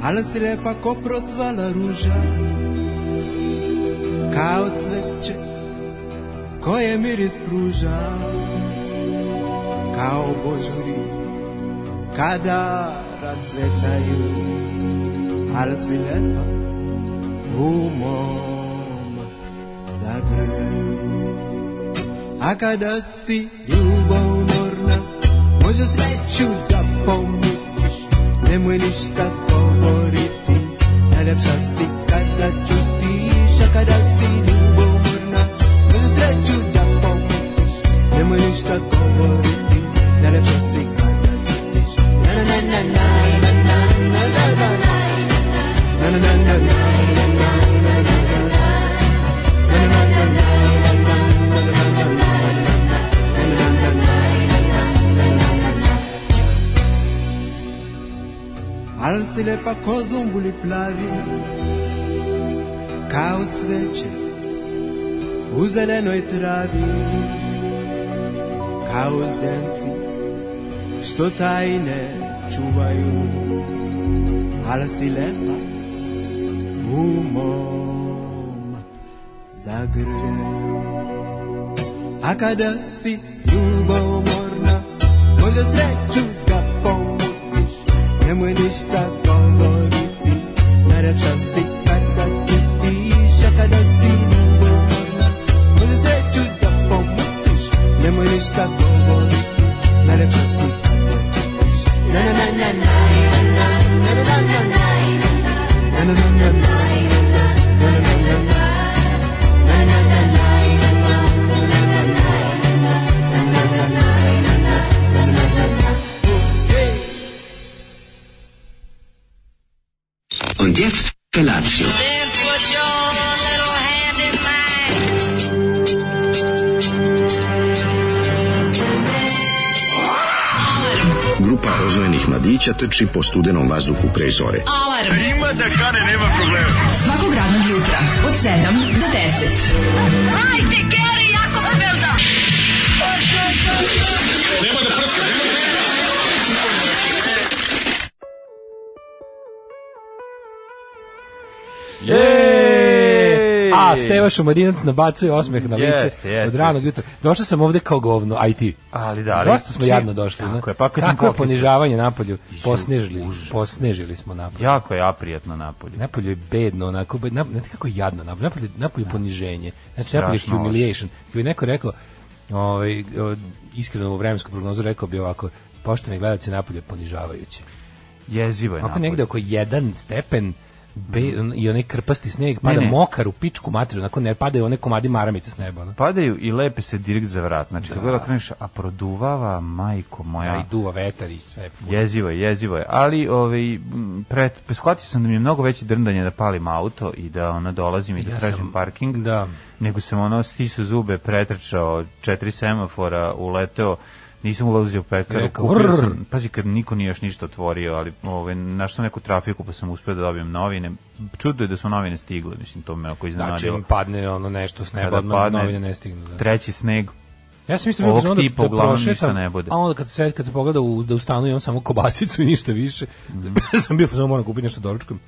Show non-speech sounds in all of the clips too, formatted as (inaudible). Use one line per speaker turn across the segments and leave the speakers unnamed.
Alăsile fac o proțvală ruža Kao cveće koje miris pruža Kao božuri kada razcvetaju Alăsile fac umom zagrljaju A kada si ljubomorna Može sreću da pomutiš Nemoj ništa govoriti Najljepša si kada čutiš A kada si ljubomorna Može sreću da pomutiš Nemoj ništa govoriti Najljepša si kada čutiš Na na na na na na na na na na na na na na Alțile pa ko zumbuli plavi Kao cveće U zelenoj travi Kao zdenci Što tajne čuvaju Al si lepa U mom Zagrljaju A kada si ljubomorna Može sreću da pomutiš Nemoj ništa govoriti Najlepša si kada čutiš A kada si ljubomorna Može sreću da pomutiš Nemoj ništa govoriti Najlepša si kada čutiš Na na na na na na na na na na Na na na na na Na na na na na Na na na na
Und jetzt Felatio.
Then put your little hand in mine.
Grupa rozvojenih mladića trči po studenom vazduhu pre zore.
Alarm. Ima da kane, nema problema. Svakog radnog jutra, od 7 do 10. Hajde, Geri, jako se velda.
Jej!
A, Steva Šumadinac nabacuje osmeh na lice
Jeste, jeste.
od ranog jutra. Došao sam ovde kao govno, a i ti.
Ali da, ali-
Dosta smo
čim-
jadno došli.
Tako
ne?
je, pa kad sam
Kako je
popis-
ponižavanje napolju? Posnežili, posnežili smo napolju.
Jako je aprijatno napolje.
Napolju je bedno, onako, bed, nap, znate kako je jadno, napolju, napolju, napolju je poniženje, znači napolju
Da.
je
Strašno loše.
humiliation. Kad bi neko rekao, ovaj, o, iskreno u vremensku prognozu rekao bi ovako, poštovni gledalci napolju je ponižavajuće.
Jezivo je
Ako
napolje. Mhm.
negde oko 1 stepen be, i onaj krpasti sneg, pada
ne.
mokar u pičku materiju, onako ne padaju one komadi maramice s neba. Ono.
Padaju i lepe se direkt za vrat. Znači, kako da kreneš, a produvava, majko moja.
Ja. I duva vetar i sve. Je.
Jezivo je, jezivo je. Ali ovaj m, pret shvatio sam da mi je mnogo veće drndanje da palim auto i da ono dolazim i da
Ja
tražim
sam-
parking.
da.
Nego sam ono stisao zube, pretrčao četiri semafora, uleteo nisam ulazio u pekaru,
Rekao,
kupio
"Vrr."
sam, pazi kad niko nije još ništa otvorio, ali ovaj, našao sam neku trafiku pa sam uspio da dobijem novine. Čudo je da su novine stigle, mislim, to me ako
Da,
iznenadilo.
čim padne ono nešto s neba,
Kada
odmah
padne-
novine ne stignu. Da.
Treći sneg,
Ja sam mislio
Ovog
da
tipa
da
uglavnom ništa
prošetam,
ne bude.
A onda kad se kad se pogleda u, da u stanu imam samo kobasicu i ništa više.
Mhm.
(laughs) sam bio samo moram kupiti nešto doručkom.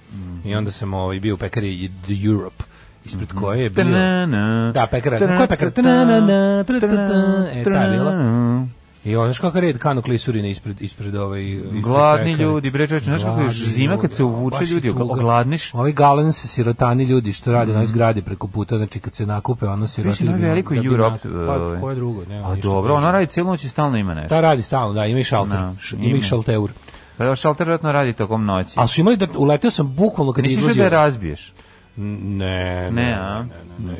I onda sam ovaj bio u pekari The Europe ispred
Mhm.
koje je bio
Ta-na-na.
Da, pekara.
Ta-na-na.
Koja je pekara? Ta-na-na, ta-ta-ta. E, ta je bila. I ono, znaš kakav red kanu klisurine ispred, ispred ove... Ispred
Gladni
pekare.
ljudi, bre, čoveče, znaš kako je još
Gladni
zima kad se
ljudi,
uvuče
baš je
ljudi,
tuga.
ogladniš. Mhm.
Ovi galen se sirotani ljudi što rade na ovoj zgradi preko puta, znači kad se nakupe ono siroti.
Mislim, ono
ljudi,
veliko
da bi
Europe,
na- Pa,
ovaj.
koje drugo? Nema
A
ništa
dobro,
teže.
ona radi cijelu noć i stalno ima nešto.
Ta radi stalno, da, ima i šalter.
Da,
Š- ima
ima.
i šalteur.
Pa da, šalter vjerojatno radi tokom noći.
Ali su imali da uleteo sam bukvalno kad
Nisi išao
izlazio.
da je razbiješ? Ne,
Ne, ne, ne,
a?
ne,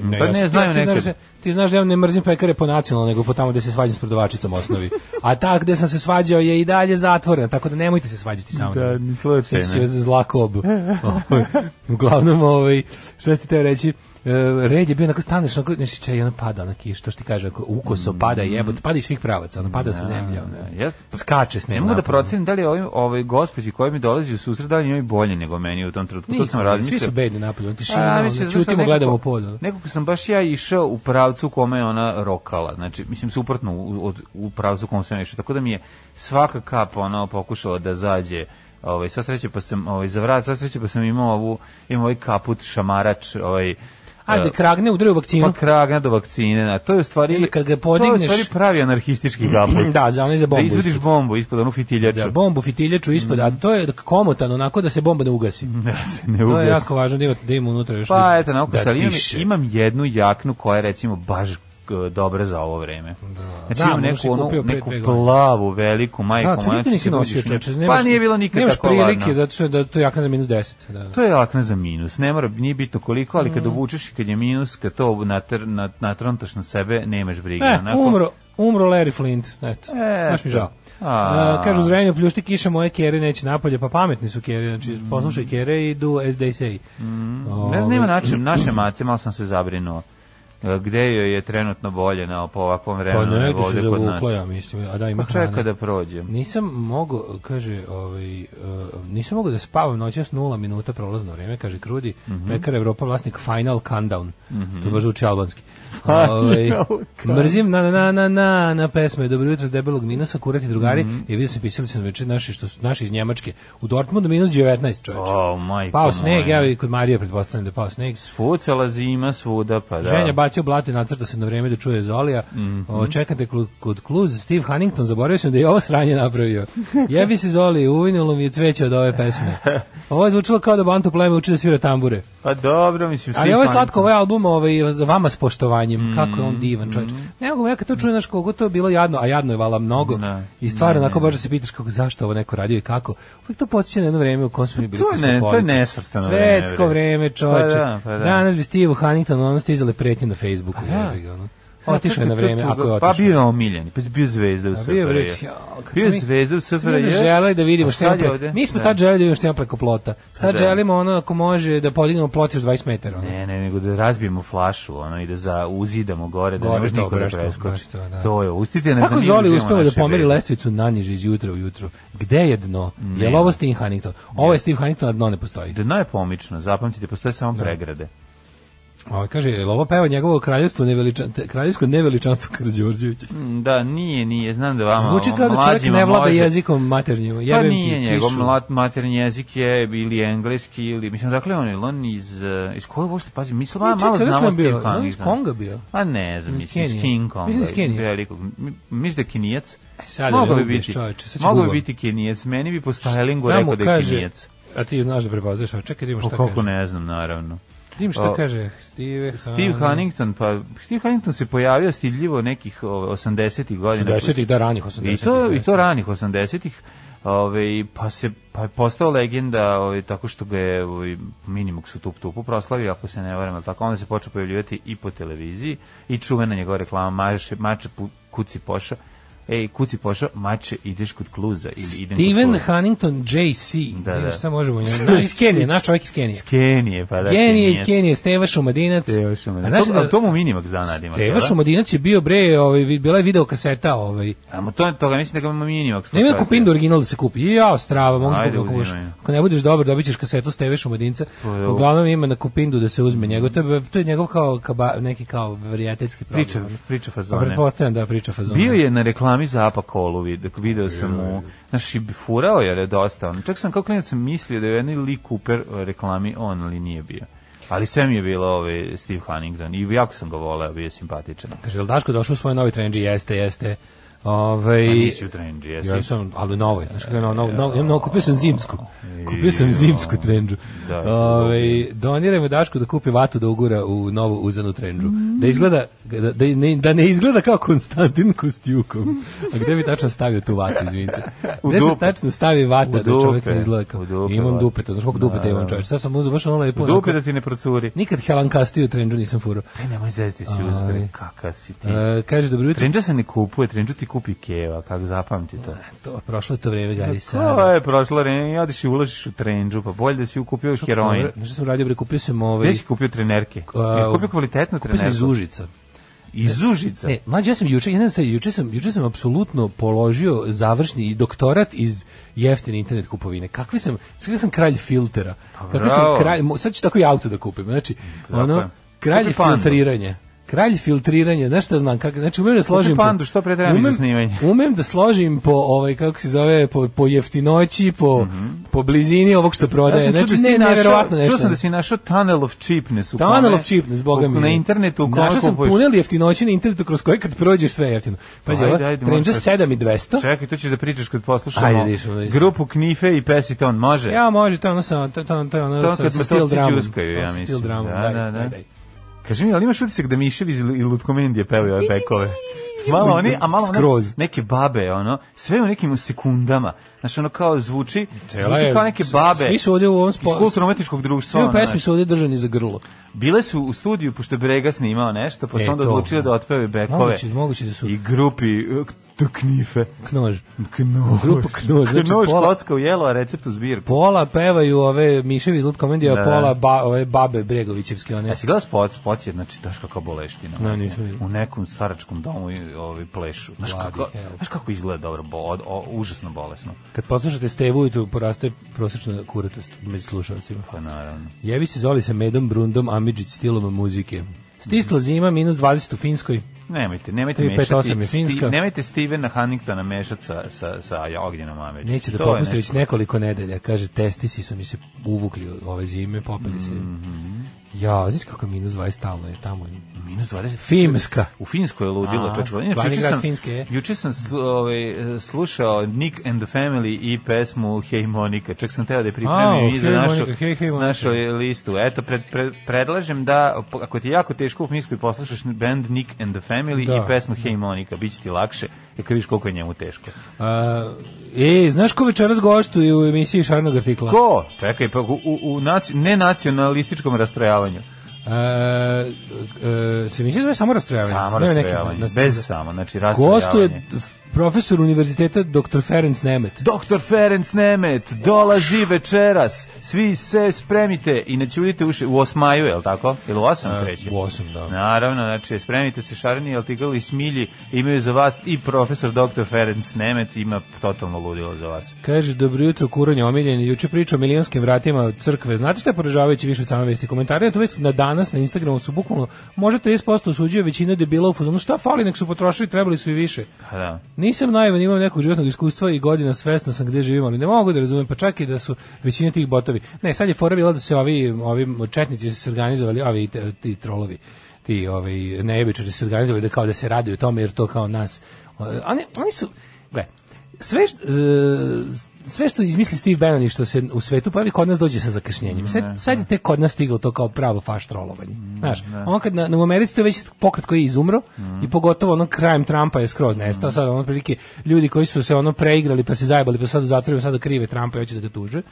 Mhm. Pa
ja
ne,
sam-
znaju
ja, ti
nekad.
znaš da- Ti znaš da ja ne mrzim pekare po nacionalno, nego po tamo gde se svađam s prodavačicom osnovi. A ta gde sam se svađao je i dalje zatvorena, tako da nemojte se svađati sa mnom.
Da, ni slučajno.
Sjećaš se zlakob. Ovaj, Uglavnom, ovaj, šta ste teo reći, e, red je bio onako staneš, onako, nešto čaj, ono pada, onako, što što ti kaže, ako ukoso pada, jebote, pada iz svih pravaca, ono, pada sa zemlje, ono,
Jeste.
skače s
Mm, Da, Ne
njim.
mogu da procenim da li je ovoj, ovoj gospođi koja mi dolazi u susret, da li je njoj bolje nego meni u tom trenutku. to sam razmišljao.
Svi su bedni napolju, ono,
A,
tišina,
mislim,
ono,
znaš šta,
ćutimo,
nekako- Da.
gledamo u pod. ono.
Nekako sam baš ja išao u pravcu u kome je ona rokala. Znači, mislim, suprotno u, od, u pravcu u kome sam ja išao. Tako da mi je svaka kap ono, pokušala da zađe Ovaj sva sreće pa sam ovaj za vrat, sva sreće pa sam imao ovu imao ovaj kaput šamarač, ovaj
Ajde,
eh,
kragne udari u vakcinu.
pa kragna do vakcine, a to je u stvari
Ili kad ga
To je u
podigneš-
stvari pravi anarhistički kaput.
Da, za onaj za bombu
Da izvadiš
ispod.
bombu ispod onu fitiljaču.
Za bombu fitiljaču ispod, a to je komotan onako da se bomba ne ugasi.
(laughs) Da se Mhm. ne
To je
ugasi.
jako važno da ima, da ima unutra još
Pa eto, na ukus,
da
ali imam,
diše.
imam jednu jaknu koja je recimo baš e, dobra za ovo vreme. Da. Znači
Znam,
imam
onu
neku,
si
onu,
kupio pre
neku
dve godine.
plavu, veliku, majku,
Da, to nikad nisi nosio, čoče.
Pa nije bilo nikad
nemaš
tako
prilike,
ladno.
zato što je da, to je jakna za minus 10. Da, da.
To je jakna za minus, ne mora, nije bitno koliko, ali
Mm.
kad obučeš i kad je minus, kad to natr, nat, natrontaš na sebe, nemaš brige.
E,
onako.
umro, umro Larry Flint, eto,
Eto.
baš mi žao.
A.
A, kažu, zrenju pljušti kiša, moje kere neće napolje, pa pametni su kere, znači poslušaj kere i do as they say.
Mhm. Ne znam,
Ovaj,
nema način, naše mace, malo sam se zabrinuo. E, Gde joj je trenutno bolje na, po ovakvom
Pa
vremenu
negdje
nego
se
ovde kod nas?
zavukla, ja mislim, a da ima
Pa čeka
hrane.
da prođe.
Nisam mogao, kaže, ovaj, e, nisam mogao da spavam noćas nula minuta prolazno vreme, kaže Krudi, pekar Evropa vlasnik Final Countdown, to baš zvuči albanski. Ovaj, mrzim na na na na na na pesme Dobro jutro s debelog minusa, kurati drugari i vidio sam pisali su na večer naši, što su, naši iz Njemačke u Dortmundu minus 19 čoveče.
O, majko
pao sneg,
pa moja.
ja i kod Marija pretpostavljam da je pao sneg.
Pucala zima svuda, pa da. Mhm.
Ženja bacio blato i nacrta se na vreme da čuje Zolija. o, čekate klu- kod Kluz, Steve Huntington, zaboravio sam da je ovo sranje napravio. Jebi se Zoli, uvinulo mi je cveće od
(laughs)
ove pesme. Ovo je zvučilo kao da Bantu pleme uči da svira tambure.
Pa dobro, mislim, svi Mm,
Ali ovo je
pametni.
slatko, ovaj album ovaj, za vama s poštovanjem, kako je on divan čovječ.
mm.
Ne mogu, ja kad to čujem, znaš, koliko to je bilo jadno, a jadno je vala mnogo.
Ne,
I stvarno, onako, baš da se pitaš kako, zašto ovo neko radio i kako. Uvijek to podsjeća na jedno vreme u kom smo mi bili.
To je ne- to je
kosmopoliti.
nesvrstano
Svetsko
vreme, bre.
vreme, čovječe.
Pa da, pa da.
Danas bi Steve Huntington, ono stizale pretnje na Facebooku. jebi ga, ono. Otišao
(laughs)
je na vreme, ako je
Pa
otišao.
bio je omiljen, pa je bio zvezda u
A
SFRJ.
bio je reč, ja, kako
Bio je
smo mi-
zvezda u
Smo mi
SFRJ.
onda želeli da vidimo
a
šta
sad je
je
ovde.
Mi smo
Da.
tad želeli da vidimo šta ima preko plota. Sad
Da.
želimo ono ako može da podignemo plot još 20 metara. Ono.
Ne, ne, nego da razbijemo flašu, ono, i da za, uzidamo gore, da
Gore,
ne može niko
dobro,
da
što-
preskoči.
baš to, da.
To je, ustite nas
Kako
da nije
Zoli
uživamo
uspeva da
naše
pomeri
bede.
lestvicu naniže iz jutra u jutro? Gde je dno? Je li ovo Steve Huntington? Ovo je Steve Huntington, a dno ne postoji.
Dno je pomično, Da, zapamtite, postoje
Da.
samo pregrade.
Ovo kaže, je li ovo peva njegovo kraljevstvo neveličan, te- kraljevsko neveličanstvo Karđorđević?
Da, nije, nije, znam da vama...
Zvuči kao da čovjek
mlađima
ne vlada
može-
jezikom maternjim.
Pa
jebem ti
nije njegov
kišu.
mlat, maternji jezik je ili engleski ili mislim dakle on je on iz eh, iz koje uopšte pazi mislim malo,
Ne, čekaj,
malo
odakle
znamo
on bio?
Steve
On iz
Huntington.
Konga bio?
A ne znam,
Iz
mislim iz
Kenije.
King Konga.
Mislim iz Kenije.
Velikog. Mi- Mislim da je kinijac.
E, sad
Mogao
me
bi
ubiješ,
biti.
čoveče, sad ću
Mogao bi
Google.
biti kinijac. Meni bi po stylingu
Šta mu
rekao da je
kaže?
kinijac.
A ti znaš da prepoznaš, a čekaj, Dimo
Pa
šta
kako
kaže.
ne znam, naravno.
Dim šta
O,
kaže. Steve,
Steve Huntington, pa Steve Huntington se pojavio stiljivo nekih ove, 80-ih godina.
80-ih, da, ranih 80-ih.
I to, i to ranih 80-ih. Ove, pa se pa je postao legenda ove, tako što ga je ovaj Minimux u tup tupu proslavio, ako se ne varam, jel tako onda se počeo pojavljivati i po televiziji i čuvena njegova reklama mače, mače pu- kuci poša. Ej, kuci poša, mače, ideš kod kluza ili idem kod
Steven
kluza.
Huntington JC.
Da,
Ne,
da. (laughs)
Šta možemo? Na, iz Kenije, naš čovjek iz Kenije.
Kenije, pa da.
Kenije iz
Kenijac.
Kenije, Steva Šumadinac.
Teo Šumadinac.
A znaš,
To- a to mu Minimax danar ima.
Steva
jel da?
Šumadinac je bio bre, ovaj, vi- bila je videokaseta, ovaj.
A mu to, toga mislim da ga ima Minimax.
Ne ima
pokazuje.
kupin do original da se kupi. I Ja, strava, mogu
Ajde,
Ajde, ako,
uzimaj.
ako ne budeš dobar, dobit ćeš kasetu Steve Šumadinca.
dobro.
Uglavnom ima na kupindu da se uzme njegov. To je, to je njegov kao, kaba, neki kao varijetetski program.
Priča, priča
Pa
fazone.
pretpostavljam da priča fazon.
Bio je na reklami za Apakolu, vid- video sam
da,
mu, znači furao je re- dosta. on. Čak sam kao klinac sam mislio da je u jednoj Lee Cooper eh, reklami on, ali nije bio. Ali sve mi je bilo ovaj Steve Huntington i jako sam ga voleo, bio je simpatičan.
Kaže, jel Daško došao u svoj novi trendži? Jeste, jeste. Ovaj, Ove,
I Pa nisi u trenđi, jesi?
Ja sam, ali novo je, znaš kako je novo, novo, novo, novo, kupio sam zimsku, kupio sam zimsku trendžu.
Da, to je
Ove, donirajmo Dašku da kupi vatu da ugura u novu uzanu trendžu, da izgleda, da, da, ne, da ne izgleda kao Konstantin Kostjukom. A gde bi tačno stavio tu vatu, izvinite?
U
Gde se
dupe.
tačno stavi vata
U
da čovjek
dupe.
ne izgleda kao?
U dupe,
imam
vata.
dupe, to znaš koliko dupe da imam čovječ. Sad sam uzeo baš ono lepo. onako-
Dupe da ti ne procuri.
Nikad helankastiju trendžu nisam furao.
Aj, nemoj zezdi si uzeti, kakav si ti.
E, kaže, dobro jutro,
Trenđa se ne kupuje, trenđu ti kupi keva, kako zapamti
Da,
to.
To, prošlo je to vreme, Gari, sad.
To je prošlo vreme, i odiš i uložiš u trenđu, pa bolje da si ukupio heroin.
Dobro, Znaš što sam radio, bre, kupio sam ovaj...
Gde si kupio trenerke?
A,
Jesi Uh, kupio kvalitetnu
kupio sam
trenerku?
iz Užica.
Iz Užica?
Ne, mlađe, ja sam juče, ja ne znam, šta je, juče sam, juče sam apsolutno položio završni i doktorat iz jeftine internet kupovine. Kakvi sam, kakvi sam kralj filtera. Kakvi
Pa bravo.
sam kralj, mo- sad ću tako i auto da kupim. Znači,
Tako
ono,
je.
kralj
Kupi pandu.
filtriranja. Kralj filtriranja, znaš šta znam, kako, znači umem da složim...
pandu, što pre treba mi za
umem,
snimanje.
(laughs) umem da složim po, ovaj, kako se zove, po, po jeftinoći, po, po blizini ovog što prodaje.
Mhm. Ja sam čuo
znači,
da si ti
ne,
našao-
nevjerovatno nešto.
Čuo sam da si našao tunnel of cheapness. u
Tunnel
kome-
of cheapness, boga mi.
Na internetu u kome
Našao sam
kupuješ-
tunel jeftinoći na internetu kroz koje kad prođeš sve je jeftino. Pazi,
Ajde,
ova
ajde,
Trenđa
možeš.
7 i 200.
Čekaj, tu ćeš da pričaš kad poslušamo
Ajde, da išemo, da išemo.
grupu Knife i Pesiton, može?
Ja, može, to je ono sa, to, to, to je ono
To
sa,
kad
sa
me
stil
toci
dramom.
đuskaju, ja
To sa stil
mislim.
dramom,
Da,
daj,
da, da.
daj, daj.
Kaži mi, ali imaš utisak da Miševi iz L- i Lutkomendije pevaju ove pekove? Malo oni, a malo one,
Skroz.
neke babe, ono, sve u nekim sekundama. Znaš, ono kao zvuči,
Cela
zvuči
je-
kao neke
s-
babe.
svi su ovdje u ovom spo-
Iz kulturno-umetničkog društva.
Sve
ono,
pesmi
znaš.
su ovdje držani za grlo.
Bile su u studiju, pošto je Brega snimao nešto, pa su
E,
onda
to,
odlučili
da.
da otpeve bekove.
Moguće- moguće da su-
I grupi uh, t- Knife.
Knož.
Knož.
Grupa Knož, znači
Knož,
pola-
kocka u jelo, a recept u zbirku.
Pola pevaju ove Miševi iz Lut komedije,
Da,
a
da.
pola ba, ove babe Bregovićevske. One.
Ja si gledao spot, spot je, znači, daš kakva boleština.
Ne, nisam vidio.
U nekom staračkom domu i ovi plešu. Znaš
Bloody
kako,
hell.
znaš kako izgleda dobro, bo, od, o, užasno bolesno.
Kad poslušate Stevu ujutru, poraste prosječna kuratost među slušalcima.
Pa naravno.
Jevi se zoli sa medom, brundom, amidžić stilom muzike.
Mhm.
Stisla zima, minus 20 u Finskoj.
Nemojte, nemojte
358
mešati.
je Finska.
nemojte Stevena Huntingtona mešati sa, sa, sa Ognjenom Američom.
Neće da
To je
popusti već
nešto-
nekoliko nedelja. Kaže, testisi su mi se uvukli ove zime, popeli se.
Mhm.
Ja, znaš kako minus 20 stalno je tamo.
Minus 20.
Finska.
U Finskoj je ludilo,
A,
čoče.
glavni
juče
grad
sam,
Finske je.
juče sam slu- ovaj, slušao Nick and the Family i pesmu Hey Monica. Čak sam teo da je
A,
pripremim i za
Hey
našu,
Monica, Hey, Hey Monica.
našu listu. Eto, pred, pred, predlažem da, po- ako ti je jako teško u Finskoj, poslušaš band Nick and the Family
Da.
i pesmu Hey Monica. Biće ti lakše, jer vidiš koliko je njemu teško.
A, e, znaš ko večeras gostuje u emisiji Šarnog artikla?
Ko? Čekaj, pa u, u, u naci- nenacionalističkom rastrojavanju.
E, e, se mi se zove samo rastrojavanje.
Samo
Ne, neki-
rastrojavanje.
nas-
Bez samo, znači rastrojavanje.
Gostuje f- profesor univerziteta dr. Ferenc Nemet.
Doktor Ferenc Nemet dolazi večeras. Svi se spremite i ne ćudite uši u osmaju, je li tako? Ili u osam kreće?
u osam, da.
Naravno, znači spremite se šareni, jel ti i smilji imaju za vas i profesor doktor Ferenc Nemet ima totalno ludilo za vas.
Kaže, dobro jutro, kuranje omiljeni, juče priča o milijonskim vratima od crkve. Znate šta je poražavajući više od same vesti? Komentari na tu vest na danas na Instagramu su bukvalno, možda 30% osuđuje većina debila u fazonu, šta fali, nek su potrošili, trebali su i više.
Pa da.
Nisam naivan, imam nekog životnog iskustva i godina svesna sam gde živim, ali ne mogu da razumem, pa čak i da su većina tih botovi. Ne, sad je fora bila da se ovi, ovi četnici su se organizovali, ovi te- ti trolovi, ti ovi nejebičari su se organizovali da kao da se raduju tome, jer to kao nas. Oni, oni su, gle, sve što, e, sve što izmisli Steve Bannon i što se u svetu pojavi kod nas dođe sa zakašnjenjem. Sad, sad je tek kod nas stiglo to kao pravo faš trolovanje. Znaš, on kad na, na u Americi to je već pokret koji je izumro i pogotovo ono krajem Trumpa je skroz nestao. Sad ono prilike ljudi koji su se ono preigrali pa se zajebali pa sad u zatvoru sada krive Trumpa i hoće da ga tuže.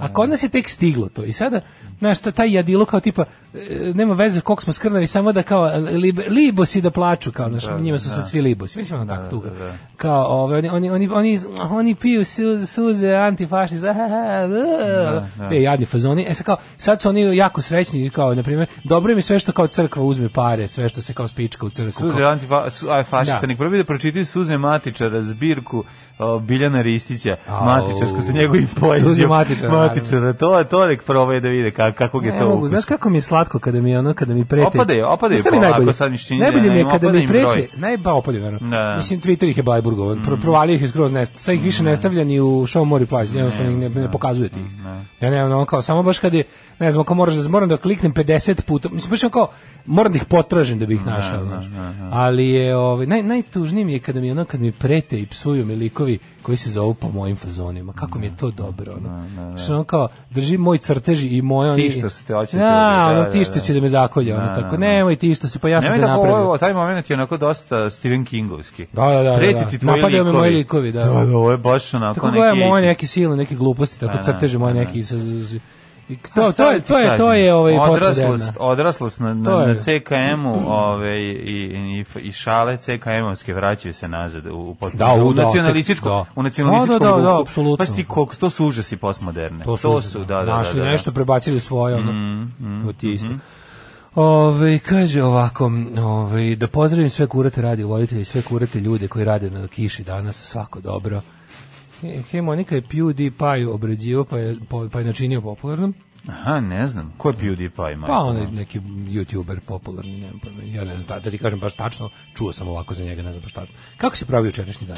A kod nas je tek stiglo to. I sada, znaš, ta- taj jadilo kao tipa e, nema veze koliko smo skrnavi, samo da kao lib, libosi da plaču kao, znaš, njima su sad svi libosi. Mislim ono tako tuga kao ove, oni, oni, oni, oni, oni piju suze, suze antifašista, te jadni fazoni. E sad kao, sad su oni jako srećni, kao, na primjer, dobro im je sve što kao crkva uzme pare, sve što se kao spička u crkvu.
Suze
kao-
antifa, su, aj fašista,
Da.
nek prvi da pročitaju Suze Matičara, zbirku o, Biljana Ristića,
Au.
Matičarsku sa njegovim poezijom.
Suze Matičara,
Matičara, to, to nek probaju da vide kak, kakvog je
Ne
to
mogu,
ukus.
znaš kako mi je slatko kada mi ono kada mi prete.
Opadaju, opadaju
Šta mi je
polako,
najbolje?
sad mi se čini da
najbolje
ne,
mi je
im
kada
opada
mi
im
prete,
broj.
najba opadaju naravno.
Da, Mm. da.
Mislim Twitter ih je Bajburgovan, mm. provalio ih je skroz nest. Sad ih više ne stavlja ni u show more replies, jednostavno ih ne,
da.
ne, pokazuje ti. ih. Ja ne, ono kao samo baš kad je ne znam, ako moraš da moram da kliknem 50 puta. Mislim baš ono kao moram da ih potražim da bi ih našao, znaš.
da.
Ali je ovaj naj najtužnije mi je kada mi ono kad mi prete i psuju mi likovi koji se zovu po mojim fazonima. Kako
Da,
mi je to dobro, ono. Što ono kao drži moj crtež i moje
Ti
oni-
što se te hoćete-
Da,
da,
ono,
da,
ti što
da.
će da me zakolje, ono,
Da,
tako,
da, da.
nemoj ti što se, pa ja sam
Nemoj
te
da
napravio.
ovo, taj moment je onako dosta Stephen Kingovski.
Da, da, da, da,
Preti
da.
ti tvoji
Napadaju me
likovi.
moji likovi, da.
Da, da, ovo je baš onako
Tako
neki...
gledam moje
80s.
neke silne, neke gluposti, tako
Da,
crteže moje
da, da.
neki sa... z- z- i
A šta
To,
da
to je,
ti
to je, to
kažem?
je ovaj
odraslost,
postmoderna.
odraslost na,
To
na,
je.
na CKM-u ovaj, i, i, i šale CKM-ovske vraćaju se nazad u, u potpuno.
Da, u-
u,
da,
nacionalističkom,
da.
u nacionalističkom
Da, da, da, da,
duhu.
apsolutno.
Pa si ti koliko, to su užasi postmoderne.
To su,
su da, da, da,
našli
da, Mm, mm-hmm. da.
nešto, prebacili u svoje, ono, to ti je isto. Ove, kaže ovako, ove, da pozdravim sve kurate radio voditelje i sve kurate ljude koji rade na kiši danas, svako dobro. He- Hemonika je PewDiePie obrađivao, pa je, po- pa je načinio popularnom.
Aha, ne znam. Ko je PewDiePie? majko?
Pa on je neki youtuber popularni, ne znam, pojma. ja ne znam, da, da ti kažem baš tačno, čuo sam ovako za njega, ne znam baš tačno. Kako si pravio jučerašnji dan?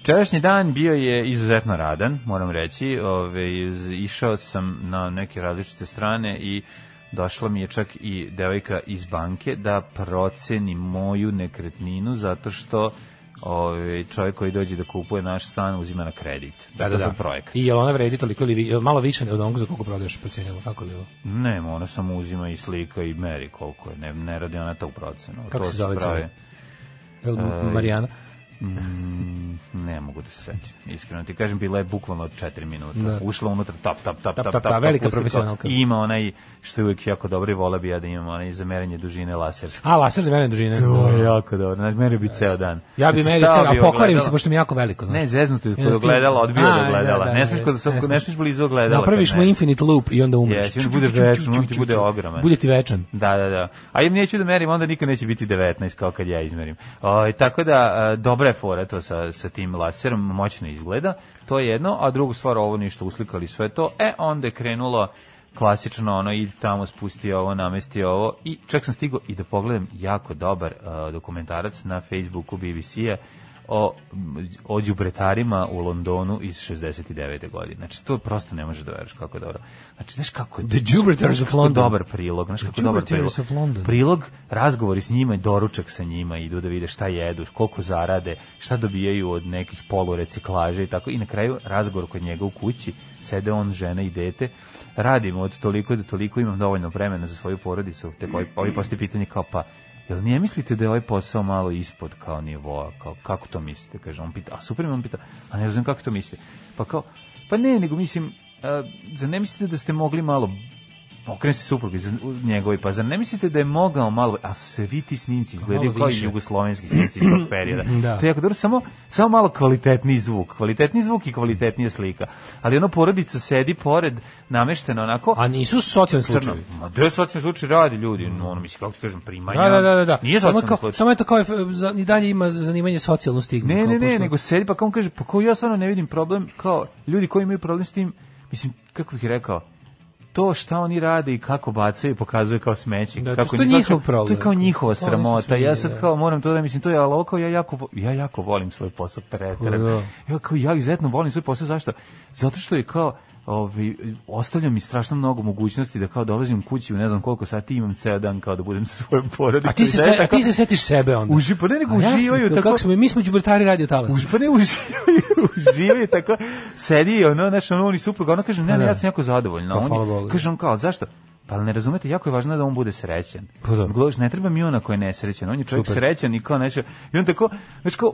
Včerašnji dan bio je izuzetno radan, moram reći. Ove, iz- išao sam na neke različite strane i došla mi je čak i devojka iz banke da proceni moju nekretninu zato što ove, čovjek koji dođe da kupuje naš stan uzima na kredit. to sam projekat.
Da, I jel ona vredi toliko ili vi- jel malo više od onog za koliko prodaješ procenjalo, kako je bilo?
Ne, ona samo uzima i slika i meri koliko je. Ne, ne radi ona to u procenu.
Kako
to
se zove
pravi-
cijela? Jel
E,
Marijana?
Ne mogu da se setim, iskreno ti kažem, bila je bukvalno 4 minuta.
Da.
Ušla unutra, tap, tap, tap,
Tap,
tap,
tap,
tap,
tap, velika
uskliko.
profesionalka.
I ima onaj, što je uvijek jako dobro i vola bi ja da imam onaj za merenje dužine laserske.
A, laser za mene dužine.
To je
Da.
jako dobro, znači merio bi ceo dan.
Ja bi
Znači,
meni
stao
ceo, a
bi
pokvarim
ogledalo.
se, pošto mi je jako veliko. Znaš.
Ne, zeznuto je kod
Jednostavno-
ogledala, odbio
A,
od ogledala.
da, da,
ne smiješ kod
ne
ne smiješ blizu ogledala. kad
Napraviš mu
ne-
infinite loop i onda umreš.
Jesi, on bude večan, on ti bude ogroman.
Bude ti večan.
Da, da, da. A im neću da merim, onda nikad neće biti 19 kao kad ja izmerim. O, tako da, e, dobra je fora to sa, sa tim laserom, moćno izgleda. To je jedno, a drugu stvar, ovo ništa uslikali sve to. E, onda je krenulo klasično ono i tamo spusti ovo, namesti ovo i čak sam stigao i da pogledam jako dobar e, dokumentarac na Facebooku BBC-a o, m, o đubretarima u Londonu iz 69. godine. Znači, to prosto ne možeš da veruješ kako je dobro. Znači, znaš kako je...
The Jubreters of
Kako je
London.
Dobar prilog, znaš kako
The
je dobar prilog.
Jubreters of London.
Prilog, razgovori s njima i doručak sa njima, idu da vide šta jedu, koliko zarade, šta dobijaju od nekih polureciklaža i tako. I na kraju razgovor kod njega u kući, sede on, žena i dete, radimo od toliko do toliko, imam dovoljno vremena za svoju porodicu, te koji, ovi postoje pitanje kao pa, Jel nije mislite da je ovaj posao malo ispod kao nivoa, kao kako to mislite, kaže on pita, a super mi on pita, a ne razumijem kako to mislite, pa kao, pa ne, nego mislim, a, zar ne mislite da ste mogli malo okrene se suprug iz njegovi, pa zar ne mislite da je mogao malo, a svi ti snimci izgledaju
Malo
kao
više.
jugoslovenski snimci iz
(clears throat)
tog perioda.
Da.
To je jako dobro, samo, samo malo kvalitetniji zvuk, kvalitetniji zvuk i kvalitetnija slika. Ali ono porodica sedi pored, nameštena onako,
A nisu socijalni
crno.
slučajevi.
Ma gde socijalni slučaj radi ljudi? No, ono, mislim, kako ti kažem, primanja.
Da, da, da, da, da.
Nije
samo,
socijalni
kao,
slučaj.
samo je to kao, ef- za, i dalje ima zanimanje socijalnu stigmu.
Ne,
kao
ne, ne,
pošto-
nego sedi, pa kao on kaže, pa kao ja stvarno ne vidim problem, kao ljudi koji imaju problem s tim, mislim, kako bih rekao, to šta oni rade i kako bacaju pokazuje kao smeće.
Da, to
kako
je
ni- zato-
njihov problem.
To je kao njihova
Oni su
sramota.
svi,
Ja sad
da.
kao moram to da mislim, to je ali ovo kao ja jako, vo- ja jako volim svoj posao
Da.
preteran. Ja kao ja izuzetno volim svoj posao, zašto? Zato što je kao Ovi, ostavlja mi strašno mnogo mogućnosti da kao dolazim kući u ne znam koliko sati imam ceo dan kao da budem sa svojom porodicom.
A ti
I
se,
da je
se, a
tako-
ti se setiš sebe onda.
Uži- pa ne, nego
A ja se-
uživaju
kako
tako-
smo mi- mi smo đubretari radio talas.
Už pa ne (laughs) uživaju, uživaju tako. Sedi ono, znaš, ono, on i supruga, ona kaže, ne,
Pa
ne,
da.
ja sam jako zadovoljna.
Pa,
On je-
hvala Bogu.
Kaže on kao, "Ali zašto? Pa ne razumete, jako je važno da on bude srećan.
Pa da.
Gledaš, ne treba mi ona koja je nesrećan. On je čovjek
Super.
srećan i kao nešto. I on tako, znači kao,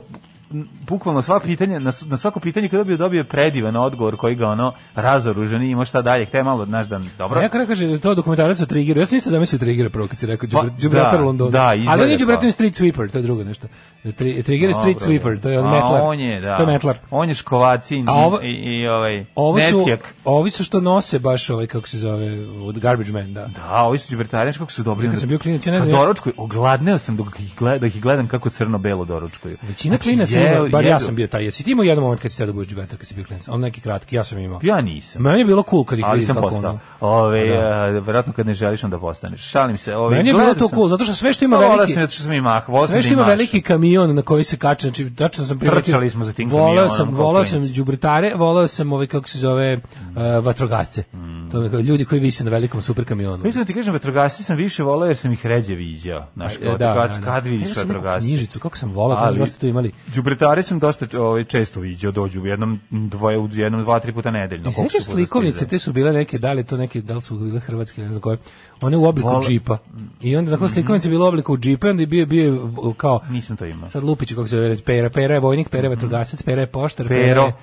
m, bukvalno sva pitanja, na, s- na svako pitanje koje dobio, dobio je predivan odgovor koji ga ono razoruženi ima šta dalje. Htje malo, znaš, da dobro.
Ja kada kaže to dokumentarac o Triggeru, ja sam isto zamislio Triggera prvo kad si rekao
Pa,
Džubra- Gibraltar
da,
London.
da,
Ali on je
izgleda
Gibraltar
kao.
Street Sweeper, to je drugo nešto. Tri, Trigger da je Street
Dobro,
Sweeper, to je on
a
metlar.
On je, da.
To je metlar.
On je škovacin
A ovo-
i, i, ovaj,
Ovo su,
netjak.
ovi su što nose baš ovaj, kako se zove, od Garbage Man, da.
Da, ovi su đubretarijaš kako su dobri.
Kad sam bio klinac, ja ne
Kad
znam, ja-
Doručkuju, ogladneo sam dok ih gledam, dok ih gledam kako crno-belo doručkuju.
Većina
Znači,
klinaca,
jeo-
ima- bar ja
jedu.
sam bio taj, jesi ti imao jedan moment kad si teo da budeš džubetar kad si bio klinac, on neki kratki, ja sam imao.
Ja nisam.
Meni je bilo cool kad ih
Ali
vidim
sam
kako
postao.
ono-
Ove,
Da.
e, verovatno kad ne želiš onda postaneš. Šalim se. Ove,
Meni je bilo
gledao
to
sam-
cool, zato što sve što ima
Pa, volao
veliki-
sam ja, zato što sam imah, volao sam
Sve što
da
ima
imaš.
veliki kamion na koji se kače, znači tačno sam primetio.
Trčali smo za tim
Voleo
kamionom
sam,
kao
voleo sam
klinci.
đubretare, voleo sam ove kako se zove uh, vatrogasce. To je kao ljudi koji vise na velikom super kamionu.
Mm. Mislim da ti kažem, vatrogasci sam više volao jer sam ih ređe viđao.
E,
Znaš,
da,
kao, kad, kad vidiš vatrogasci?
Knjižicu, kako sam volao, kako
Ali-
znaš da ste to imali.
Đubretare sam dosta ovaj, često viđao, dođu u jednom, dvoje, u jednom, dva, tri puta nedeljno.
I
koliko
sećaš
su puta
slikovnice,
stizali.
te su bile neke, da li to neke, da li su bile hrvatske, ne znam koje, one u obliku
Vole- Mhm.
džipa. I onda tako slikovnice bilo u obliku džipa, i onda je bio, bio je v- kao,
Nisam to imao.
sad Lupić kako se zove, Pera, Pera je vojnik, Pera je vatrogasac, Pera je poštar,
Mhm. Pero.
Pera je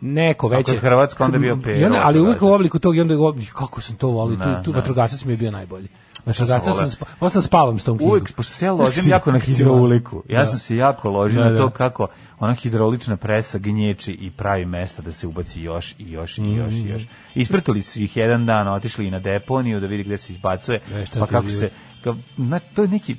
neko veće.
je Hrvatska, onda je bio
I
Pero
onda, ali uvijek u
vatrogasac.
obliku tog, i onda je u obli- kako sam to volio, tu,
Da,
tu
da.
vatrogasac mi je bio najbolji. Vatrogasac
voleo.
sam, spa, ovo sam da spavam s tom knjigom.
Uvek, pošto se ja ložim jako na hidroliku. Ja sam se jako ložio
Da,
na
da.
to kako ona hidrolična presa gnječi i pravi mesta da se ubaci još i još i još i još. Ispratili su ih jedan dan, otišli i na deponiju da vidi gde se izbacuje,
E, šta
pa
ti
kako
život.
se... ka- na, to je neki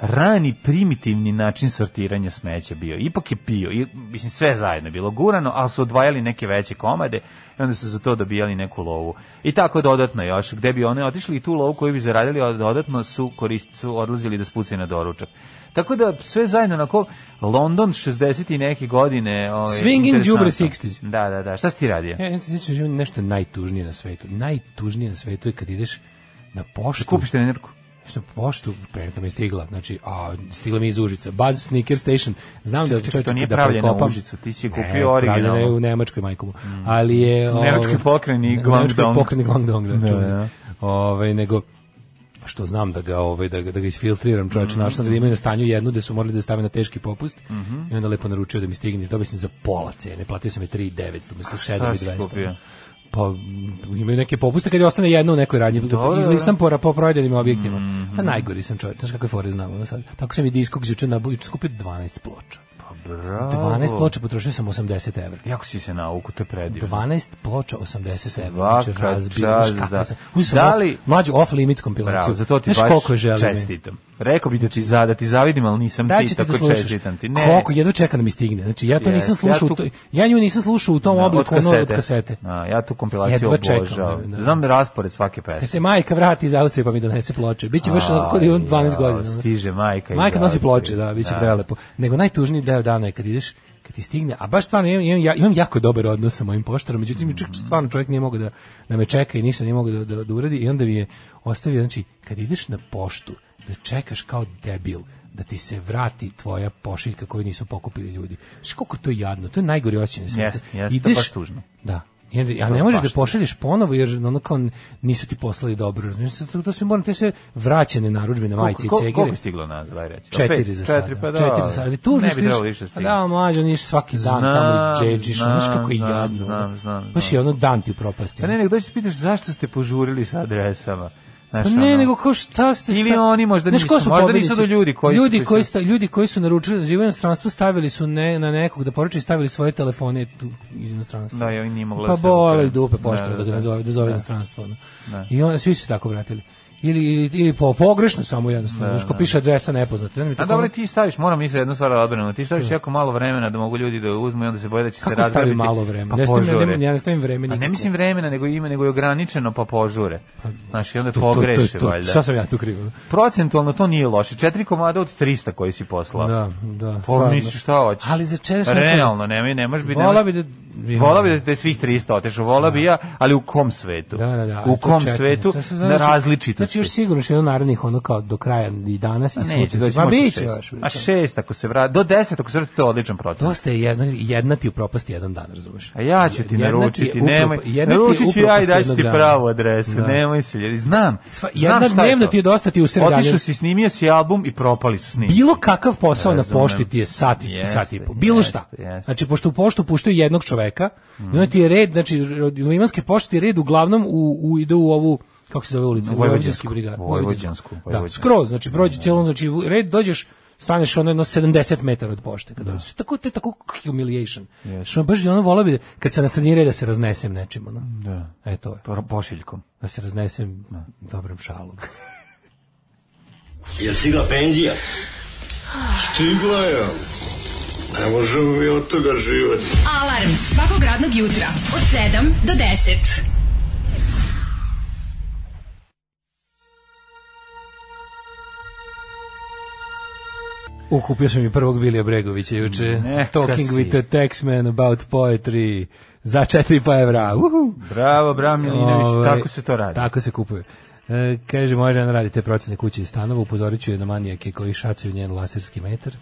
rani primitivni način sortiranja smeća bio. Ipak je pio, i, mislim sve zajedno je bilo gurano, ali su odvajali neke veće komade i onda su za to dobijali neku lovu. I tako dodatno još, gde bi one otišli i tu lovu koju bi zaradili a dodatno su, korist, su odlazili da spucaju na doručak. Tako da sve zajedno onako London 60 i neke godine, ovaj
Swinging
interesantno.
đubre 60s.
Da, da, da. Šta si ti radio?
Ja, ja se sjećam da je nešto najtužnije na svetu. Najtužnije na svetu je kad ideš na poštu.
Kupiš trenerku.
Što poštu preneka mi je stigla, znači, a stigla mi je iz Užica. Baz Sneaker Station. Znam da
Čekaj, čekaj, to nije pravljeno u Užicu, ti si je kupio originalno. Mm.
Ne, je u Nemačkoj, majkom. Ali je... ovaj,
Nemačkoj pokrajini
ne-
Guangdong.
Nemačkoj pokrajini Guangdong, da,
Da,
čujem.
da.
Ovaj, nego što znam da ga ovaj da ga, da ga isfiltriram
Mhm.
čoveče našao sam ga da imaju na stanju jednu gde su morali da je stave na teški popust
Mhm.
i onda lepo naručio da mi stigne dobio sam za pola cene platio sam je 3.900
Šta
umesto
si
7.200
kupio?
pa m, imaju neke popuste kad je ostane jedno u nekoj radnji.
Dobro,
Iz listam po, po projedenim objektima.
Mhm.
A najgori sam čovjek, znaš kakve fore znam ono sad. Tako sam i diskog juče na juče skupio 12 ploča.
Bravo.
12 ploča potrošio sam 80 evra.
Jako si se nauku, to je predivno.
12 ploča 80 evra.
Svaka
Znači razbio.
čast,
Znaš kakva
da.
sam. Uzeo sam
Da
off-
li-
mlađu off limits kompilaciju.
Bravo, Znači, za to ti
Znaš koliko je
baš
želim.
čestitam. Rekao bi da ti za, da ti zavidim, ali nisam
Da
ti,
ćete
tako
da slušaš.
čestitam ti. Ne,
Koliko jedva čekam da mi stigne. Znači ja to
Jes,
nisam
ja
slušao,
tu-
u toj- ja nju nisam slušao u tom
da,
obliku ono od kasete.
A, ja tu kompilaciju
Jedva čekam,
obožavam.
da.
Znam raspored svake
Kad
pesme.
se majka vrati iz Austrije pa mi donese ploče. Biće baš onako da kod imam 12
Aj,
godina. ono.
Stiže majka. iz
Majka nosi
Austrije.
ploče, da, biće prelepo. Nego najtužniji deo dana je kad ideš kad ti stigne, a baš stvarno imam, imam, ja- imam jako dobar odnos sa mojim poštarom, međutim čak stvarno čovjek nije mogao da, da me čeka i ništa nije mogao da, da, da uradi i onda mi je ostavio, znači kad ideš na poštu da čekaš kao debil da ti se vrati tvoja pošiljka koju nisu pokupili ljudi. Znaš koliko to je jadno, to je najgori osjećaj na svijetu.
Jeste, jeste,
Ideš-
baš tužno.
Da. I onda- A
To je
ne možeš da
baš
pošalješ ponovo jer ono kao nisu ti poslali dobro. Znači, to, to sve moram te sve vraćene narudžbine majice i
Da. Koliko-
cegere.
Koliko je stiglo nazad, aj reći?
Četiri
Opet
za sada.
četiri, pa da.
Četiri za sada. Ali tužno
ne
što
bi
ideš-
trebalo više
A
stigne.
Da, mlađe, on svaki dan tamo
Znam,
i džedžiš. Znaš kako je
znam,
jadno.
znam, znam,
Baš je ono dan ti u propasti.
Pa ne, nego dođe ti pitaš zašto ste požurili sa adresama. Znaš,
Pa ne,
ono,
nego kao šta ste...
Ili
sta-
oni možda
Znaš ko
nisu, možda
pobednici?
nisu do ljudi koji su-
ljudi
koji su-
koji, sta, ljudi koji su naručili za živo inostranstvo stavili su ne, na nekog da poruče i stavili svoje telefone tu iz inostranstva.
Da, i oni nije mogla
Pa
da se
bole
upere.
dupe pošta
Da,
da,
da,
ga
da.
nazove, da zove inostranstvo. ono. I onda svi su se tako vratili. Ili, ili, ili po, pogrešno samo jednostavno. Znaš ko piše adresa nepoznata. Onda mi
Da, A
tako
dobro
ono-
ti staviš, moram misliti jednu stvar da odbranimo, ti staviš jako malo vremena da mogu ljudi da uzmu i onda se boje da će se
Kako
razgrabiti.
stavi malo vremena?
Pa
Ja stavim-
požure.
ja ne- ja ne stavim vremena
A ne
nikako.
mislim vremena, nego ime, nego je ograničeno pa požure. Znaš, i onda
Tu, tu, tu,
pogreše,
tu, tu.
da valjda.
Šta sam ja tu krivo?
Procentualno to nije loše. Četiri komada od 300 koji si poslao.
Da, da.
Pa
stvarno.
misliš šta hoćeš.
Ali za češ
Realno, nemoj, ne možeš biti...
Vola
nemaš-
bi da...
Vola bi da je svih 300 otešao, vola bi ja, ali u kom svetu?
Da, da, da.
U
ali to
kom
čekanje.
svetu?
Sad se
na
znači-
različitosti.
Znači još sigurno što je jedno narednih ono kao do kraja i danas i
A neće
sutra.
doći
Pa
možda
biće
šest.
još.
A šest ako se vrati, do deset ako se vrati, to je odličan proces.
Dosta je jedna, jedna ti u propasti jedan dan, razumeš?
A ja ću ti
Jedna je
naručiti,
upropa-
nemoj,
jedna ti je
naručit ću ja i
upropast
daću ti
jednog dana.
pravu adresu,
Da.
nemoj se, ljudi. znam,
Sva-
znam
jedna
šta je
dnevno
to.
ti je dosta, ti u sedam
Otišao
dana-
si, snimio si album i propali su snimci.
Bilo kakav posao na
Mhm. Razumem.
pošti ti je sat i,
Jeste,
sat i po. Bilo
jeste,
šta.
jeste.
Znači, pošto u poštu puštaju jednog čoveka, i onda ti je red, znači, od limanske pošte ti je red uglavnom u, u, ide u ovu kako se zove ulica?
Na Vojvođansku. pa Mhm.
brigad.
Vojvođansku,
Da,
Vojvođansku.
skroz, znači prođe celom, znači u red dođeš, staneš ono jedno 70 metara od pošte
Da.
kad dođeš. Tako to je tako humiliation. Što baš ono vola bi da- kad se nasrednije da se raznesem nečim, ono.
Da.
E to je.
Po- Pošiljkom.
Da se raznesem dobrim šalom.
(laughs)
Je stigla penzija?
Stigla je. Ne možemo mi od toga živati.
Alarm svakog radnog jutra od 7 do 10.
Ukupio sam i prvog Bilija Bregovića juče.
Neka
Talking
si.
with a Texman about poetry za 4 pa evra. Uhu.
Bravo, bravo Milinović,
Ovaj,
tako se to radi.
Tako se kupuje. E, kaže, moja žena radi te procene kuće i stanova, upozorit ću je na manijake koji šacuju njen laserski
(laughs)
metar.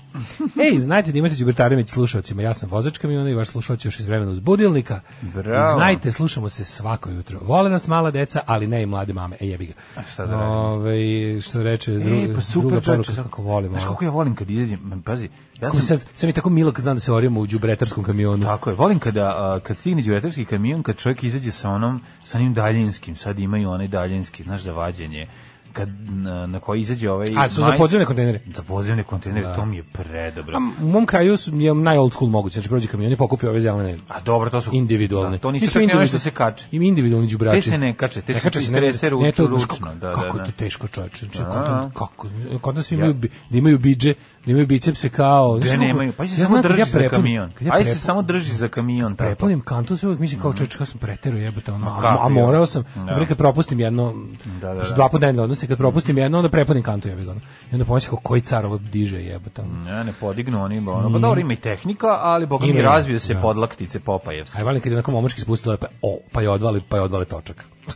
Ej, znajte da imate Đubertare među slušalcima, ja sam vozačka miliona i vaš slušalci još iz vremena uz budilnika.
Bravo.
Znajte, slušamo se svako jutro. Vole nas mala deca, ali ne i mlade mame. E, jebi ga. A
šta da radimo?
što reče,
E,
druga,
pa super,
druga
čovječe,
poruka, kako volim.
Znaš
ovo.
kako ja volim kad izađem, pazi, ja
Kako
sam... Da,
sam, sam mi tako milo kad znam da se orimo u đubretarskom kamionu.
Tako je, volim kada a, kad stigne đuretarski kamion, kad čovjek izađe sa onom sa onim daljinskim, sad imaju onaj daljinski, znaš, za vađenje kad, na, na koji izađe ovaj...
A, su za
maj-
podzemne Da. kontejnere?
Za podzemne kontejnere, to mi je predobro.
A u mom kraju su, je najold school moguće, znači prođe kamion i pokupi ove zelene
A dobro, to su
individualne.
Da, to nisu
Mi smo
čak ni one
individu-
što se kače.
Im individualni đubrači.
Te se ne kače, te se
se,
istrese ruč-
ne, to je
ručno,
kako-
da, da,
Kako je
da.
to teško, čoveče? Znači,
A.
kod nas- kako? Kod nas svi
Ja.
imaju, bi- da imaju biđe, da imaju bicepse kao...
Ne,
znaš koliko-
nemaju. Pa se
ja
samo
znam kad
drži
ja
za
prepun-
kamion.
kad ja
Aj se
prepun-
samo drži za kamion. tako.
prepunim kantu, se uvijek mislim kao čovječ, kao sam pretero jebote, ono, a,
kako,
a morao sam,
Da.
da. kad propustim jedno,
Da, da,
da, da,
da.
dva puta dnevno odnose, kad propustim jedno, onda prepunim kantu jebote, ono. I onda pomislim kao koji car ovo diže jebote, ono.
Ne, ne podignu oni, ba, ono, pa dobro ima i tehnika, ali boga mi
Ima,
razvio se
da.
podlaktice Popajevske.
Aj volim kad je onako momački spustila, pa, o, pa je odvali, pa je odvali točak.
Pa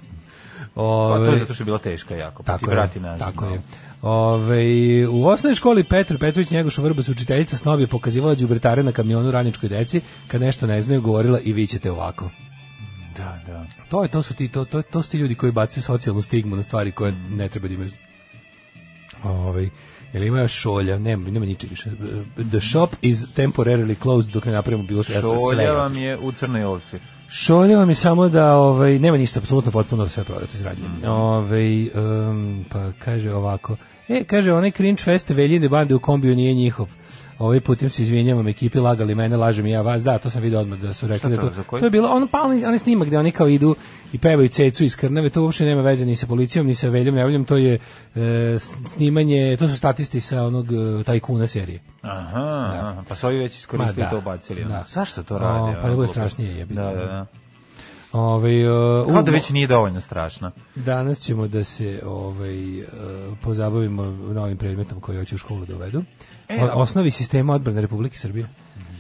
to je
Ove,
zato što je bila teška jako, pa ti
tako
vrati
je,
nazad.
tako
malo.
je. Ove, u osnovnoj školi Petar Petrović Njegoša Vrbas učiteljica snob je pokazivala đubretare na kamionu radničkoj deci, kad nešto ne znaju, govorila i vi ćete ovako.
Da, da.
To je to su ti to to to su ti ljudi koji bacaju socijalnu stigmu na stvari koje ne treba da imaju. Ovaj jel ima još šolja? Nema, nema ničeg više. The shop is temporarily closed dok ne napravimo bilo što. Ja sam sve
Šolja
otišao.
vam je u crnoj ovci.
Šolje vam je samo da ovaj nema ništa apsolutno potpuno sve prodato izrađeno.
Mhm.
Ovaj em, pa kaže ovako. E, kaže onaj cringe fest veljine bande u kombiju nije njihov. Ovaj putem se izvinjavam ekipi lagali mene, lažem i ja vas. Da, to sam video odmah da su rekli da
to,
to.
za koji?
To je bilo ono pa onaj, onaj snimak gde oni kao idu i pevaju cecu iz krnave, to uopšte nema veze ni sa policijom, ni sa veljom, nevoljom, to je e, s- snimanje, to su statisti sa onog e, tajkuna serije.
Aha, aha, pa su ovi već iskoristili
Da. Ma da,
to bacili.
da.
Zašto to
O,
rade?
pa
ono,
da bude
glupo?
strašnije, jebi ga.
Da, da, da.
Ovaj e,
Kao
u-
da već nije dovoljno strašno.
Danas ćemo da se ovaj e, pozabavimo novim predmetom koji hoće u školu da uvedu.
E,
O-
a-
osnovi sistema odbrane Republike Srbije.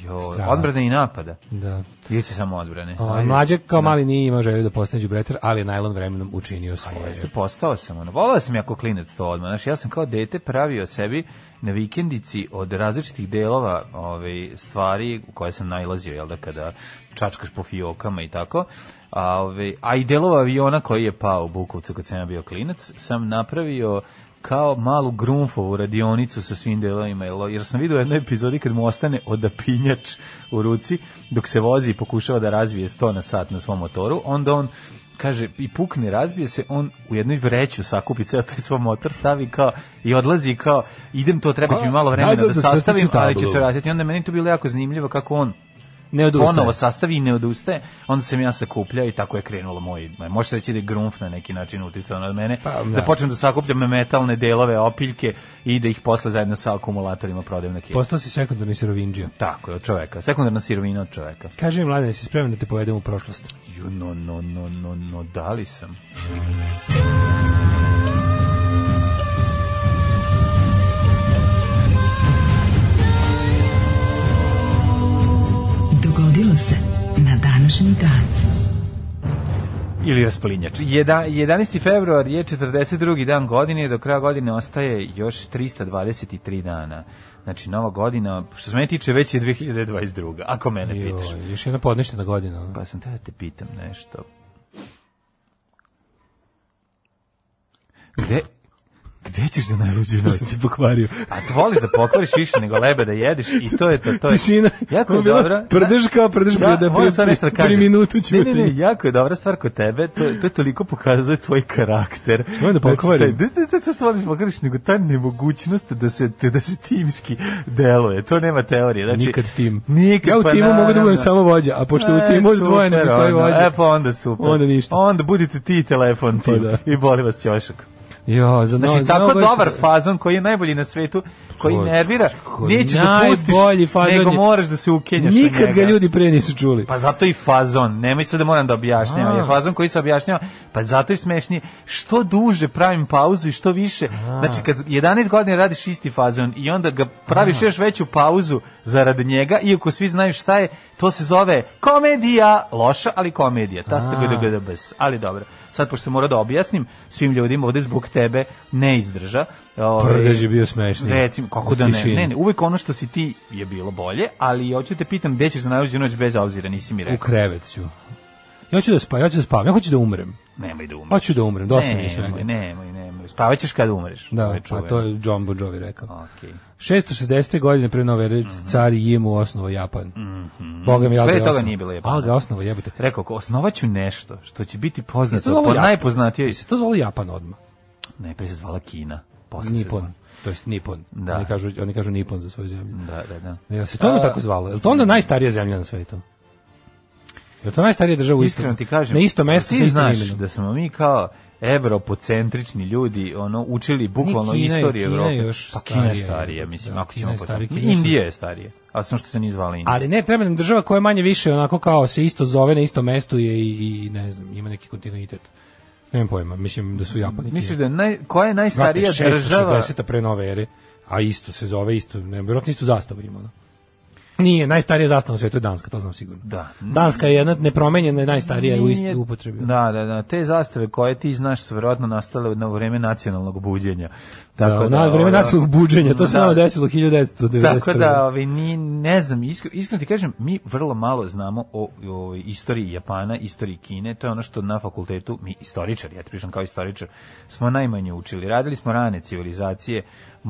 Jo,
Strava.
odbrane i napada.
Da.
Ili će samo odbrane?
O,
Ajde.
mlađe kao mali nije imao želju da postane đubretar, ali je najlon vremenom učinio
Pa
svoje.
Jeste, postao sam, ono, volao sam jako klinec to odmah, znaš, ja sam kao dete pravio sebi na vikendici od različitih delova ove, stvari u koje sam nailazio, jel da, kada čačkaš po fiokama i tako, a, ove, a i delova aviona koji je pao u Bukovcu kad sam ja bio klinac, sam napravio kao malu grunfovu radionicu sa svim delovima, jel, jer sam vidio u jednoj epizodi kad mu ostane odapinjač u ruci dok se vozi i pokušava da razvije 100 na sat na svom motoru, onda on kaže i pukne, razbije se, on u jednoj vreću sakupi ceo taj svoj motor, stavi kao i odlazi kao idem to, treba će mi malo vremena
Nazad
da
za crtiću
sastavim, ali ću
tablu.
se vratiti. I Onda je meni to bilo jako zanimljivo kako on
Ne
ponovo
odustaje.
sastavi i ne odustaje, onda sam ja sakupljao i tako je krenulo moj, može se reći da je grunf na neki način uticao na mene,
Pa,
da.
da.
počnem da sakupljam metalne delove, opiljke i da ih posle zajedno sa akumulatorima prodajem na kilo.
Postao si sekundarni sirovinđija.
Tako je, od čoveka, sekundarna sirovina od čoveka.
Kaži mi, mladine, si spreman da te povedem u prošlost?
Ju, no, no, no, no, no, da li sam?
Dogodilo se na današnji dan.
Ili raspalinjač. Jedan- 11. februar je 42. dan godine, do kraja godine ostaje još 323 dana. Znači, nova godina, što se mene tiče, već je 2022. Ako mene pitaš.
Joj, još jedna podneštena godina. ono.
Pa sam teo da te pitam nešto. Gde, gde ćeš za najluđu noć?
Što si pokvario?
A to voliš da pokvariš više nego lebe da jedeš i to je to. to je.
Tišina.
Jako
Ovo
je
je bila
dobro.
prdeš kao prdeš,
Ja,
da
moram
pri-
sad nešto da
pri
kažem.
minutu ću
Ne, ne, ne,
te-
jako je dobra stvar kod tebe, to, to toliko pokazuje tvoj karakter.
Što moram da pokvarim?
Znači, taj- da, da, da, to što voliš da pokvariš, nego ta nemogućnost da se, te, da se timski deluje. To nema teorije. Znači,
Nikad tim.
Nikad,
ja u
pa
timu mogu da budem
naravno.
samo vođa, a
E,
pošto u timu dvoje ne
super,
postoji
onda.
vođa.
E pa onda super.
Onda ništa.
Onda budite ti i telefon ti.
da.
I boli vas ćošak.
Jo, za
Znači,
no- za
tako
mnogo je-
dobar fazon koji je najbolji na svetu, koji
Ko-
nervira,
ko-
nećeš da pustiš,
najbolji fazon
nego
je-
moraš da se ukenjaš od njega.
Nikad ga ljudi pre nisu čuli.
Pa zato i fazon, nemoj sad da moram da objašnjavam,
A.
jer fazon koji se objašnjava, pa zato je smešnije, što duže pravim pauzu i što više, znači kad 11 godina radiš isti fazon i onda ga praviš još veću pauzu zarad njega, iako svi znaju šta je, to se zove komedija, loša, ali komedija, ta ste gdbs, ali dobro. Sad, pošto moram da objasnim svim ljudima ovde zbog tebe ne izdrža. ovaj,
Prdež je bio smešniji.
Recimo, kako
U
da ne,
tišini.
ne, ne, uvek ono što si ti je bilo bolje, ali hoću te pitam gde ćeš za najluđu noć bez obzira, nisi mi
U
rekao.
krevet ću. Ja hoću da spavam, ja hoću da spavam, ja hoću da umrem.
Nemoj da umreš.
Hoću da umrem, dosta mi je svega.
nemoj, nemoj, nemoj. Spavat ćeš kad umreš.
Da,
je
pa
čuveno.
to je John Bon Jovi rekao.
Okej.
660. godine pre nove ere, car Jimu osnovo Japan. Boga mi, ali
Mhm. Pre
ga je
toga
osnovao.
nije bilo Japan,
Ali ga
da.
osnovo jebate.
Rekao, ko, osnovat ću nešto što će biti
Jeste
poznato,
zvalo
po
Japan?
najpoznatijoj
Se to zvalo Japan odmah.
najprej se zvala Kina. Posle Pa se
Nipon.
zvala-
To jest Nipon.
Da.
Oni kažu, oni kažu Nipon za svoju zemlju.
Da, da, da.
Jel se to onda tako zvalo? Jel to onda najstarija zemlja na svetu? Jel to najstarija država u istom?
Iskreno ti kažem,
Na isto mesto
ti
sa istim
znaš
imenom.
da smo mi kao evropocentrični ljudi ono učili bukvalno
Ni Kina je-
istoriju
Kina je
Evrope.
još
pa Kina je
starija,
starija,
jebote,
mislim,
da,
ako
Kina
ćemo
je
po
starija,
tome.
Kina su-
Indija je starija, a samo što se nije zvala Indija.
Ali ne, treba nam država koja je manje više onako kao se isto zove na istom mestu je i, i ne znam, ima neki kontinuitet. Nemam pojma, mislim da su Japani.
Misliš da je naj, koja je
Brate,
najstarija država?
660 pre nove ere, a isto se zove isto, ne, vjerojatno isto zastavu ima. ono. Nije, najstarija zastava na svetu je Danska, to znam sigurno.
Da.
Danska je jedna nepromenjena i najstarija u istoj
Nije-
upotrebi.
Da, da, da. Te zastave koje ti znaš su verovatno nastale na vreme nacionalnog buđenja.
Tako da, na vreme
ono-
nacionalnog buđenja, to se
ovaj, Da.
nama desilo 1991.
Tako da, ovaj, ni, ne znam, iskr- iskreno ti kažem, mi vrlo malo znamo o, o istoriji Japana, istoriji Kine, to je ono što na fakultetu, mi istoričari, ja ti pričam kao istoričar, smo najmanje učili. Radili smo rane civilizacije,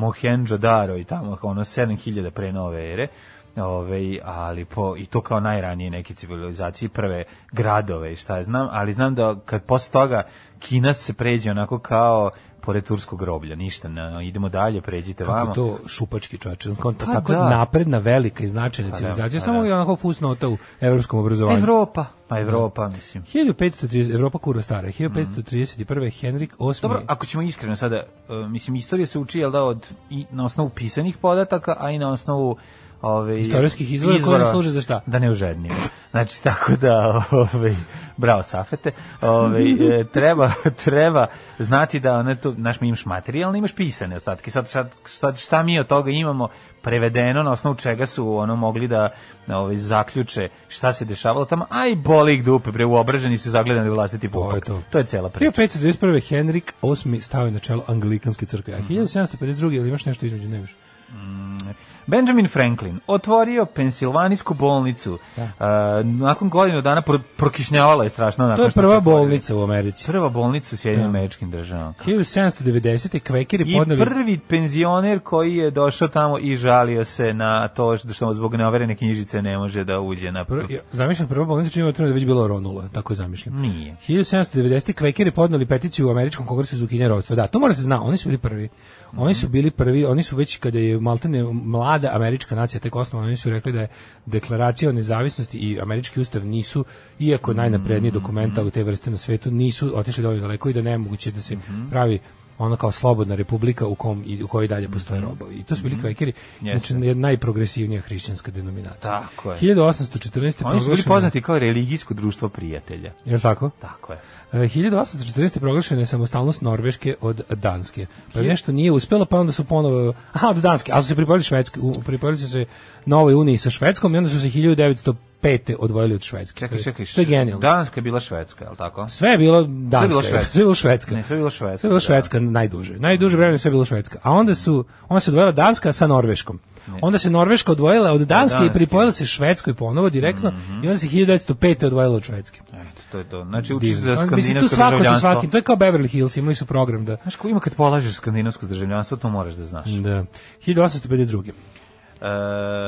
Mohenjo-Daro i tamo, ono 7000 pre nove ere, Ove, ali po, i to kao najranije neke civilizacije, prve gradove i šta ja znam, ali znam da kad posle toga Kina se pređe onako kao pored turskog groblja, ništa, ne, idemo dalje, pređite
Kako
ovaj, vamo.
je to šupački čovječe, on kao
Pa
tako
da.
napredna, velika i značajna civilizacija,
pa
samo
da.
je onako fusnota u evropskom obrazovanju.
Evropa. Pa Evropa, mislim.
1530, Evropa kurva stara, 1531. Henrik VIII.
Dobro, ako ćemo iskreno sada, e, mislim, istorija se uči, jel da, od, i na osnovu pisanih podataka, a i na osnovu ovaj, ove,
Istorijskih izvora koji nam služe za šta?
Da ne užednimo. Znači, tako da, ove, bravo Safete, ove, e, treba, treba znati da, ne, to, znaš, mi imaš materijalne, imaš pisane ostatke. Sad, sad, sad šta mi od toga imamo prevedeno, na osnovu čega su ono mogli da ove, zaključe šta se dešavalo tamo, a i boli ih dupe, bre, uobraženi su zagledani u vlastiti
je
pupak.
to.
to je cela priča.
1531. Henrik VIII stavio na čelo anglikanske crkve,
Mhm.
a 1752. ili imaš nešto između, ne biš?
Benjamin Franklin otvorio pensilvanijsku bolnicu.
Da.
Uh, nakon godinu dana pro, prokišnjavala je strašno.
To
nakon
je
što
prva
se otvorila.
bolnica u Americi.
Prva bolnica u Sjedinim američkim državama.
1790. kvekeri
I
Da. podneli...
prvi penzioner koji je došao tamo i žalio se na to što- što mu zbog neoverene knjižice ne može da uđe na...
Prvo- ja, Zamišljam prva bolnica čini da je već bilo ronula, tako je zamišljam.
Nije.
1790. kvekeri podneli peticiju u američkom kongresu za ukinjanje ropstva. Da, to mora se zna, oni su bili prvi. Oni
Mhm.
su bili prvi, oni su već kada je maltene mlada američka nacija tek osnovana, oni su rekli da je deklaracija o nezavisnosti i američki ustav nisu, iako
Mhm.
najnapredniji dokumenta u te vrste na svetu, nisu otišli dovoljno daleko i da nemoguće da se
Mhm.
pravi ono kao slobodna republika u, kom, i- u kojoj dalje postoje robovi. I to su bili kvekeri,
Mhm. Jeste.
znači jedna najprogresivnija hrišćanska denominacija.
Tako je.
1814.
Oni su bili
proglašena-
poznati Da. kao religijsko društvo prijatelja.
Jel tako?
Tako je.
E, 1840. proglašena je samostalnost Norveške od Danske. Pa im nešto nije uspelo, pa onda su ponovo... Aha, od Danske, ali su se pripojili Švedske, u- pripojili su se Novoj uniji sa Švedskom i onda su se 1905. odvojili od Švedske. To
Čekaj,
je-
čekaj.
To je genijalno.
Danska je bila Švedska, je li tako?
Sve je bilo Danska.
bilo Švedska.
Sve je bilo Švedska.
Ne, sve je bilo Švedska,
Sve je bilo
da.
Švedska najduže. Najduže vremena je sve bilo Švedska. A onda su onda se odvojila Danska sa Norveškom. Onda se Norveška odvojila od Danske i
Da, Danske. Mhm.
pripojila se Švedskoj ponovo direktno i onda se 1905. odvojila od Švedske.
Eto, to je to. Znači, uči se za
Mislim, tu
skandinavsko
svako sa
državljanstvo.
svakim, to je kao Beverly Hills, imali su program da...
Znaš, ko ima kad polažeš skandinavsko državljanstvo, to moraš da znaš.
Da. 1852.
E,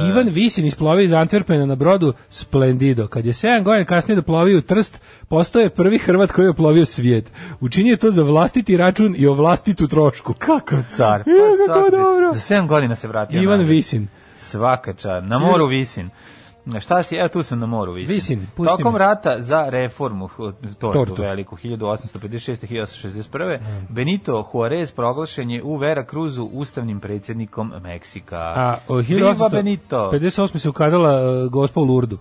Ivan Visin isplovio iz Antwerpena na brodu Splendido. Kad je 7 godina kasnije doplovio u Trst, postao je prvi Hrvat koji je oplovio svijet. Učinio je to za vlastiti račun i o vlastitu trošku.
Kakav car. Pa,
Ja, kako
svaka-
dobro.
Za 7 godina se vratio.
Ivan
nazad.
Visin.
Svaka čar. Na moru Visin. Na Šta si? Evo tu sam na moru Visin.
Visin, pusti
Tokom
me.
rata za reformu h- tortu,
Tortu. Da.
veliku 1856-1861 Benito Juarez proglašen je u Vera Cruzu ustavnim predsjednikom Meksika.
A o,
Viva Benito.
1858. se ukazala e, gospa u Lurdu.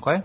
Koje?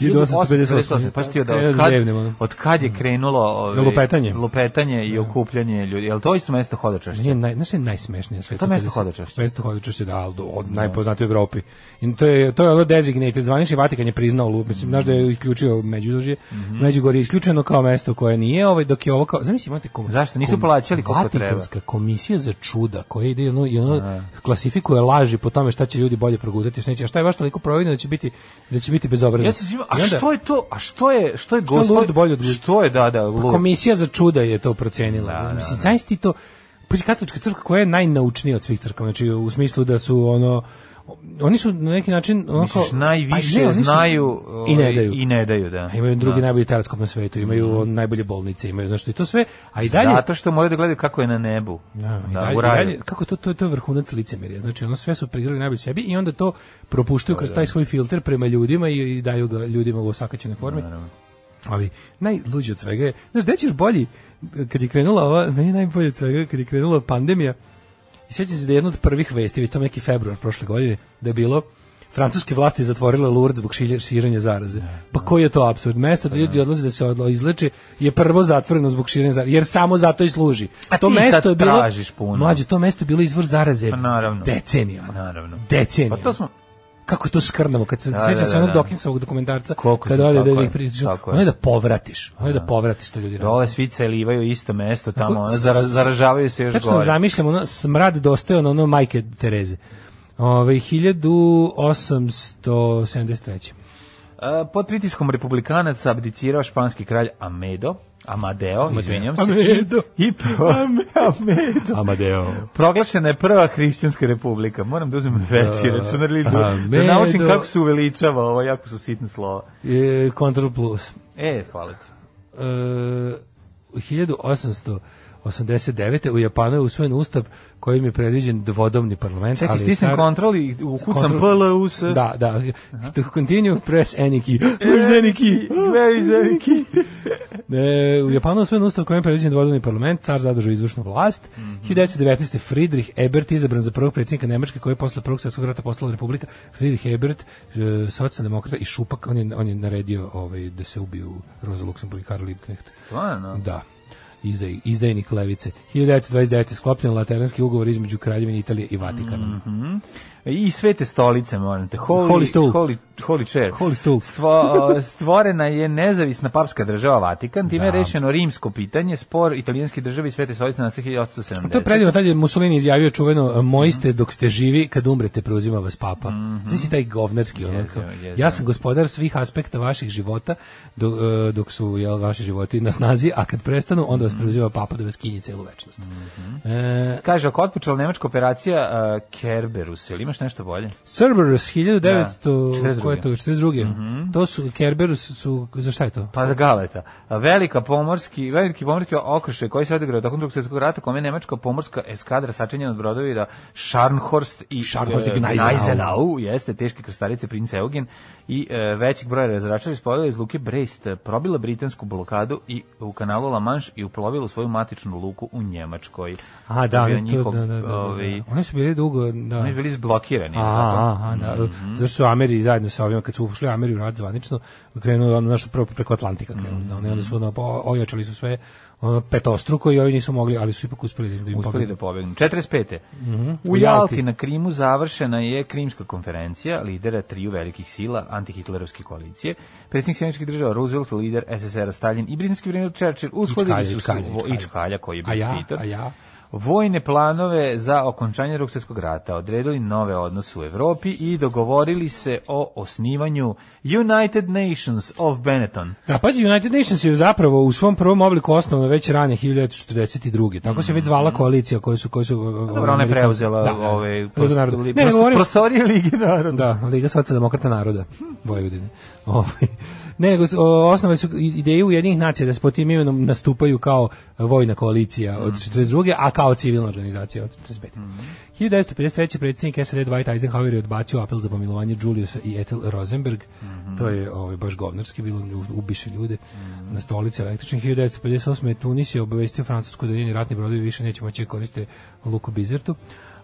1858.
Pa stio da
Kad
od kad,
zevnem, ono.
od kad je krenulo ove,
Mm. Lupetanje. Da.
lupetanje i okupljanje ljudi. Je li to isto mesto hodočašća?
Nije naj, znaš šta je najsmešnije na svetu?
To je mesto
Kada se-
hodočašća.
Mesto hodočašća, da, ali od najpoznatije u Evropi. I to je, to je ono designated, zvanični Vatikan je priznao lup, mislim, znaš da je isključio Međudožje,
Mhm.
Međugorje je isključeno kao mesto koje nije, ovaj, dok je ovo kao, zamisli, imate kom,
Zašto? Nisu plaćali koliko treba. Da.
Vatikanska komisija za čuda, koja ide i ono, i ono klasifikuje laži po tome šta će ljudi bolje progutati, šta neće, a šta je baš toliko providno da će biti, da će biti bezobrazno.
Ja se svima, a
I onda-
što je to? A što je, što je
je
gospod?
Lord bolje od Pa Lord?
Što je, da, da, Lord.
Komisija za čuda je to procenila.
da,
Mislim, znaš ti to, Pazi, katolička crkva koja je najnaučnija od svih crkava, znači u smislu da su ono oni su na neki način onako
Misliš, najviše
Pa ne, oni su-
znaju
i ne
ovaj,
daju.
I ne daju, da.
A imaju drugi
da. Mm.
najbolji teleskop na svetu, imaju on, najbolje bolnice, imaju znači to sve, a i dalje
Zato što moraju da gledaju kako je na nebu.
Da, i
da,
dalje-
u
i
raju.
dalje- kako to, to, to je vrhunac licemerja. Znači, ono sve su prigrali najbolje sebi i onda to propuštaju kroz taj svoj filter prema ljudima i, i daju ga ljudima u osakaćenoj formi. Ali najluđe od svega je, znaš, gde ćeš bolji, kad je krenula ova, meni je najbolje od svega, kad je krenula pandemija, i sjećam se da je jedna od prvih vesti, već to neki februar prošle godine, da je bilo, Francuske vlasti zatvorile Lourdes zbog šilje- širenja zaraze. Pa koji je to apsurd? Mesto
Pa
da ljudi odlaze da se odlo- izleče je prvo zatvoreno zbog širenja zaraze, jer samo zato i služi.
A
to
ti
mesto
sad
je bilo
tražiš puno.
Mlađe, to mesto je bilo izvor zaraze
Pa naravno.
decenijama.
Pa naravno.
Decenijama.
Pa to smo,
Kako to skrnamo kad se
Da,
da, sećaš
da,
se
da,
onog
da.
Dawkinsovog dokumentarca
Koliko
kad
su-
ode da
tako
ih
je,
priču.
tako je.
Ono je da povratiš, ono je da povratiš to ljudi. rade.
dole svi celivaju isto mesto tamo, ono,
s-
zara- zaražavaju se još
Tačno
gore.
zamišljam ono smrad dostojan na ono majke Tereze. Ove 1873.
E, pod pritiskom republikanaca abdicirao španski kralj Amedo, Amadeo, izvinjam se.
Amedo.
I pro... Amedo.
Amadeo.
Proglašena je prva hrišćanska republika. Moram da uzmem veći računar ili da, da
Amedo.
naučim kako se uveličava ovo, jako su sitne slova.
E, Control plus.
E, hvala ti.
E, 1889. u Japanu je usvojen ustav kojim je predviđen dvodomni parlament.
Čekaj,
ali je
stisnem
car-
kontrol i ukucam
Control-
PLUS.
Da, da. To continue, press any key.
E.
Where's any key?
Very zaniki.
E, u Japanu je usvojen ustav kojim je predviđen dvodomni parlament, car zadržao izvršnu vlast. 1919. Friedrich Ebert izabran za prvog predsjednika Nemačke koji je posle prvog svjetskog rata postala republika. Friedrich Ebert, e, socijaldemokrata i šupak, on je, on je naredio ovaj, da se ubiju Rosa Luxemburg i Karl Liebknecht.
Stvarno?
Da. Izdaj, izdajnik levice. 1929. je sklopljen Lateranski ugovor između Kraljevine Italije i Vatikana.
I svete stolice, molim te. Holy,
Holy stool.
Holy, holy chair.
Holy stool.
Stvo- stvorena je nezavisna papska država Vatikan, time je
Da.
rešeno rimsko pitanje, spor italijanske države i svete stolice na 1870.
To je predivno, tad je Mussolini izjavio čuveno moji ste dok ste živi, kad umrete preuzima vas papa.
Mhm.
Znači si taj govnarski ono, kao,
jezivo.
ja sam gospodar svih aspekta vaših života do- e, dok su jel, vaši životi na snazi, a kad prestanu onda
Mhm.
vas preuzima papa da vas kinji celu večnost. E,
Kaže, ako je otpočela nemačka operacija uh, Kerberus, ili imaš nešto bolje?
Cerberus 1900,
Da, 42..
koje je to, 42.
Mhm.
To su, Kerberus su, za šta je to?
Pa za Galeta. Velika pomorski, veliki pomorski okršaj koji se odigrao tokom drugog svjetskog rata, kome je nemačka pomorska eskadra sačinjena od brodovi da Scharnhorst i
Scharnhorst i
e,
Gneisenau.
Gneisenau, jeste teške krstarice princa Eugen i e, većih broja razračavi spojila iz luke Brest, e, probila britansku blokadu i u kanalu La Manche i uplovila u svoju matičnu luku u Njemačkoj.
A,
To
da,
je bio
to,
njihov,
da, da, da, da, da.
ovaj,
Oni su bili dugo, da.
Oni su bili zblokirani. tako?
Aha, aha, da.
Mhm.
Zašto su Ameri zajedno sa ovima, kad su ušli Ameri u rat zvanično, krenuo ono našto prvo preko Atlantika krenuo. Da, oni onda
Mhm.
su ono, o- ojačali su sve ono, petostruko i ovi nisu mogli, ali su ipak uspeli da im
uspeli da
pobjede.
pobegnu. 45. U
U
Jalti
Jalti.
na Krimu završena je Krimska konferencija lidera triju velikih sila antihitlerovske koalicije. Predsjednik Sjemičkih država Roosevelt, lider SSR Stalin i britanski premijer Churchill ushodili
Čkalja,
su se
Čkalja,
vo- i
Čkalja.
Čkalja koji je bio
A ja,
Peter.
a ja.
Vojne planove za okončanje Drugog svjetskog rata, odredili nove odnose u Evropi i dogovorili se o osnivanju United Nations of Benetton.
Da, pazi, United Nations je zapravo u svom prvom obliku osnovno već rane 1942. Tako se već zvala koalicija koju su... Koju su
Mhm. Dobro, ona je preuzela ove prost- li-
da, Ne, ne,
prost-
govorim,
prostorije Ligi naroda.
Da, Liga socijaldemokrata naroda Vojvodine. Ovaj. Ne, nego su- o, osnove su i- ideje Ujedinjenih nacija da se pod tim imenom nastupaju kao vojna koalicija od 42. a kao civilna organizacija od 45. 1953. predsjednik SAD Dwight Eisenhower je odbacio apel za pomilovanje Juliusa i Ethel Rosenberg. To je ovaj, baš govnarski bilo, u- ubiše ljude na stolici električnih. 1958. je Tunis je obavestio Francusku da njeni ratni brodovi više neće moći da koriste luku Bizertu.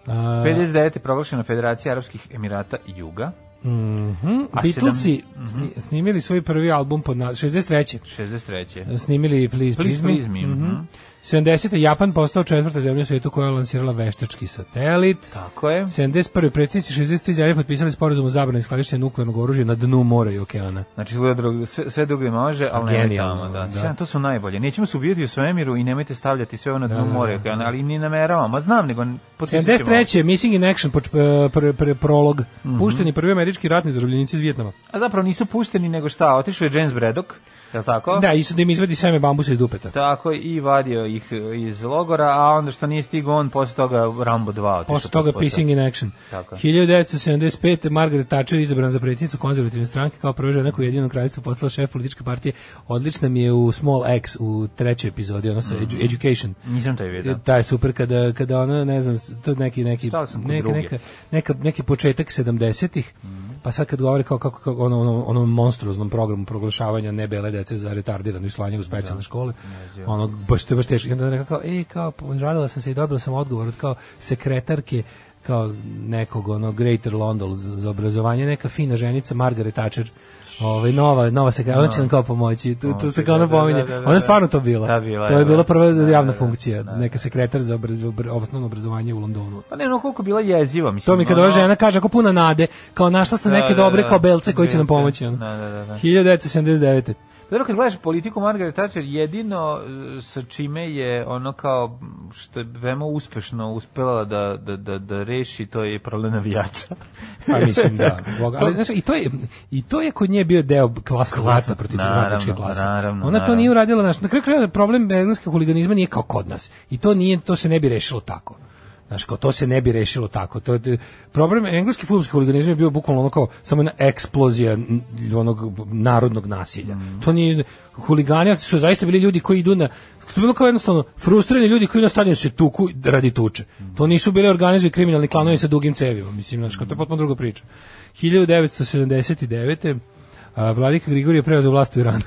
A,
59. je proglašena Federacija Arabskih Emirata Juga. A Mhm.
Mhm. Beatlesi sni- snimili svoj prvi album pod na 63.
63.
Snimili Please
Please
Please,
Please Me,
Me. Mhm.
mhm.
70. Japan postao četvrta zemlja u svijetu koja je lansirala veštački satelit.
Tako je.
71. predsjednici 63 zemlje potpisali sporazum o zabrani skladištenja nuklearnog oružja na dnu mora i okeana.
Znači, sve drugo, sve, sve drugo može, ali nemoj
Genijalno,
tamo. Da.
da.
Sve, to su najbolje. Nećemo se ubijati u svemiru i nemojte stavljati sve ono
Da,
dnu more, ali ni nameravam. Ma znam, nego potisit ćemo.
73. Missing in Action, poč- e, pre- pre- prolog.
Mhm.
Pušteni prvi američki ratni zarobljenici iz Vjetnama.
A zapravo nisu pušteni, nego šta, otišao je James Braddock, Jel tako?
Da, i su da im izvadi seme bambusa iz dupeta.
Tako i vadio ih e, iz logora, a onda što nije stigao on, posle toga Rambo 2. otišao
Posle toga
posle.
Pissing in Action.
Tako.
1975. Margaret Thatcher je izabrana za predsjednicu konzervativne stranke kao prva žena koja je jedino kraljstvo poslala šef političke partije. Odlična mi je u Small X u trećoj epizodi, ona sa edu- Education.
Nisam taj vidio.
Da je super kada kada ona ne znam to neki neki
Stao sam kod
neka,
druge. Mhm.
neka, neka neki početak 70-ih pa sad kad govore kao kako kako ono ono onom monstruoznom programu proglašavanja nebele dece za retardiranu i slanje u specijalne
Da.
škole ono baš to je baš teško I onda je rekao kao ej kao žalila sam se i dobila sam odgovor od kao sekretarke kao nekog ono Greater London za za obrazovanje neka fina ženica Margaret Thatcher Ovaj nova nova se ona će nam kao pomoći. Tu tu se kao ona
Da, da, da,
pominje.
da, da,
Ona je
da.
stvarno to bila.
Da, bila
to
je,
je bila
da.
prva
Da, da,
javna
da.
funkcija, neka sekretar za obraz, obr- osnovno obrazovanje u Londonu.
Pa ne, no koliko je bila jeziva, mislim.
To mi kad ova
ono-
žena kaže ako puna nade, kao našla sam
Da,
neke
da,
dobre
da.
kao belce koji će nam
Belce,
pomoći. ono.
da, da, da, da.
1979.
Dobro, kad gledaš politiku Margaret Thatcher, jedino e, sa čime je ono kao m, što je veoma uspešno uspela da, da, da, da reši, to je problem
(laughs)
navijača. (laughs)
Pa mislim da. Boga,
Pa-
ali znaš, i to je i to je kod nje bio deo klasnog rata protiv
naravno,
radničke klase.
naravno,
Ona to
naravno.
nije uradila, znaš, na kraju krajeva problem engleske huliganizma nije kao kod nas. I to nije to se ne bi rešilo tako. Znaš, kao to se ne bi rešilo tako. To je, problem engleski fudbalski huliganizam je bio bukvalno ono kao samo jedna eksplozija n- onog narodnog nasilja. To nije huligani su zaista bili ljudi koji idu na to je bilo kao jednostavno frustrirani ljudi koji na stadionu se tuku radi tuče. To nisu bili organizuju kriminalni klanovi sa dugim cevima, mislim, znači, to je potpuno druga priča. 1979. A, vladika Grigorije preuzeo vlast u Iranu.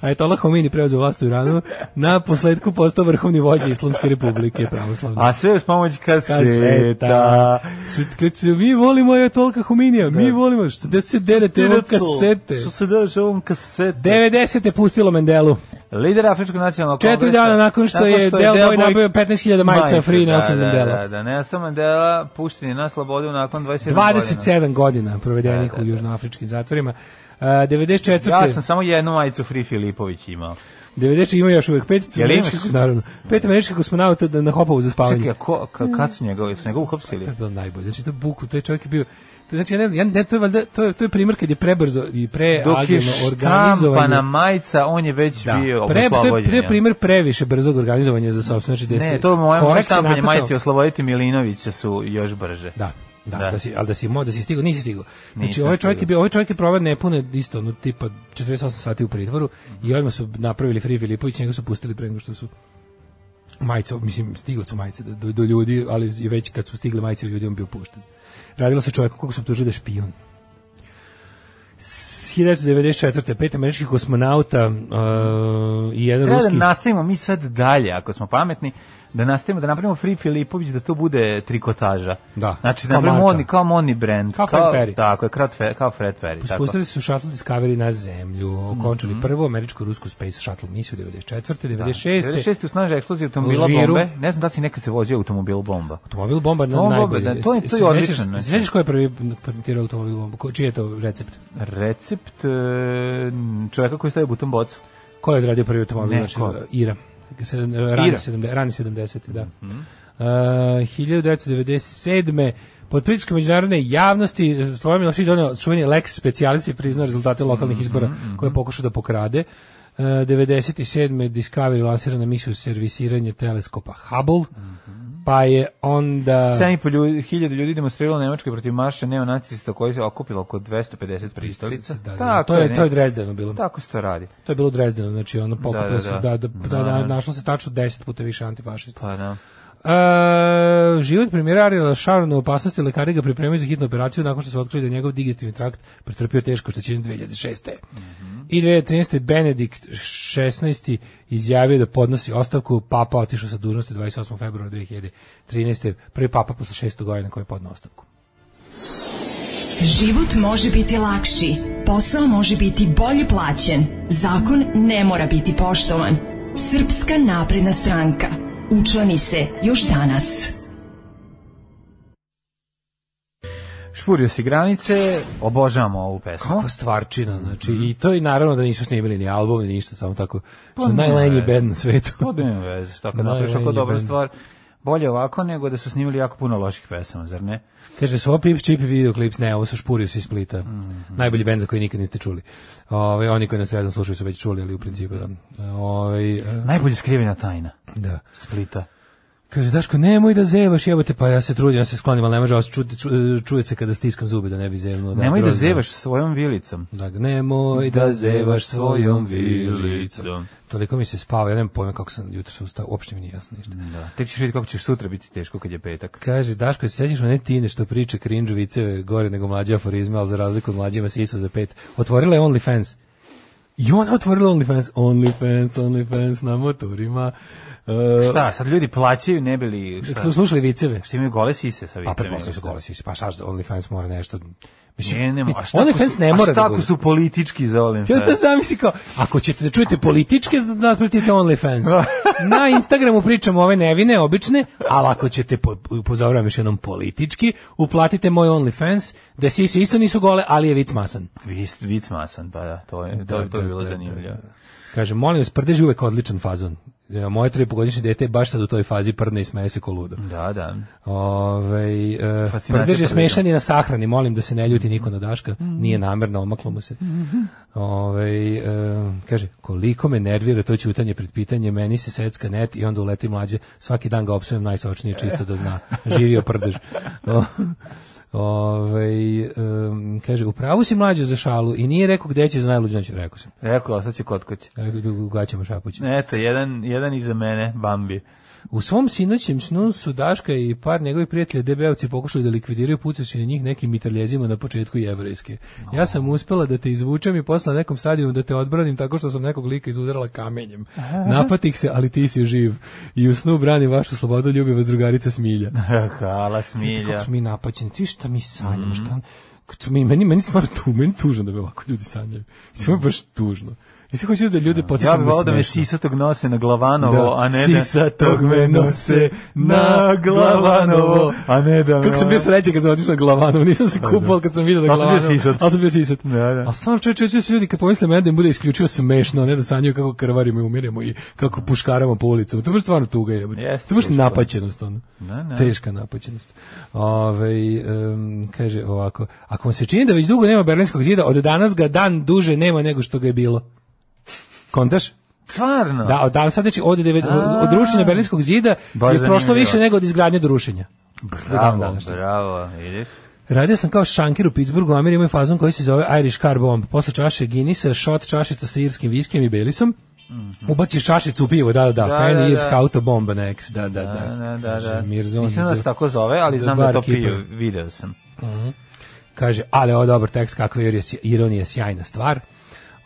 A je Tolah Homini preuzeo vlast u Iranu, na posledku postao vrhovni vođa Islamske republike pravoslavne.
A sve uz pomoć kaseta.
Kaseta. Što- Kad se mi volimo je Tolka Huminija, mi volimo što da se derete ovo kasete.
Što se daš ovom kasete?
90. pustilo Mendelu.
Lider Afričkog nacionalnog
Četiri
kongresa.
dana nakon što je Del Boy nabavio 15.000 majica Free Nelson
da,
Mandela.
Da, da, da, Nelson Mandela pušten je na slobodu nakon 27 godina.
27 godina provedenih
Da, da,
u
da.
južnoafričkim zatvorima. A, 94.
Ja sam samo jednu majicu Free Filipović imao.
90 ima još uvek pet
Jel imaš?
američkih- naravno. Pet američkih kosmonauta da- na, na hopovu za spavanje.
Čekaj, a ko, ka, kad su njega, su njega uhapsili?
To je bilo najbolje. Znači to je buku, taj čovjek je bio to znači ja ne znam, ja ne, to je valjda to je to je primer kad je prebrzo i pre
Dok je
agilno organizovanje.
štampana majica, on je već
Da.
bio
Pre, to je
oslobođen.
pre
jel?
primer previše brzog organizovanja za sopstveno znači
Ne, to moje moje štampanje majice osloboditi Milinovića su još brže.
Da. Da, da,
Da.
si, ali da si, mo, da si stigao, nisi stigao. Znači,
Nisam
ovaj čovjek, je
stigao.
bio, ovaj čovjek je proveo nepune isto, no, tipa 48 sati u pritvoru i odmah su napravili Free Filipović, njega su pustili pre nego što su majice, mislim, stigle su majice do, do, do ljudi, ali je već kad su stigle majice do ljudi, on bio pušten. Radilo se o čovjeku koga su optužili da je špijun. 1994. pet američkih kosmonauta uh, i jedan
Treba da
ruski...
nastavimo mi sad dalje, ako smo pametni, da nastavimo, da napravimo Free Filipović, da to bude trikotaža.
Da.
Znači, da
Kao
napravimo
marka.
oni, kao Moni brand.
Kao Fred Perry.
Tako je, kao Fred, kao Fred Perry. Tako. Mhm.
Spustili su Shuttle Discovery na zemlju, okončali prvu američko-rusku Space Shuttle misiju 94.
Da,
96.
96. snaža eksplozija automobila
U Alžiru.
bombe. Ne znam da li si nekad se vozio automobil bomba.
Automobil bomba na
Ovo bomba,
najbolje.
da, to je- to je
Se sećaš-
odličan, znači.
se Sećaš ko je prvi patentirao automobil bombu? Ko, čiji je to recept?
Recept e, čoveka koji stavio butom bocu.
Ko je odradio prvi automobil?
Ne,
znači,
ko?
Ira. Sedam, rani,
Ira. Mhm.
70, rani 70, da. Uh, 1997. Pod pritiskom međunarodne javnosti eh, Slobodan Milošić donio čuveni Lex specialis i priznao rezultate
Mhm,
lokalnih izbora koje je pokušao da pokrade. Uh, 97. Discovery lansirana misiju servisiranje teleskopa Hubble,
Mhm.
pa je onda...
7,5 ljudi, hiljada ljudi demonstriralo Nemačkoj protiv marša neonacista koji se okupilo oko 250 pristalica.
Da, da, da.
Tako
to je,
ne?
to je Drezdeno bilo.
Tako se to radi.
To je bilo u Drezdenu, znači ono pokupilo
da,
se,
da.
da, da, da,
Da.
na- našlo se tačno 10 puta više antifašista.
Pa da.
E, život premijera Ariela Šarona u opasnosti lekari ga pripremio za hitnu operaciju nakon što su otkrili da je njegov digestivni trakt pretrpio teško oštećenje 2006. I 2013. Benedikt 16. izjavio da podnosi ostavku, papa otišao sa dužnosti 28. februara 2013. Prvi papa posle 600 godina koji je podnao ostavku.
Život može biti lakši, posao može biti bolje plaćen, zakon ne mora biti poštovan. Srpska napredna stranka. Učlani se još danas.
Špurio si granice, obožavamo ovu pesmu.
Kako stvarčina, znači, i to je naravno da nisu snimili ni album, ni ništa, samo tako,
ne.
najlenji band na svetu.
To da ima veze, šta kad
Da,
napraviš
da,
ako
i
dobra
bend.
stvar, bolje ovako nego da su snimili jako puno loših pesama, zar ne?
Kaže, su ovo Pips Chip i videoklips, ne, ovo su Špurius iz Splita. Najbolji bend za koji nikad niste čuli. Ove, oni koji nas redom slušaju su već čuli, ali u principu da. Ove, e,
Najbolje skrivena tajna
da.
Splita.
Kaže, Daško, nemoj da zevaš, jebote, pa ja se trudim, ja se sklonim, ali ne može, ovo se ču- ču- čuje se kada stiskam zube da ne bi zevnuo.
Nemoj da
grozno.
zevaš svojom vilicom.
Da, nemoj da zevaš svojom vilicom. Toliko mi se spava, ja nemam pojma kako sam jutros ustao, uopšte mi nije jasno ništa.
Da. Tek ćeš vidjeti kako ćeš sutra biti teško kad je petak.
Kaže, Daško, se sjećaš one tine što priča cringe viceve gore nego mlađe aforizme, ali za razliku od mlađe ima sisu za pet. Otvorila je OnlyFans. I ona otvorila OnlyFans. OnlyFans, OnlyFans na motorima. Uh,
Šta, sad ljudi plaćaju, ne bili... Šta,
Su slušali viceve?
šta imaju gole sise sa
Pa
vicem?
pretpostavljam su gole sise, pa šta za OnlyFans mora nešto... Mislim,
Ne, ne, a šta ako
OnlyFans
su-
ne mora
a šta
da
ako
bude.
su politički za
Ja
OnlyFans?
to zamisli kao, ako ćete da čujete političke,
(laughs)
napratite OnlyFans. Na Instagramu pričamo ove nevine, obične, ali ako ćete, po- upozoravam još jednom politički, uplatite moj OnlyFans, da sisi isto nisu gole, ali je vic masan.
Vic, vic masan, pa da, to je, to,
Da,
to je
da,
bilo
da, da,
zanimljivo.
da. Kaže, molim vas, prdež je uvek odličan fazon. E, Moje tripogodišnje dete je baš sad u toj fazi prdne i smeje se ko ludo.
Da, da.
Ovaj e,
Fascinacija
prdež je
prdnjom.
smešan i na sahrani, molim da se ne ljuti niko na Daška, nije namerno, omaklo mu se. Ovaj e, kaže, koliko me nervira to ćutanje pred pitanje, meni se secka net i onda uleti mlađe, svaki dan ga opsujem najsočnije, čisto da zna, živio prdež. O, ovaj, em, kaže, u pravu si mlađu za šalu i nije rekao gde će za najluđu noć, rekao sam.
Rekao, sad će kod kuće.
Rekao da ugaćamo šapuće.
Eto, jedan, jedan iza mene, Bambi. (laughs)
U svom sinoćem snu su Daška i par njegovih prijatelja DB-ovci pokušali da likvidiraju pucajući na njih nekim mitraljezima na početku jevrejske. Ja sam uspela da te izvučem i posle na nekom stadionu da te odbranim tako što sam nekog lika izudarala kamenjem. Napatih se, ali ti si živ. I u snu branim vašu slobodu, ljubi vas drugarica Smilja.
Hala,
Ti kako
smilja.
smo mi napaćeni, ti šta mi sanjamo,
Mhm.
šta... Kako mi, meni, meni stvarno tu, meni tužno da me ovako ljudi sanjaju. Sve baš tužno. I sve hoću da ljude potičem
Ja bih
na
volao Mhm. da me
smešno.
sisatog nose na glavanovo,
Da.
a ne da...
Sisa tog me nose na Glavanovo.
a ne da... me
Kako sam bio
ono- Pa da.
sreće kad sam otišao na Glavanovu, nisam se kupao ali kad sam vidio na
Ali sam bio
Glavanovu.
sisat.
Ali sam bio sisat.
Da, da.
A stvarno čovječ, čovječ, ljudi kad pomisle mene da im bude isključivo smešno, a ne da sanjaju kako krvarimo i umiremo i kako puškaramo po ulicama. To je baš stvarno tuga je.
Jeste,
to je baš
teško.
napaćenost. Ono.
Da, da.
Teška napaćenost. Ove, kaže ovako, ako vam se čini da već dugo nema Berlinskog zida, od danas ga dan duže nema nego što ga je bilo. Kontaš?
Stvarno?
Da, od dan sad znači od, devet- od rušenja Berlinskog zida
Baš
je prošlo
zanimljivo.
više nego od izgradnje do rušenja. do dana
Bravo,
današnjeg.
bravo, vidiš?
Radio sam kao šanker u Pittsburghu, u Ameri imaju fazon koji se zove Irish Car Bomb. Posle čaše Guinnessa, shot čašica sa irskim viskijem i belisom. Ubaciš čašicu u pivo, da, da, da.
Mhm. Da,
Pan
da, da.
irska autobomba next, da, da, da.
Da, da, da.
Kaže,
da.
Mirzon,
Mislim da se
da-
tako zove, ali
da
znam da to
barkeeper.
piju, video sam.
Kaže, ali ovo je dobar tekst, kakva je ironija- ironija, sjajna stvar.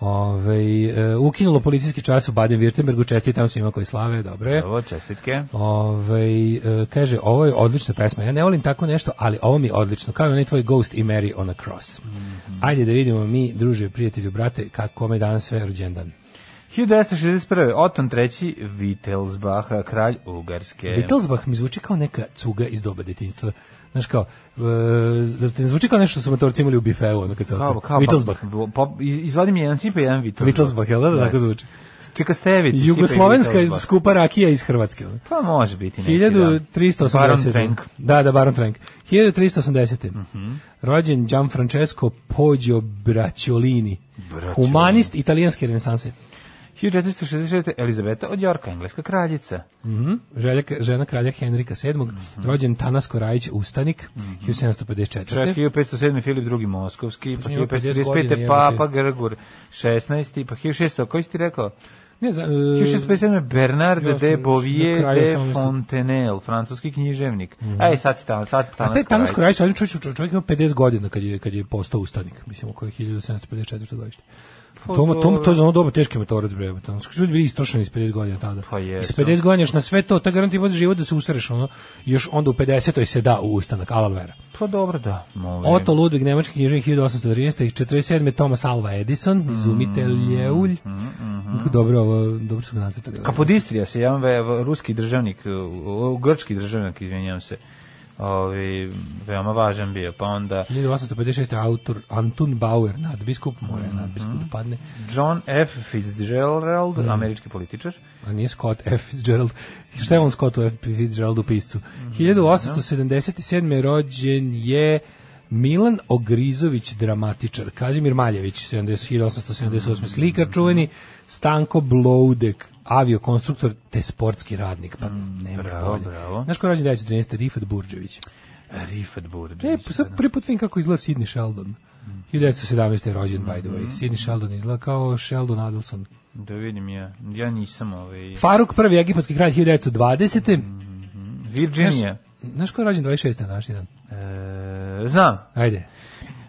Ove, e, ukinulo policijski čas u Baden-Württembergu, čestitam svima koji slave, dobro je.
Evo, čestitke.
Ove, Ovaj, e, kaže, ovo je odlična pesma. Ja ne volim tako nešto, ali ovo mi je odlično. Kao i onaj tvoj Ghost i Mary on a Cross.
Mhm.
Ajde da vidimo mi, druže, prijatelju, brate, kako kome je danas sve rođendan.
1961. Oton III. Wittelsbach, kralj Ugarske.
Beatlesbach mi zvuči kao neka cuga iz doba detinjstva. Znaš kao, e, zar ti ne zvuči kao nešto što su motorci imali u bifeu, ono kad se
Kao,
otvore?
kao,
Beatlesbach.
Pa, pa, izvadi mi jedan sipa, jedan Wittelsbach.
Beatlesbach, jel da? Da, tako zvuči.
Čeka stevici.
Jugoslovenska
je...
je skupa rakija iz Hrvatske. ono.
Pa može biti neki. da.
1380.
Baron Trenk. Mhm.
Da, da, Baron Trenk. 1380. Rođen Gianfrancesco Poggio Bracciolini.
Bracciolini.
Humanist italijanske renesanse.
1466. Elizabeta od Jorka, engleska kraljica.
Mhm. Želja, žena kralja Henrika VII.
Mhm.
Rođen Tanas Korajić Ustanik. 1754.
Čak 1507. Filip II. Moskovski, pa
njima 50 godina,
1535.
jebote.
Papa Grgur 16. Pa 1600. Koji si ti rekao?
Ne znam, e,
1657. Bernard
Ja sam
de
na
Bovier
kraju
de
samo isto- Mhm.
Fontenelle, francuski književnik. Ej, sad si tamo, sad
A
tamo.
taj Tanas Korajić, on čovjek, čovjek, čovjek ima 50 godina kad je, kad je postao ustanik, mislim, oko je 1754. godište.
Pa
To, to, to, je za ono doba teški motorac, bre, jebote, ono, su ljudi bili istrošeni iz 50 godina tada.
Pa jesu.
Iz 50 godina još na sve to, ta garanti vodi život da se usreš, ono, još onda u 50. se da u ustanak, alal vera.
Pa dobro, da. Ovaj.
Otto Ludwig, nemački knjižnik 1813. i 47. Thomas Alva
Mhm,
Edison, izumitelj je ulj. Dobro, ovo, dobro su ga nacrtali. ovaj.
Kapodistrija se jedan ve- ruski državnik, u- u- grčki državnik, izvinjavam se. Ovi, veoma važan bio. Pa onda
1856. autor Antun Bauer, nadbiskup, mora
Mhm.
je nadbiskup da padne,
John F. Fitzgerald,
Mhm.
američki političar.
a nije Scott F. Fitzgerald. Šta je on Scottu F. Fitzgeraldu piscu? 1877. je rođen je Milan Ogrizović, dramatičar. Kazimir Maljević, 70 1878. slikar čuveni, Stanko Bloudek, aviokonstruktor te sportski radnik. Pa nema
Mm, bravo,
bolje.
bravo.
Znaš ko je rođen 1913. Rifat Burđević.
Rifat Burđe.
E, pa sad
da.
prvi put vidim kako izgleda Sidney Sheldon.
Mm.
1917. je rođen, by the way.
Mm-hmm.
Sidney Sheldon izgleda kao Sheldon Adelson.
Da vidim ja. Ja nisam ovaj...
Faruk prvi egipatski kralj 1920.
Virginija.
Znaš ko je rođen 26. na današnji dan?
E, znam.
Ajde.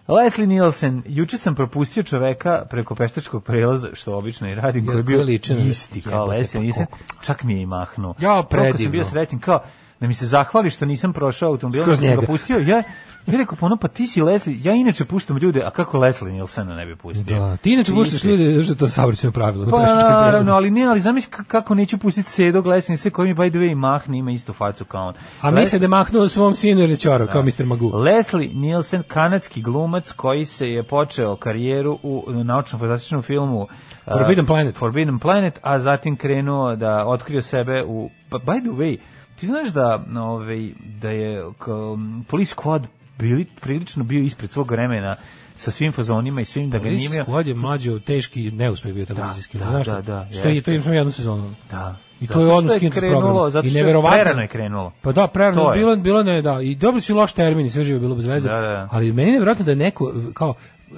Leslie Nielsen, juče sam propustio čoveka preko peštačkog prelaza, što obično i radim, koji je
koji
bio
liči na-
isti kao
Jebote,
Leslie
pa
Nielsen,
koliko-
čak mi je i mahnuo.
Ja,
Koliko
predivno.
sam bio srećen, kao da mi se zahvali što nisam prošao automobil,
Kroz
da sam ga
njega.
pustio. Ja, ja rekao, pa ono, pa ti si Leslie, ja inače puštam ljude, a kako Leslie Nielsena ne bi pustio?
Da, ti inače puštaš
si-
ljude, zato što je to savršeno (laughs) pravilo. da
Pa
puštaš kad prolaze.
naravno, ali ne, ali zamisli ka- kako neću pustiti Sedo Glesnice koji mi by the way mahne, ima istu facu kao on.
A misle da je mahnuo svom sinu jer je čorao,
Da.
kao Mr. Magu.
Leslie Nielsen, kanadski glumac koji se je počeo karijeru u naučno-fantastičnom filmu uh,
Forbidden Planet.
Forbidden Planet, a zatim krenuo da otkrio sebe u... Pa, by the way, ti znaš da, ovaj, da je kao, m, Police Squad bili, prilično bio ispred svog vremena sa svim fazonima i svim da ga nije
Lis
imao.
Squad je mlađo teški neuspeh bio televizijski.
da,
znaš
da,
to?
da,
Što je, to
jeste.
imamo jednu sezonu.
Da.
I
Zato
to je
što
odnos skinuto s
krenulo,
programa.
Zato
I
što je
neverovatno-
prerano je krenulo.
Pa da, prerano
To
je
je.
bilo, bilo ne, da, i dobili su loš termin i sve živo je bilo bez veze,
Da, da.
ali meni je nevjerojatno da je neko, kao,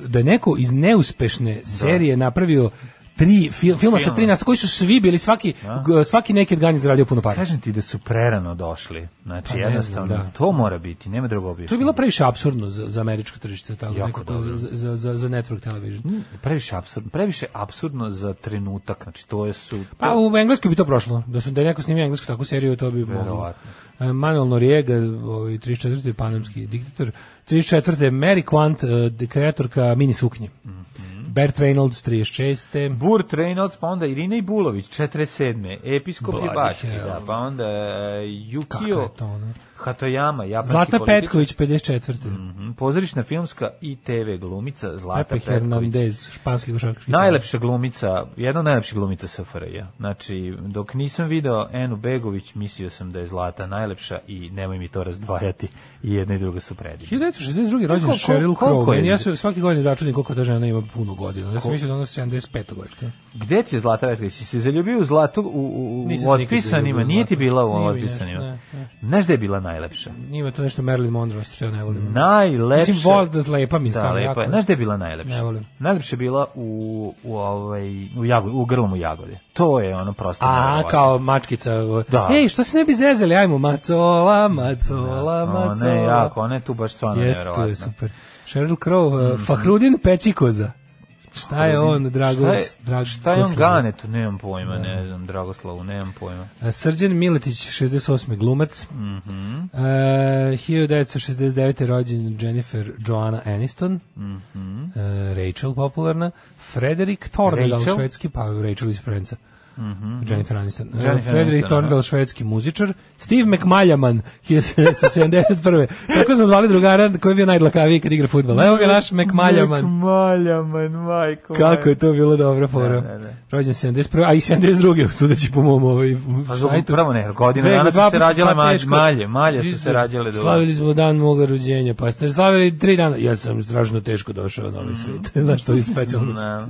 da je neko iz neuspešne
Da.
serije napravio tri fil, filma sa tri nasta koji su svi bili svaki g- svaki neki gan izradio puno para.
Da. Kažem ti da su prerano došli. Znači,
Pa ne
jednostavno,
znam, da.
to mora biti, nema drugo objašnjenja.
To je bilo previše apsurdno za, za američko tržište, tako
Jako
nekako
dobro.
za, za, za, za network television.
previše apsurdno, previše apsurdno za trenutak. Znači, to je su...
Pa u Engleskoj bi to prošlo. Da su da je neko snimio englesku takvu seriju, to bi moglo.
Verovatno.
E, Manuel Noriega, ovaj 34. panamski diktator, 34. Mary Quant, e, de- kreatorka mini suknje.
Mhm.
Bert Reynolds 36.
Burt Reynolds, pa onda Irina Ibulović, 47. Episkop
Bloody
je Bački,
hell.
da, pa onda e,
Kako je
Yukio
to ono?
Hatoyama, japanski
Zlata
političar.
Petković 54.
Mhm, Pozorišna filmska i TV glumica Zlata
Pepe
Petković.
Hernandez, španski košarkaški.
Najlepša glumica, jedna od najlepših glumica SFRJ. Znači, dok nisam video Enu Begović, mislio sam da je Zlata najlepša i nemoj mi to razdvajati. I jedna i druga su predivne.
1962. rođen
Koliko-
Sheryl Crow.
koliko je?
Meni Ja se svake godine začudim koliko ta žena ima puno godina. Ja sam mislio da ona 75 godina.
Gde ti je Zlata Petković? Si se zaljubio u Zlatu u, u, u
Nisam se nikad zaljubio
otpisanima?
u
Nije ti
Zlatu.
bila u
Nije mi
otpisanima?
nešto, ne, ne.
Znaš gde je bila najlepša?
Ima to nešto Marilyn Monroe, što ja ne volim.
Najlepša.
Mislim, volim da lepa mi je
Da,
stvarno.
lepa.
jako.
je. Znaš gde je bila najlepša?
Ne volim.
Najlepša je bila u, u, ovaj, u, jagod, u grlom u jagode. To je ono prosto.
A,
neverovatno.
kao mačkica.
Ovaj. Da.
Ej, što se ne bi zezeli? Ajmo, macola, macola,
Ona
macola.
je jako, ona je tu baš stvarno
Jeste, to je
nevjerovatna.
super. Sheryl Crow,
Mhm.
mm. Fahrudin Pecikoza. Šta je on, Drago? Da.
Šta je,
Drag-
šta je on
Goslav?
gane tu? Nemam pojma, ne znam, Dragoslavu, nemam pojma.
E, Srđan Miletić, 68. glumac. Mm -hmm.
Mhm.
e, 1969. je rođen Jennifer Joanna Aniston. Mm
Mhm.
e, Rachel popularna. Frederik Tornedal,
Rachel? Mhm.
švedski, pa Rachel iz Friendsa. Mm -hmm. Jennifer Aniston.
Jennifer
E, Frederik
Aniston, da.
Tornedal, švedski muzičar. Steve McMaljaman, (laughs) 1971. Tako sam zvali drugara koji je bio najdlakaviji kad igra futbol. Evo ga naš McMaljaman.
Maljaman, majko.
Kako je to bilo dobra fora.
Da, da, da.
Rođen 71. a i 72. sudeći po mom ovaj
Pa zbog
sajtu.
pravo ne, godina
Dve,
dana
dva
su se
puta
rađale
sva
malje,
teška.
malje, malje su
Isto.
se rađale do
Slavili smo dan moga rođenja, pa ste slavili tri dana. Ja sam strašno teško došao na
Mm.
ovaj svet. (laughs) Znaš to je specijalno.
Na-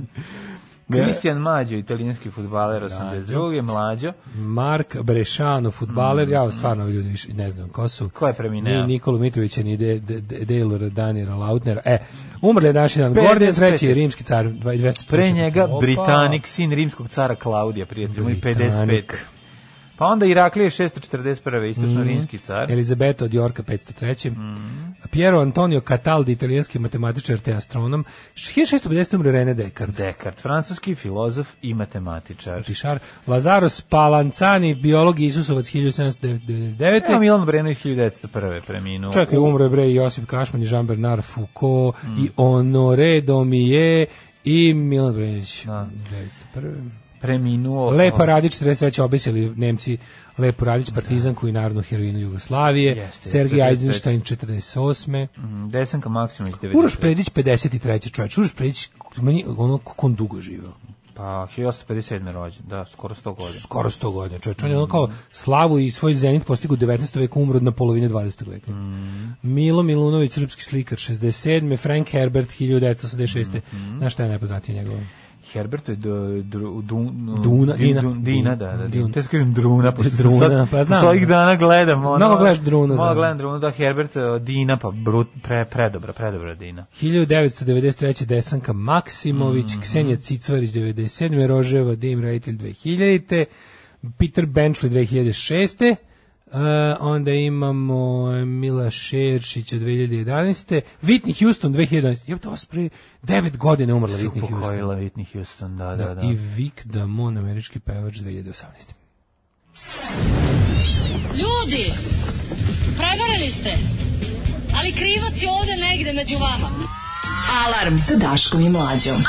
Kristijan Mađo, italijanski futbaler 82. Mlađo,
Mark Brešano, futbaler, ja stvarno ljudi više ne znam ko su.
Mm. ko je premineo?
Ni Nikolu Mitrovića, ni De, De, De, Delora Danira Lautnera. E, umrli je naši dan.
55.
Gordon III, rimski car. 22.
Pre njega
Opa.
Britanik, sin rimskog cara Klaudija, prijatelj, moj
Britanik.
55. Pa onda Iraklije 641.
Mhm.
istočno-rimski car. Mm.
Elizabeta od Jorka 503. Piero Antonio Cataldi, italijanski matematičar te astronom. 1650 umre René Descartes.
Descartes, francuski filozof i matematičar.
Tišar, Lazaro Spalancani, biolog i Isusovac
Evo
1799.
Milan Brenović 1901. preminuo.
Čekaj, umro je bre i Josip Kašman i Jean Bernard Foucault i Honoré Domije i Milan Brenić.
Da.
1901.
preminuo.
Lepa
ovaj,
Radić 43. obesili Nemci Lepo Radić partizanku i narodnu heroinu Jugoslavije.
Da. Jeste,
Sergij
43.
Eisenstein 48.
mm, Desanka Maksimović 90.
Uroš Predić 53. čovječ. Uroš Predić, meni ono kako on dugo živeo.
Pa 1857. rođen, da, skoro 100 godina.
Skoro 100 godina čovječ. On je ono kao slavu i svoj zenit postigu u 19. veku umro na polovine 20. veka. Milo Milunović, srpski slikar 67. Frank Herbert 1986. Znaš šta je najpoznatije njegovo?
Herbert je do, dru, dun,
Duna,
din,
Dina.
dun, Dina, da, da, Dina.
Duna.
Te ja kažem Druna, pošto sam
Druna,
sad,
pa znam.
pošto ovih dana gledam. Ono,
Mnogo gledaš Drunu,
Mnogo
da.
gledam Drunu, da, Herbert, eh, Dina, pa brut, pre, predobra, predobra Dina.
1993. Desanka Maksimović, Ksenija Cicvarić 97. Roževa, Dim Rajitelj 2000. Peter Benchley 2006. Uh, onda imamo Mila Šeršića 2011. Whitney Houston 2011. Jebate, ovo spre 9 godina umrla Whitney Houston.
Upokojila Whitney Houston, da, da,
Da,
da.
I Vic Damon, američki pevač 2018.
Ljudi, prevarili ste. Ali krivac je ovde negde među vama.
Alarm sa Daškom i Mlađom.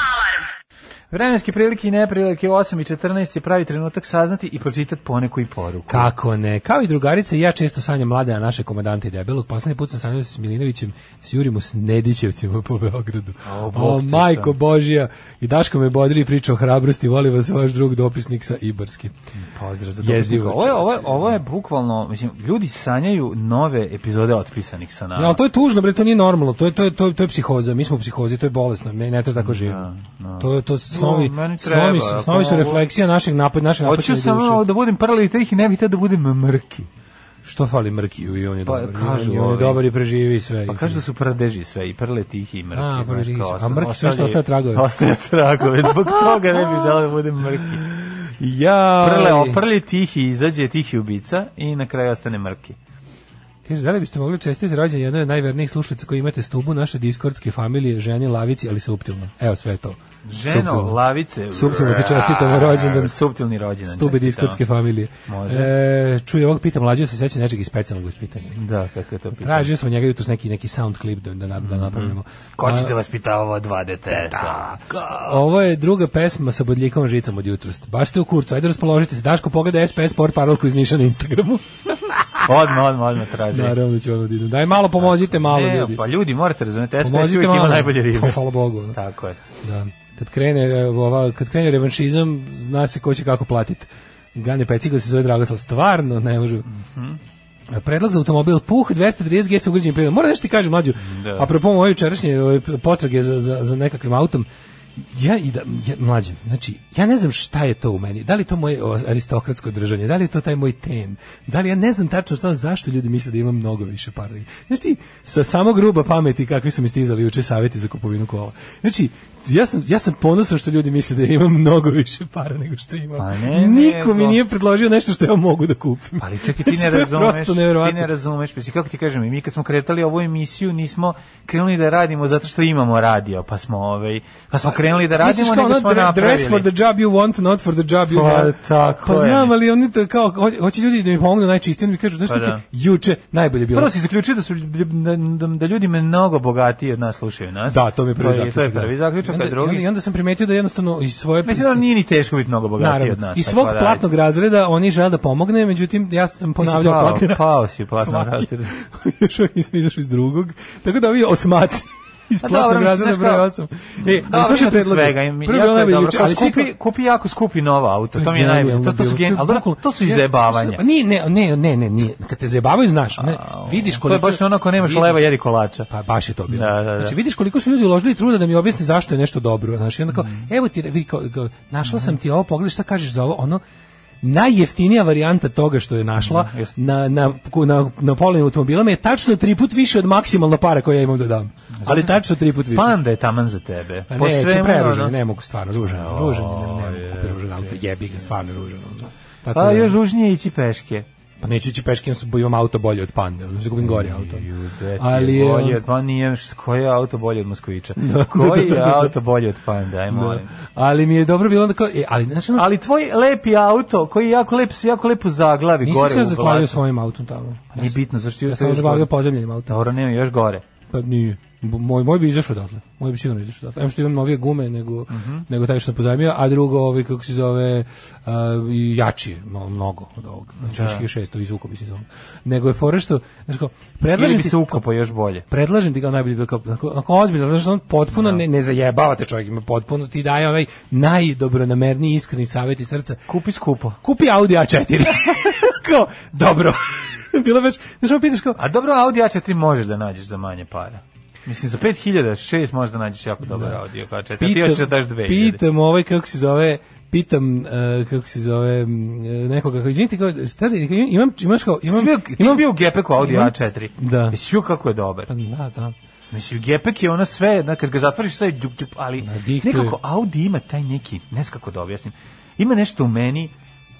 Vremenske prilike i neprilike u 8 i 14 je pravi trenutak saznati i pročitati poneku i poruku.
Kako ne? Kao i drugarice, ja često sanjam mlade, a naše komandante i debelog. Poslednji put sam sanjao s Milinovićem, s Jurimu, s Nedićevcima po Beogradu.
O,
O,
Bog ti
majko
sam.
Božija. I Daško me bodri i priča o hrabrosti. Voli vas vaš drug dopisnik sa Ibarski.
Pozdrav za
Jezivo,
Ovo je, ovo, je,
čoveče.
ovo je bukvalno, mislim, ljudi sanjaju nove epizode otpisanih sa nama.
Ja, ali to je tužno, bre, to nije normalno. To je, to je, to je, to je psihoza. Mi smo u psihozi, to je bolesno. Ne, ne treba tako živjeti. To je to snovi,
Da, No, meni treba,
snovi,
ako
su, snovi su
mogu.
refleksija našeg napad, naše
Hoću
napačne
samo
duše.
da budem prli tih i ne bih teo da budem mrki.
Što fali Mrkiju i on je
Pa,
dobar.
kažu
on je, on
ovi.
je dobar i preživi sve.
Pa kažu da su prdeži sve, i prle tih i mrki.
A,
znaš,
prdeži
kao
su. A
sam-
mrki sve što ostaje tragove.
Ostaje tragove, zbog toga ne
(laughs)
bih želeo da budem mrki.
ja,
Prle oprli tihi, izađe tihi ubica i na kraju ostane mrki.
Kaže, da li biste mogli čestiti rođenje jednoj od najvernijih slušalica koji imate stubu naše diskordske familije, ženi Lavici, ali suptilno. Evo sve je to.
Ženo, lavice.
Suptilno ti čestitamo rođendan.
Suptilni rođendan.
Stube
čestitamo.
diskordske familije.
Može.
E, čuj, ovog pita mlađe se seća nečeg iz specijalnog ispitanja.
Da, kako je to pitanje.
Tražio smo njega jutros neki, neki sound klip da, da, na- da napravimo.
Mhm. Ko će
A,
da vas pita ovo dva deteta?
Ovo je druga pesma sa bodljikom žicom od jutros. Baš ste u kurcu, ajde raspoložite se. Daško, pogleda SPS Sport parolku iz Niša na Instagramu.
Odmah, odmah, odmah traži.
Naravno da će ono dinu. Daj malo pomozite, malo
Ne,
ljudi.
Pa ljudi, morate razumeti, SPS
Pomozite
uvijek ima
malo.
najbolje ribe.
Pa, hvala Bogu, ono.
Tako je.
Da. Kad krene e, ova kad krene revanšizam, zna se ko će kako platiti. Gane Pecigla se zove Dragoslav, stvarno ne može. E, Predlog za automobil Puh 230G sa ugrađenim plinom. Moram nešto ti kažem, mlađu.
Da.
Apropo moje jučerašnje ove, potrage za, za, za nekakvim autom, ja i da ja, mlađe, znači ja ne znam šta je to u meni. Da li je to moje o, aristokratsko držanje, da li je to taj moj ten, da li ja ne znam tačno šta zašto ljudi misle da imam mnogo više para. Znači ti sa samo gruba pameti kakvi su mi stizali juče saveti za kupovinu kola. Znači ja sam ja sam ponosan što ljudi misle da ja imam mnogo više para nego što imam.
Pa ne, nego-
Niko mi nije predložio nešto što ja mogu da kupim.
Ali
(laughs)
čekaj, ti ne
Znači, to je
razumeš,
prosto
ti
neverovatno.
ne razumeš, pa si, kako ti kažem, i mi kad smo kretali ovu emisiju, nismo krenuli da radimo zato što imamo radio, pa smo, ovaj, pa smo krenuli da
Misliš
radimo,
kao
nego
ono
smo
dre-
napravili.
dress for the job you want, not for the job you
Pa,
want.
tako
pa
je.
znam, ali oni to kao, ho- hoće ljudi da mi pomognu najčistije, oni mi kažu, znaš
Pa
pa
da.
juče najbolje bilo.
Prvo si zaključio da su ljub- da, da, da ljudi mnogo bogatiji od nas slušaju nas.
Da, to mi je prvi zaključak.
To je
da.
prvi zaključak,
I onda-
a drugi...
I onda, i onda sam primetio da jednostavno iz svoje...
Mislim da nije ni teško biti mnogo bogatiji od
Naravno,
nas.
iz svog
tako da,
platnog razreda oni žele da pomogne, međutim, ja sam ponavljao
pao,
platni razred. (laughs)
pao si u platnom
Svaki.
razredu.
Još uvijek nisam izašao iz drugog. Tako da ovi osmaci iz
A
platnog
Pa dobro, mislim,
razreda
znaš
broj
kao-
8. E,
Da,
ali
slušaj predlog.
slušaj predloge.
Svega, im-
Prvo je
jako je
onaj
dobro.
juče,
Kao
ali svi kao-
Kupi, kupi jako skupi novo auto, Pa to mi je
genijalno
najbolje. To, to su
bilo.
gen, ali dobro, to su
Ja,
izjebavanja.
slušaj, Nije, ne, ne, ne, ne, nije. Kad te zajebavaju, znaš, ne, vidiš
To je
koliko...
baš ono ako nemaš
vidiš-
leva jedi kolača.
Pa baš je to bilo.
Da, da, da.
Znači vidiš koliko su ljudi uložili truda da mi objasne zašto je nešto dobro. Znači onda kao,
Mm.
evo ti, vidi, kao, kao, našla
Mhm.
sam ti ovo, pogledaj šta kažeš za ovo, ono, najjeftinija varijanta toga što je našla
Mhm, jeste.
na, na, ku- na, na polovnim automobilama je tačno tri put više od maksimalno para koje ja imam da dam. Ali tačno tri put više.
Panda je taman za tebe.
Pa
Po
ne,
svemu, da,
ću preružan,
ono-
ne mogu stvarno, ružan, ružan, je, ne, ne mogu kupiti ružan auto, jebi ga, stvarno ružan. ono. Tako
A
da-
Pa još ružnije ići peške.
pa neću ići peškim, imam auto bolje od pande, ono što kupim gori auto.
Ali
Ali um,
je
je-
bolje od pa nije š- koji je auto bolje od Moskvića. Koji je auto bolje od Panda, aj molim.
Ali mi je dobro bilo onda kao, e, ali znaš ono,
Ali tvoj lepi auto koji je jako lep, se jako lepo zaglavi
nisam
gore.
se ja
u
zahvalio
blatu.
svojim autom tamo.
Nije bitno zašto
Ja sam zaglavio pozemljenim autom.
Dobro, nema još gore.
Pa nije. B- Moj, moj bi izašao odatle. Moj bi sigurno izašao odatle. Em što imam novije gume nego,
Mhm.
nego taj što sam pozajmio, a drugo, ovaj, kako se zove, a, i jači je, malo, mnogo od ovog. Znači, da. 600 izvuko bi se zove. Nego je fora što, znači, kao,
Ili
predlažem
bi
ti-
se ukopao još bolje.
predlažem ti ga najbolje bi kao ako, ako ozbiljno znači on potpuno
Da.
ne, ne zajebavate čovjek ima potpuno ti daje onaj najdobronamerniji iskreni savjet iz srca
Kupi skupo.
kupi Audi
(laughs)
A4 kao dobro (laughs) bilo baš znaš on pitaš kao
A dobro, Audi A4 možeš da nađeš za manje para. Mislim, za 5000, 6 možeš da nađeš jako dobar Audi A4. a ti još da daš 2000.
pitam ovaj kako se zove pitam e, kako se zove m, e, nekoga kao izvinite kao šta da- imam imaš kao
Ti si
imam
bio, ti si bio u Gepeku Audi
imam-
A4.
Da.
Jesi vidio kako je dobar.
da znam
Mislim, Gepek je ono sve, na, kad ga zatvoriš sve, djup, djup, ali
Nadiktuje.
nekako Audi ima taj neki, ne znam kako da objasnim, ima nešto u meni,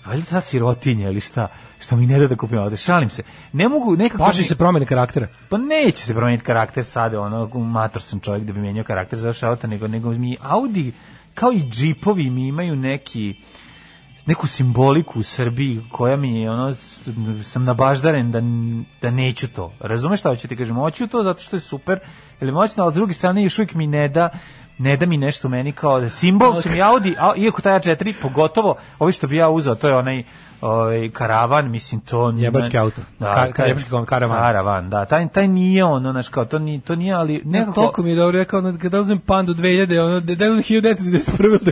valjda ta sirotinja ili šta, što mi ne da da kupim Audi, šalim se. Ne mogu, nekako...
Plaši
mi-
se promene karaktera.
Pa neće se promeniti karakter sada, ono, mator sam čovjek da bi menjao karakter za vaš auto, nego, nego mi Audi, kao i džipovi, mi imaju neki neku simboliku u Srbiji koja mi je ono s- sam nabaždaren da, n- da neću to. Razumeš šta hoću ti kažem? Hoću to zato što je super, ili moćno, ali s druge strane još uvijek mi ne da ne da mi nešto u meni kao da simbol sam ja Audi, a, iako taj A4 pogotovo ovi što bi ja uzeo, to je onaj ovaj karavan, mislim to Da,
Jebački auto. Kar-
taj-
jebački karavan.
Karavan, da. Taj, taj nije ono, znaš, kao, to nije, to nije ali
Ne,
nekako...
toliko mi je dobro rekao, ono, kada uzmem pandu 2000, ono, da da uzmem 1991.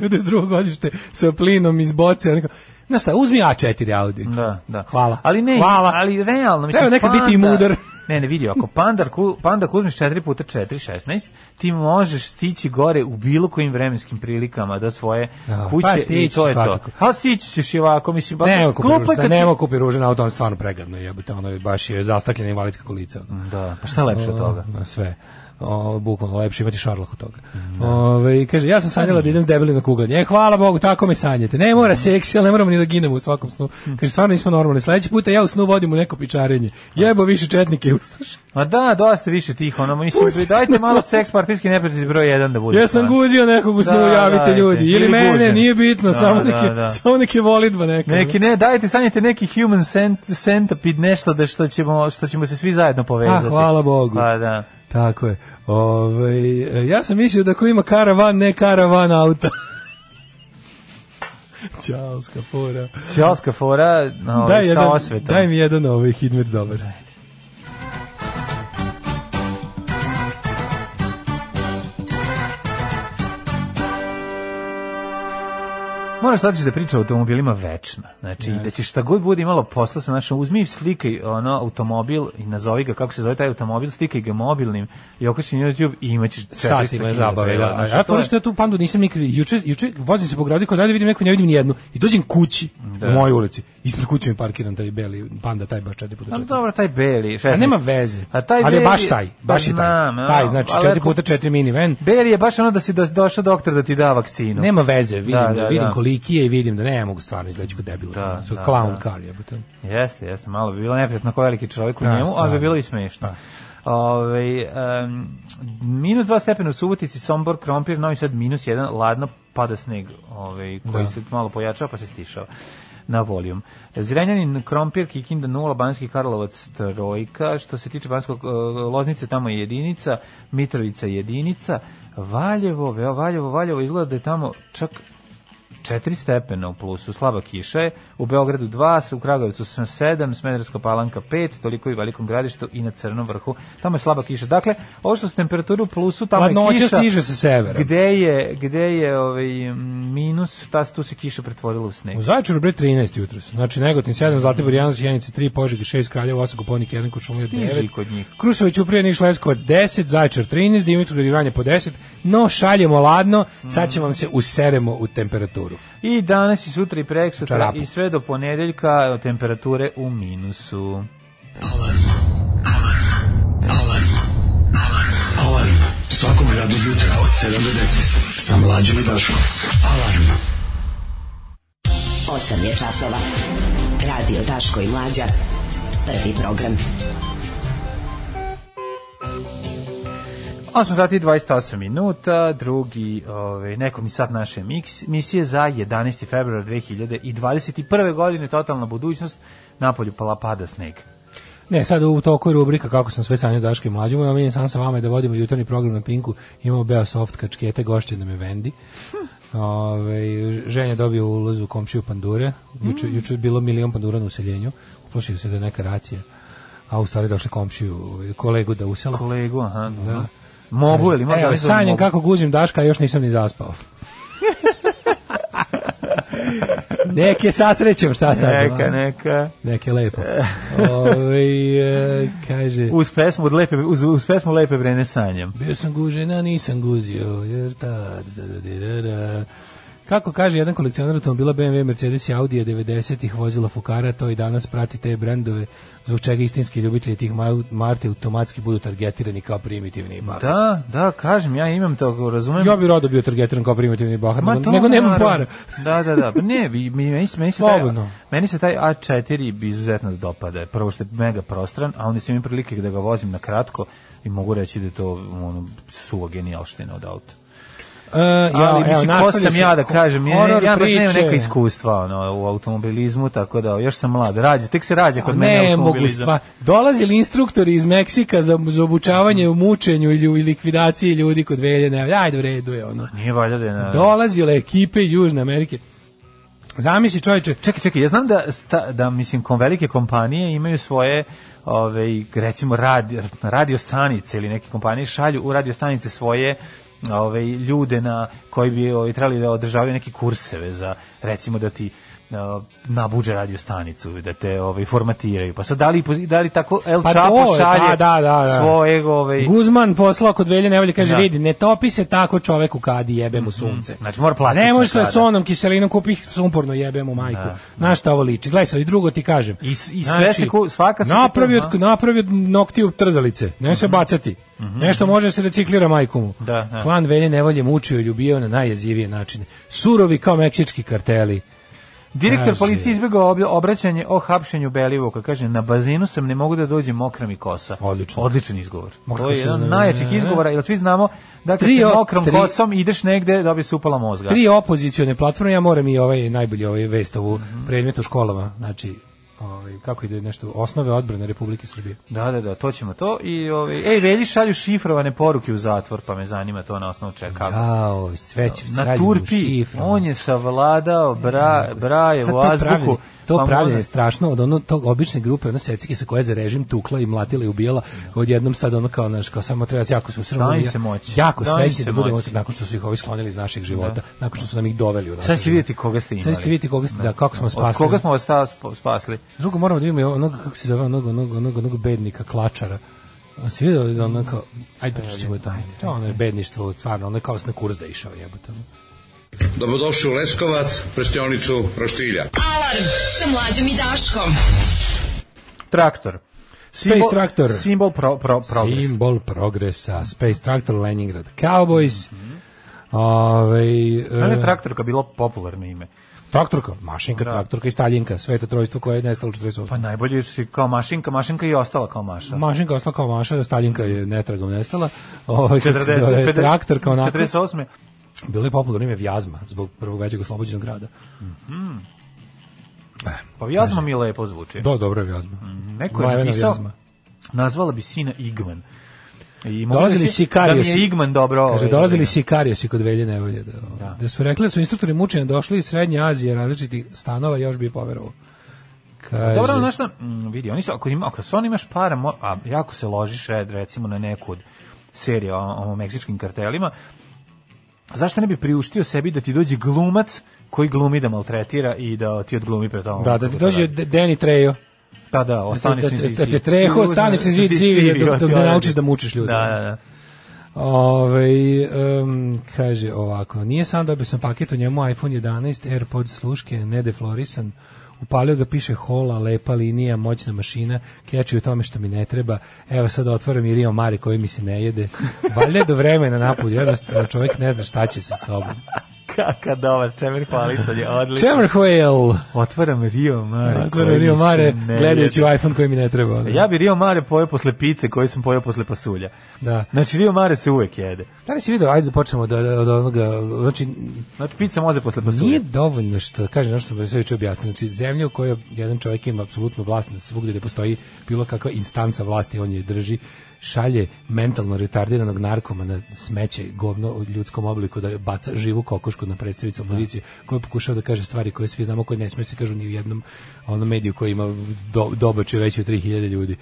ili 92. godište sa plinom iz boce, ono, kao, znaš šta, uzmi A4 Audi.
Da, da.
Hvala.
Ali ne,
Hvala.
ali realno. Mislim,
Treba nekad biti i
panda-
mudar.
(laughs) Ne, ne, vidi, ako pandar, ku- pandak uzmeš 4 puta 4, 16, ti možeš stići gore u bilo kojim vremenskim prilikama do svoje
Da,
kuće
pa
i
stići
to je
svakako.
to. A stići ćeš i ovako, mislim, pa
Ne, kupi
glupo je
ružan, da,
kad si-
nema kupi ružan auto, on je stvarno pregadno jebote, ono je baš je zastakljena invalidska kolica. Ono.
Da, pa šta lepše od toga?
O, sve. O, bukvalno lepše imati šarlah od toga.
Mm, da.
Ove, i kaže, ja sam sanjala da idem s debeli na kuglanje. E, hvala Bogu, tako me sanjate. Ne
Mhm.
mora seksi, ali ne moramo ni da ginemo u svakom snu. Kaže, stvarno nismo normalni. Sledeći puta ja u snu vodim u neko pičarenje.
Da.
Jebo više četnike i ustaše.
Ma da, dosta više tih, ono, mislim,
Pusti
dajte
nas,
malo
ma-
seks partijski neprijatelj broj 1 da bude.
Ja sam
stvarno.
guzio nekog u snu,
Da,
javite
dajte.
ljudi. Ili,
Ili
mene,
gužen.
nije bitno,
Da,
samo,
da,
neke,
da.
samo neke volidba neka.
Neki ne, dajte sanjajte neki human cent, centipede nešto da što ćemo što ćemo se svi zajedno povezati.
A, Ah, hvala Bogu.
Pa da.
Tako je. Ove, e, ja sam mislio da ko ima karavan, ne karavan auta. (laughs) Ćalska fora.
Šalska fora no,
Daj,
Ovaj, sa
jedan,
osvetom.
daj mi jedan ovaj Hidmet dobar.
Moraš sad ćeš da priča o automobilima večno. Znači, da će šta god bude imalo posla sa našom, uzmi i slikaj ono, automobil i nazovi ga kako se zove taj automobil, slikaj ga mobilnim i okači na YouTube i imaćeš 400
Satima je
hiljada
zabave, da.
evra.
A
Znači,
ja
to je-
fora što ja tu pandu nisam nikad, juče, juče vozim se po gradu i kao dalje vidim neku, ne vidim ni jednu. I dođem kući,
Da.
u mojoj ulici. Ispred kuće mi parkiram taj beli panda, taj baš četiri puta
Ali
četiri.
dobro, taj beli. 16.
A nema veze.
A taj
ali je
beli- Pa
baš taj, baš je taj.
Znam, ja.
Taj, znači
Ali
4
ako-
puta 4 minivan.
Beli je baš ono da si do- došao doktor da ti da vakcinu.
Nema veze, vidim,
Da,
da,
da,
vidim
da.
koliki je i vidim da ne, ja mogu stvarno izgledati kod debila.
Da,
Da,
da,
clown
da.
car je. But,
Jeste, jeste, malo bi bilo neprijatno ko veliki čovjek u
Da,
njemu, ali
stvarno.
bi bilo i smešno.
Da.
Ove, um, minus dva stepena u Subotici, Sombor, Krompir, Novi Sad minus jedan, ladno pada sneg ovaj, koji
Da.
se malo pojačao pa se stišao na volijum. Zrenjanin, Krompir, Kikinda 0, Banski Karlovac trojka, što se tiče Banskog, e, Loznice tamo je jedinica, Mitrovica jedinica, Valjevo, veo, Valjevo, Valjevo izgleda da je tamo čak 4 stepena u plusu, slaba kiša je, u Beogradu 2, u Kragovicu sam 7, Smederska palanka 5, toliko i u Velikom gradištu i na Crnom vrhu, tamo je slaba kiša. Dakle, ovo što su temperature u plusu, tamo je
Hladnoća
Pa kiša.
stiže sa severa.
Gde je, gde je ovaj, m, minus, ta, tu se kiša pretvorila u sneg.
U Zaječaru bre 13 jutros. Znači Negotin
Mm.
7, Zlatibor 1, Sjenica 3, Požeg 6, Kraljevo 8, Koponik 1, Kočumlija
Stiže i
9.
kod njih.
Krušević uprije Niš Leskovac 10, Zaječar 13, Dimitrovgrad i Vranje po 10. No šaljemo ladno, sad
Mm.
ćemo vam se useremo u temperaturu.
I danas i sutra i preksutra
Čarapu.
i sve do ponedeljka e, temperature u minusu.
Alarm. Svakog radnog jutra od 7 do 10. Sa mlađom i Daškom. Alarm.
8 je časova. Radio Daško i Mlađa. Prvi program.
8 sati i 28 minuta, drugi, ovaj, nekom i sad naše miks, misije za 11. februar 2021. godine, totalna budućnost, napolju pala pada sneg.
Ne, sad u toku je rubrika kako sam sve sanio Daško i mlađu. Moj omiljen sam sa vama je da vodimo jutarnji program na Pinku. Imamo beo soft kačkete, gošće nam je Vendi. Ove, ženja je dobio ulaz u komšiju pandure. Juče, juče je bilo milion pandura na useljenju. Uplašio se da je neka racija. A u stvari došli komšiju, ovaj, kolegu da usela.
Kolegu, aha. Da. Mogu, ili ima
E, ali
organizovanu
sanjam
mobu?
kako guzim Daška, a još nisam ni
(laughs)
zaspao. Nek je sasrećem, šta sad?
Neka, neka.
Nek je lepo. Ove, e, kaže...
Uz pesmu, od lepe, uz, uz pesmu lepe vrene sanjam.
Bio sam gužen, a nisam guzio, jer ta... Da, da, da, da, da. Kako kaže jedan kolekcionar automobila BMW, Mercedes i Audi 90-ih vozila Fukara, to i danas prati te brendove, zbog čega istinski ljubitelji tih ma- marti automatski budu targetirani kao primitivni i bahati.
Da, da, kažem, ja imam to, razumem.
Ja bi rado bio targetiran kao primitivni bahar,
Ma
nego,
Pa to,
nego nemam
naravno.
para.
Da, da, da. Pa Ne, mi, mi, meni, se, meni, se taj,
Slobodno.
meni se taj A4 bi izuzetno dopada. Prvo što je mega prostran, a onda sam imam prilike da ga vozim na kratko i mogu reći da je to ono, suva genijalština od auta.
E, ja,
ali mislim, ko
nastavlja
sam
se
ja da kažem, ja, ne-
horor
ja baš nemam
priče.
neka iskustva ono, u automobilizmu, tako da još sam mlad, rađa, tek se rađa kod mene
ne mogu
automobilizam.
stvar. Dolazili instruktori iz Meksika za, za obučavanje u mučenju ili u likvidaciji ljudi kod Veljene. Ajde, u redu je ono.
Nije valjda da je na...
Dolazile ekipe iz Južne Amerike. Pa Zamisli čovječe,
Čekaj, čekaj, ja znam da, sta, da mislim, kom velike kompanije imaju svoje ove, recimo radio, radio stanice ili neke kompanije šalju u radio stanice svoje ove, ljude na koji bi ove, trebali da održavaju neke kurseve za recimo da ti e, nabuđe radio stanicu da te ovaj formatiraju pa sad da li da li tako El
Pa
Chapo
to je,
šalje
da, da, da, da.
svoje ovaj
Guzman poslao kod Velje Nevolje, kaže,
Da.
vidi, ne topi se tako čovek u kadi, jebe mu sunce.
znači mora plastično
Ne može sa
sada. Da,
sonom, kiselinom, kupi sumporno, jebe mu majku. Znaš šta ovo liči? Gledaj sad, i drugo ti kažem. Znači,
I s- i sve se ku- svaka se-
napravi
Aha. Mhm.
od, napravi od noktiju trzalice, ne se bacati. Nešto može da se reciklira majku mu.
Da, da.
Klan Velje Nevolje mučio i ljubio na najjezivije načine. Surovi kao meksički karteli.
Direktor
Kaže-
policije izbjegao obja- obraćanje o hapšenju Belivuka. Kaže, na bazinu sam, ne mogu da dođem mokram i kosa.
Odlično.
Odličan izgovor.
Mokra
to je
kosa,
jedan od
da,
najjačih
da.
izgovora, jer svi znamo da kad
Tri
se
o-
mokrom
tri-
kosom ideš negde, dobije se upala mozga.
Tri opozicione platforme, ja moram i ovaj najbolji ovaj vest ovu
Mhm.
predmet u školama, znači ovaj, kako ide nešto, osnove odbrane Republike Srbije.
Da, da, da, to ćemo to. I, ovaj, ej, velji šalju šifrovane poruke u zatvor, pa me zanima to na osnovu čeka.
Kao, sve će
na Turpi, on je savladao bra, braje u azbuku. Pa
to pravljenje je
onda-
strašno od ono tog obične grupe, ona secike sa koje za režim tukla i mlatila i ubijala, odjednom sad ono kao, znaš, kao samo treba jako se usrmo.
Da. Daj im se moći.
Jako
Daj im se
srećni da budemo
moći.
nakon što su ih ovi sklonili iz naših života, nakon što su nam ih doveli u naše
Sad ćete
živote.
vidjeti koga ste imali.
Sad ćete vidjeti koga ste, da, kako smo spasili.
Od koga smo vas ta- sp- spasli?
Drugo moramo da imamo onog kako se zove onog onog onog onog bednika klačara. A si vidio da ono kao, ajde pričat ćemo o tome. To ono je bedništvo, stvarno, ono je kao na kurs da je išao jebote.
Dobrodošli u Leskovac, prštionicu Roštilja.
Alarm sa mlađom i Daškom.
Traktor.
Space Traktor.
Simbol pro, pro, progresa.
Simbol progresa, Space Tractor Leningrad, Cowboys, ovaj, Mhm. e,
Znaš da je traktorka bilo popularno ime?
traktorka, mašinka, traktorka i staljinka, sve to trojstvo koje je nestalo 48.
Pa najbolje su i kao mašinka, mašinka i ostala kao maša.
Mašinka ostala kao maša, da staljinka je netragom nestala. Ovaj, kako se (laughs)
40,
zove,
50,
traktor kao onako.
48.
Bilo je popularno ime Vjazma, zbog prvog većeg oslobođenog grada.
Pa jazma mi lepo zvuči.
Do, Da, dobro je Mhm. Vjazma.
Neko je
Mlajvena
napisao,
Vjazma.
nazvala bi sina Igman. I mogu
Dolazili
reći Da
sikariosi.
mi je Igman dobro.
Kaže,
ovaj,
dolazili sikariosi kod Velje Nevolje. Da, da su rekli da su instruktori mučenja došli iz Srednje Azije različitih stanova, još bi poverovao. Kaže,
Dobro, znaš šta, mm, vidi, oni su, ako, ima, ako stvarno imaš para, mo- a jako se ložiš, red, recimo, na neku od serija o, o meksičkim kartelima, zašto ne bi priuštio sebi da ti dođe glumac koji glumi da maltretira i da ti odglumi pre toga?
da, da ti dođe D- Deni Trejo.
Da, da, ostaniš
Da
na
te-
zid.
da te
zid.
treho,
I uzme-
ostaneš na zid
zid
zivija,
zivija,
dok- dok ne
ti
naučiš
odredi.
da mučiš ljude.
Da, da, da.
Ove, Ovaj, em, kaže ovako, nije sam dobio sam paket u njemu iPhone 11, AirPod sluške, nedeflorisan, upalio ga, piše hola, lepa linija, moćna mašina, keči u tome što mi ne treba, evo sad otvaram i Rio Mare koji mi se ne jede, valjda je do vremena napolju, jednostavno čovjek ne zna šta će sa sobom.
Kaka dobar, čemer
(laughs)
hvalisanje, odlično.
Čemr Whale.
Otvaram Rio Mare.
Otvaram
koji
Rio
mi se
Mare,
ne
gledajući
jebe.
u iPhone koji mi ne treba. ono.
Ja bi Rio Mare pojeo posle pice koju sam pojeo posle pasulja.
Da.
Znači, Rio Mare se uvek jede.
Da li si video, ajde da počnemo od, od onoga, znači,
Znači, pizza može posle pasulja.
nije dovoljno što, kažem, nešto sam sve već objasnio, znači, zemlja u kojoj jedan čovjek ima apsolutno vlast na svugde gde postoji bilo kakva instanca vlasti, on je drži, šalje mentalno retardiranog narkoma na smeće, govno u ljudskom obliku da baca živu kokošku na Da. predstavicu opozicije, koja pokušava da kaže stvari koje svi znamo, koje ne smije se kažu ni u jednom onom mediju koji ima do, dobače veći od 3000 ljudi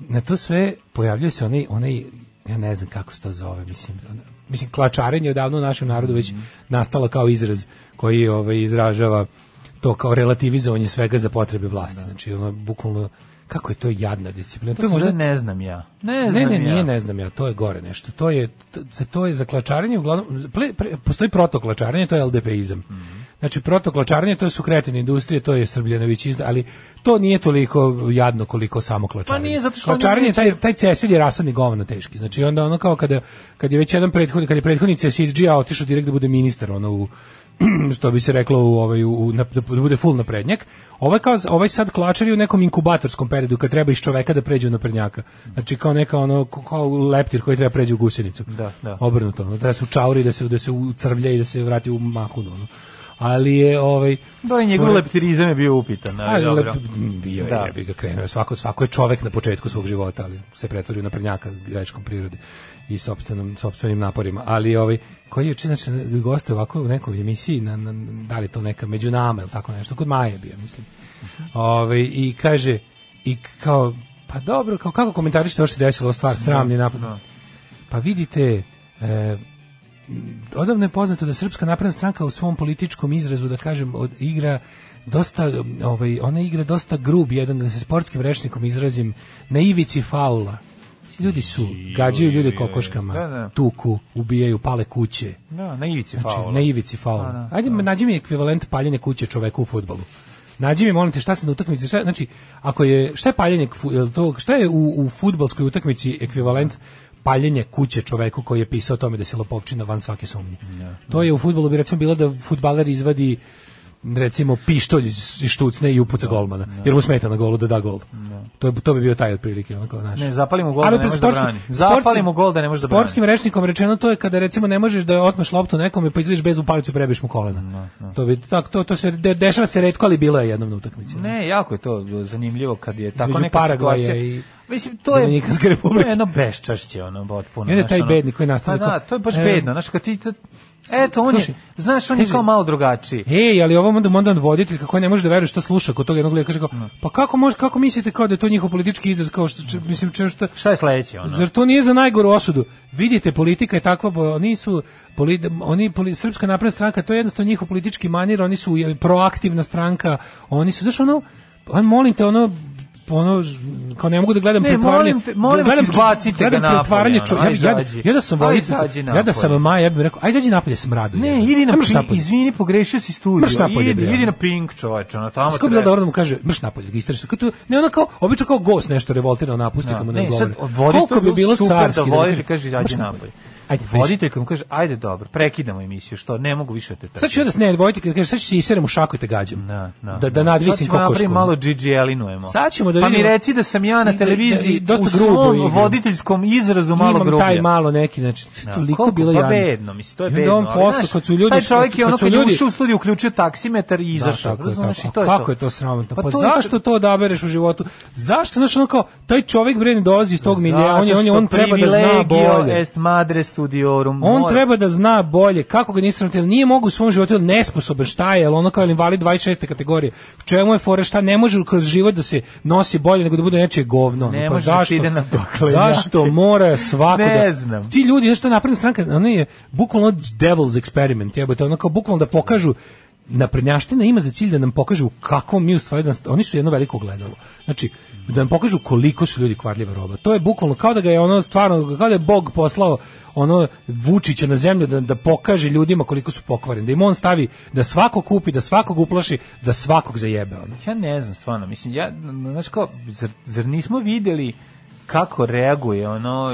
na to sve pojavljuje se onaj, onaj ja ne znam kako se to zove, mislim, ono- mislim klačarenje je odavno u našem narodu
Mhm.
već nastalo kao izraz koji ovaj, izražava to kao relativizovanje svega za potrebe vlasti. Znači, ono, bukvalno, kako je to jadna disciplina.
Da. To možda ne znam ja. Ne znam
Ne, ne,
ja.
nije, ne znam ja, to je gore nešto. To je, to, za to je za klačarenje, uglavnom, za ple- pre- postoji protoklačarenje, to je LDP-izam.
Mhm.
Znači, protoklačarenje, to su kretine industrije, to je Srbljanović izda, ali to nije toliko jadno koliko samo klačarenje.
Pa nije, zato što oni
Klačarenje,
neće-
taj, taj cesilj je rasadni govno teški. Znači, onda ono kao kada, kad je već jedan prethodnik, kad je prethodnik cesilđija otišao direkt da bude ministar, ono u, (clears throat) što bi se reklo u ovaj u, na, da bude full naprednjak. Ovaj kao ovaj sad klačari u nekom inkubatorskom periodu kad treba iz čoveka da pređe u naprednjaka. Znači kao neka ono kao leptir koji treba pređe u gusenicu.
Da, da.
Obrnuto, ono, treba se u čauri da se da se ucrvlja i da se vrati u mahunu. Ono. Ali je ovaj
Dobro, Da, njegov leptirizam je bio upitan, ali
ali
dobro.
lep- bio je,
Da.
da. bi ga krenuo. Svako, svako je čovek na početku svog života, ali se pretvori u naprednjaka greškom prirode i sopstvenom, sopstvenim naporima. Ali ovaj, koji je juče, znači, goste ovako u nekoj emisiji, na, na, da li je to neka među nama ili tako nešto, kod Maje je bio, mislim. Ovaj, I kaže, i k- kao, pa dobro, kao, kako komentarište ovo što se desilo, stvar sramni
Da.
napad. Pa vidite, e, odavno je poznato da Srpska napredna stranka u svom političkom izrazu, da kažem, od igra dosta, um, ovaj, ona igra dosta grub, jedan da se sportskim rečnikom izrazim, na ivici faula. Ljudi su, gađaju ljude
Da, da.
kokoškama, tuku, ubijaju, pale kuće.
Da, na ivici
Znači,
faula.
na ivici
Da,
faula.
da.
Ajde, nađi mi ekvivalent paljenja kuće čoveku u fudbalu. Nađi mi, molim te, šta se na utakmici, šta, znači, ako je, šta je paljenje, fu- jel to, šta je u, u fudbalskoj utakmici ekvivalent paljenje kuće čoveku koji je pisao o tome da se lopovčina van svake sumnje. To je u fudbalu bi recimo bilo da fudbaler izvadi recimo pištolj iz iz štucne i
Da.
upuca golmana, jer mu smeta na golu da da gol. To, je, to bi bio taj otprilike. Onako, znaš.
Ne, zapalimo gol da ne
pred
može da brani. Zapalimo gol da ne može da brani.
Sportskim rečnikom rečeno to je kada recimo ne možeš da otmaš loptu nekome pa izviš bez upalicu i prebiješ mu kolena.
Da,
To bi tak to to se de, dešava se retko, ali bilo je jednom na utakmici.
Ne, jako je to zanimljivo kad je tako
Između
neka
Paragvaja
situacija.
i
Mislim, to je,
Dominikanske
to
republike.
je jedno beščašće, ono, potpuno.
I onda
znaš,
taj
ono.
bednik koji nastane
Pa
kao,
da, to je baš
e,
bedno, znaš, kad ti to... Eto, on je,
slušaj,
znaš, on je
kaže-
kao malo drugačiji.
Ej, ali ovom onda onda voditelj kako ne može da veruje što sluša kod tog jednog lika kaže kao, pa kako može kako mislite kao da je to njihov politički izraz kao što če- mislim če, što
Šta je sledeće, ono?
Zar to nije za najgoru osudu? Vidite, politika je takva, bo- oni su, poli, oni, poli, srpska napredna stranka, to je jednostavno njihov politički manir, oni su je, proaktivna stranka, oni su, znaš, ono, aj, molim te, ono, ono, kao ne mogu da gledam
Ne,
pretvaranje. da
molim te- molim vas, izbacite
gledam
ga napolje,
pretvaranje
ono,
čo-
aj,
ja, bi- ja,
izađi.
ja da sam
Aj,
voditelj,
izađi
ja da sam
napolje.
Maja, ja bih rekao, aj izađi napolje smradu.
Ne,
jebote.
idi na
Ajmo šta
Pink,
napolje.
izvini, pogrešio si studio.
Mrš napolje,
idi,
bre,
idi
ono.
na Pink, čoveče, ono, tamo
Kako bi bilo dobro da mu kaže, mrš napolje, ga istraži. Kako to- ne ona kao, obično kao gost nešto revoltirano napusti kad mu Da, ne
Da. Ne,
odgovori.
sad voditelj
Koliko bi bilo
super
carski
da
mu
voditelj kaže
"Mrš
izađi napolje.
Ajde, vodi.
Voditelj mu kaže, ajde dobro, prekidamo emisiju, što ne mogu više te trpim.
Sad ću ja da se ne odvojiti, kada kažeš, sad ću se iserem u šaku i te gađam.
Da, da,
da, da nadvisim
Sad ćemo
kokošku.
napraviti malo GGL-inujemo.
Sad ćemo da
Pa mi
vidimo-
reci da sam ja
I
na
da-
televiziji
i dosta
u
grubo
svom
igram.
voditeljskom izrazu malo
Imam
grublje.
taj malo neki, znači, toliko
koliko?
bilo
pa
jadno.
bedno, mislim, to je
I onda
bedno.
on
ali,
posle,
znaš,
kad su ljudi-
taj čovjek je
kad
ono
su
kad je
ljudi-
ušao u studiju, uključio taksimetar i
Da,
izašao.
tako je,
Znaš,
tako.
i to
A
to.
kako je to sramotno? Pa,
to je-
zašto to odabereš u životu? Zašto, znaš, ono kao, taj čovjek bre ne dolazi iz tog milija, on, je, on, je, on
Zato
treba da
što
zna
privilegio
bolje.
Est madre studiorum.
On
Mora-
treba da zna bolje kako ga nisam tijel, nije mogu u svom životu, ili nesposoban, šta je, jel ono kao ili invalid 26. kategorije, u čemu je fora, šta ne može kroz život da se nosi bolje nego da bude nečije govno. ono,
Ne
pa
može da se
zašto,
ide na poklenjake.
zašto mora svako
Ne
da-
znam.
Ti ljudi, znaš što je napredna stranka, ono je bukvalno devil's experiment, jebote, ono kao bukvalno da pokažu naprednjaština ima za cilj da nam pokažu kako mi u stvari, da- oni su jedno veliko gledalo. Znači, da nam pokažu koliko su ljudi kvarljiva roba. To je bukvalno kao da ga je ono stvarno, kao da je Bog poslao ono Vučića na zemlju da, da pokaže ljudima koliko su pokvareni, da im on stavi da svako kupi, da svakog uplaši, da svakog zajebe. Ono.
Ja ne znam stvarno, mislim ja znaš kao zar, zar nismo videli kako reaguje ono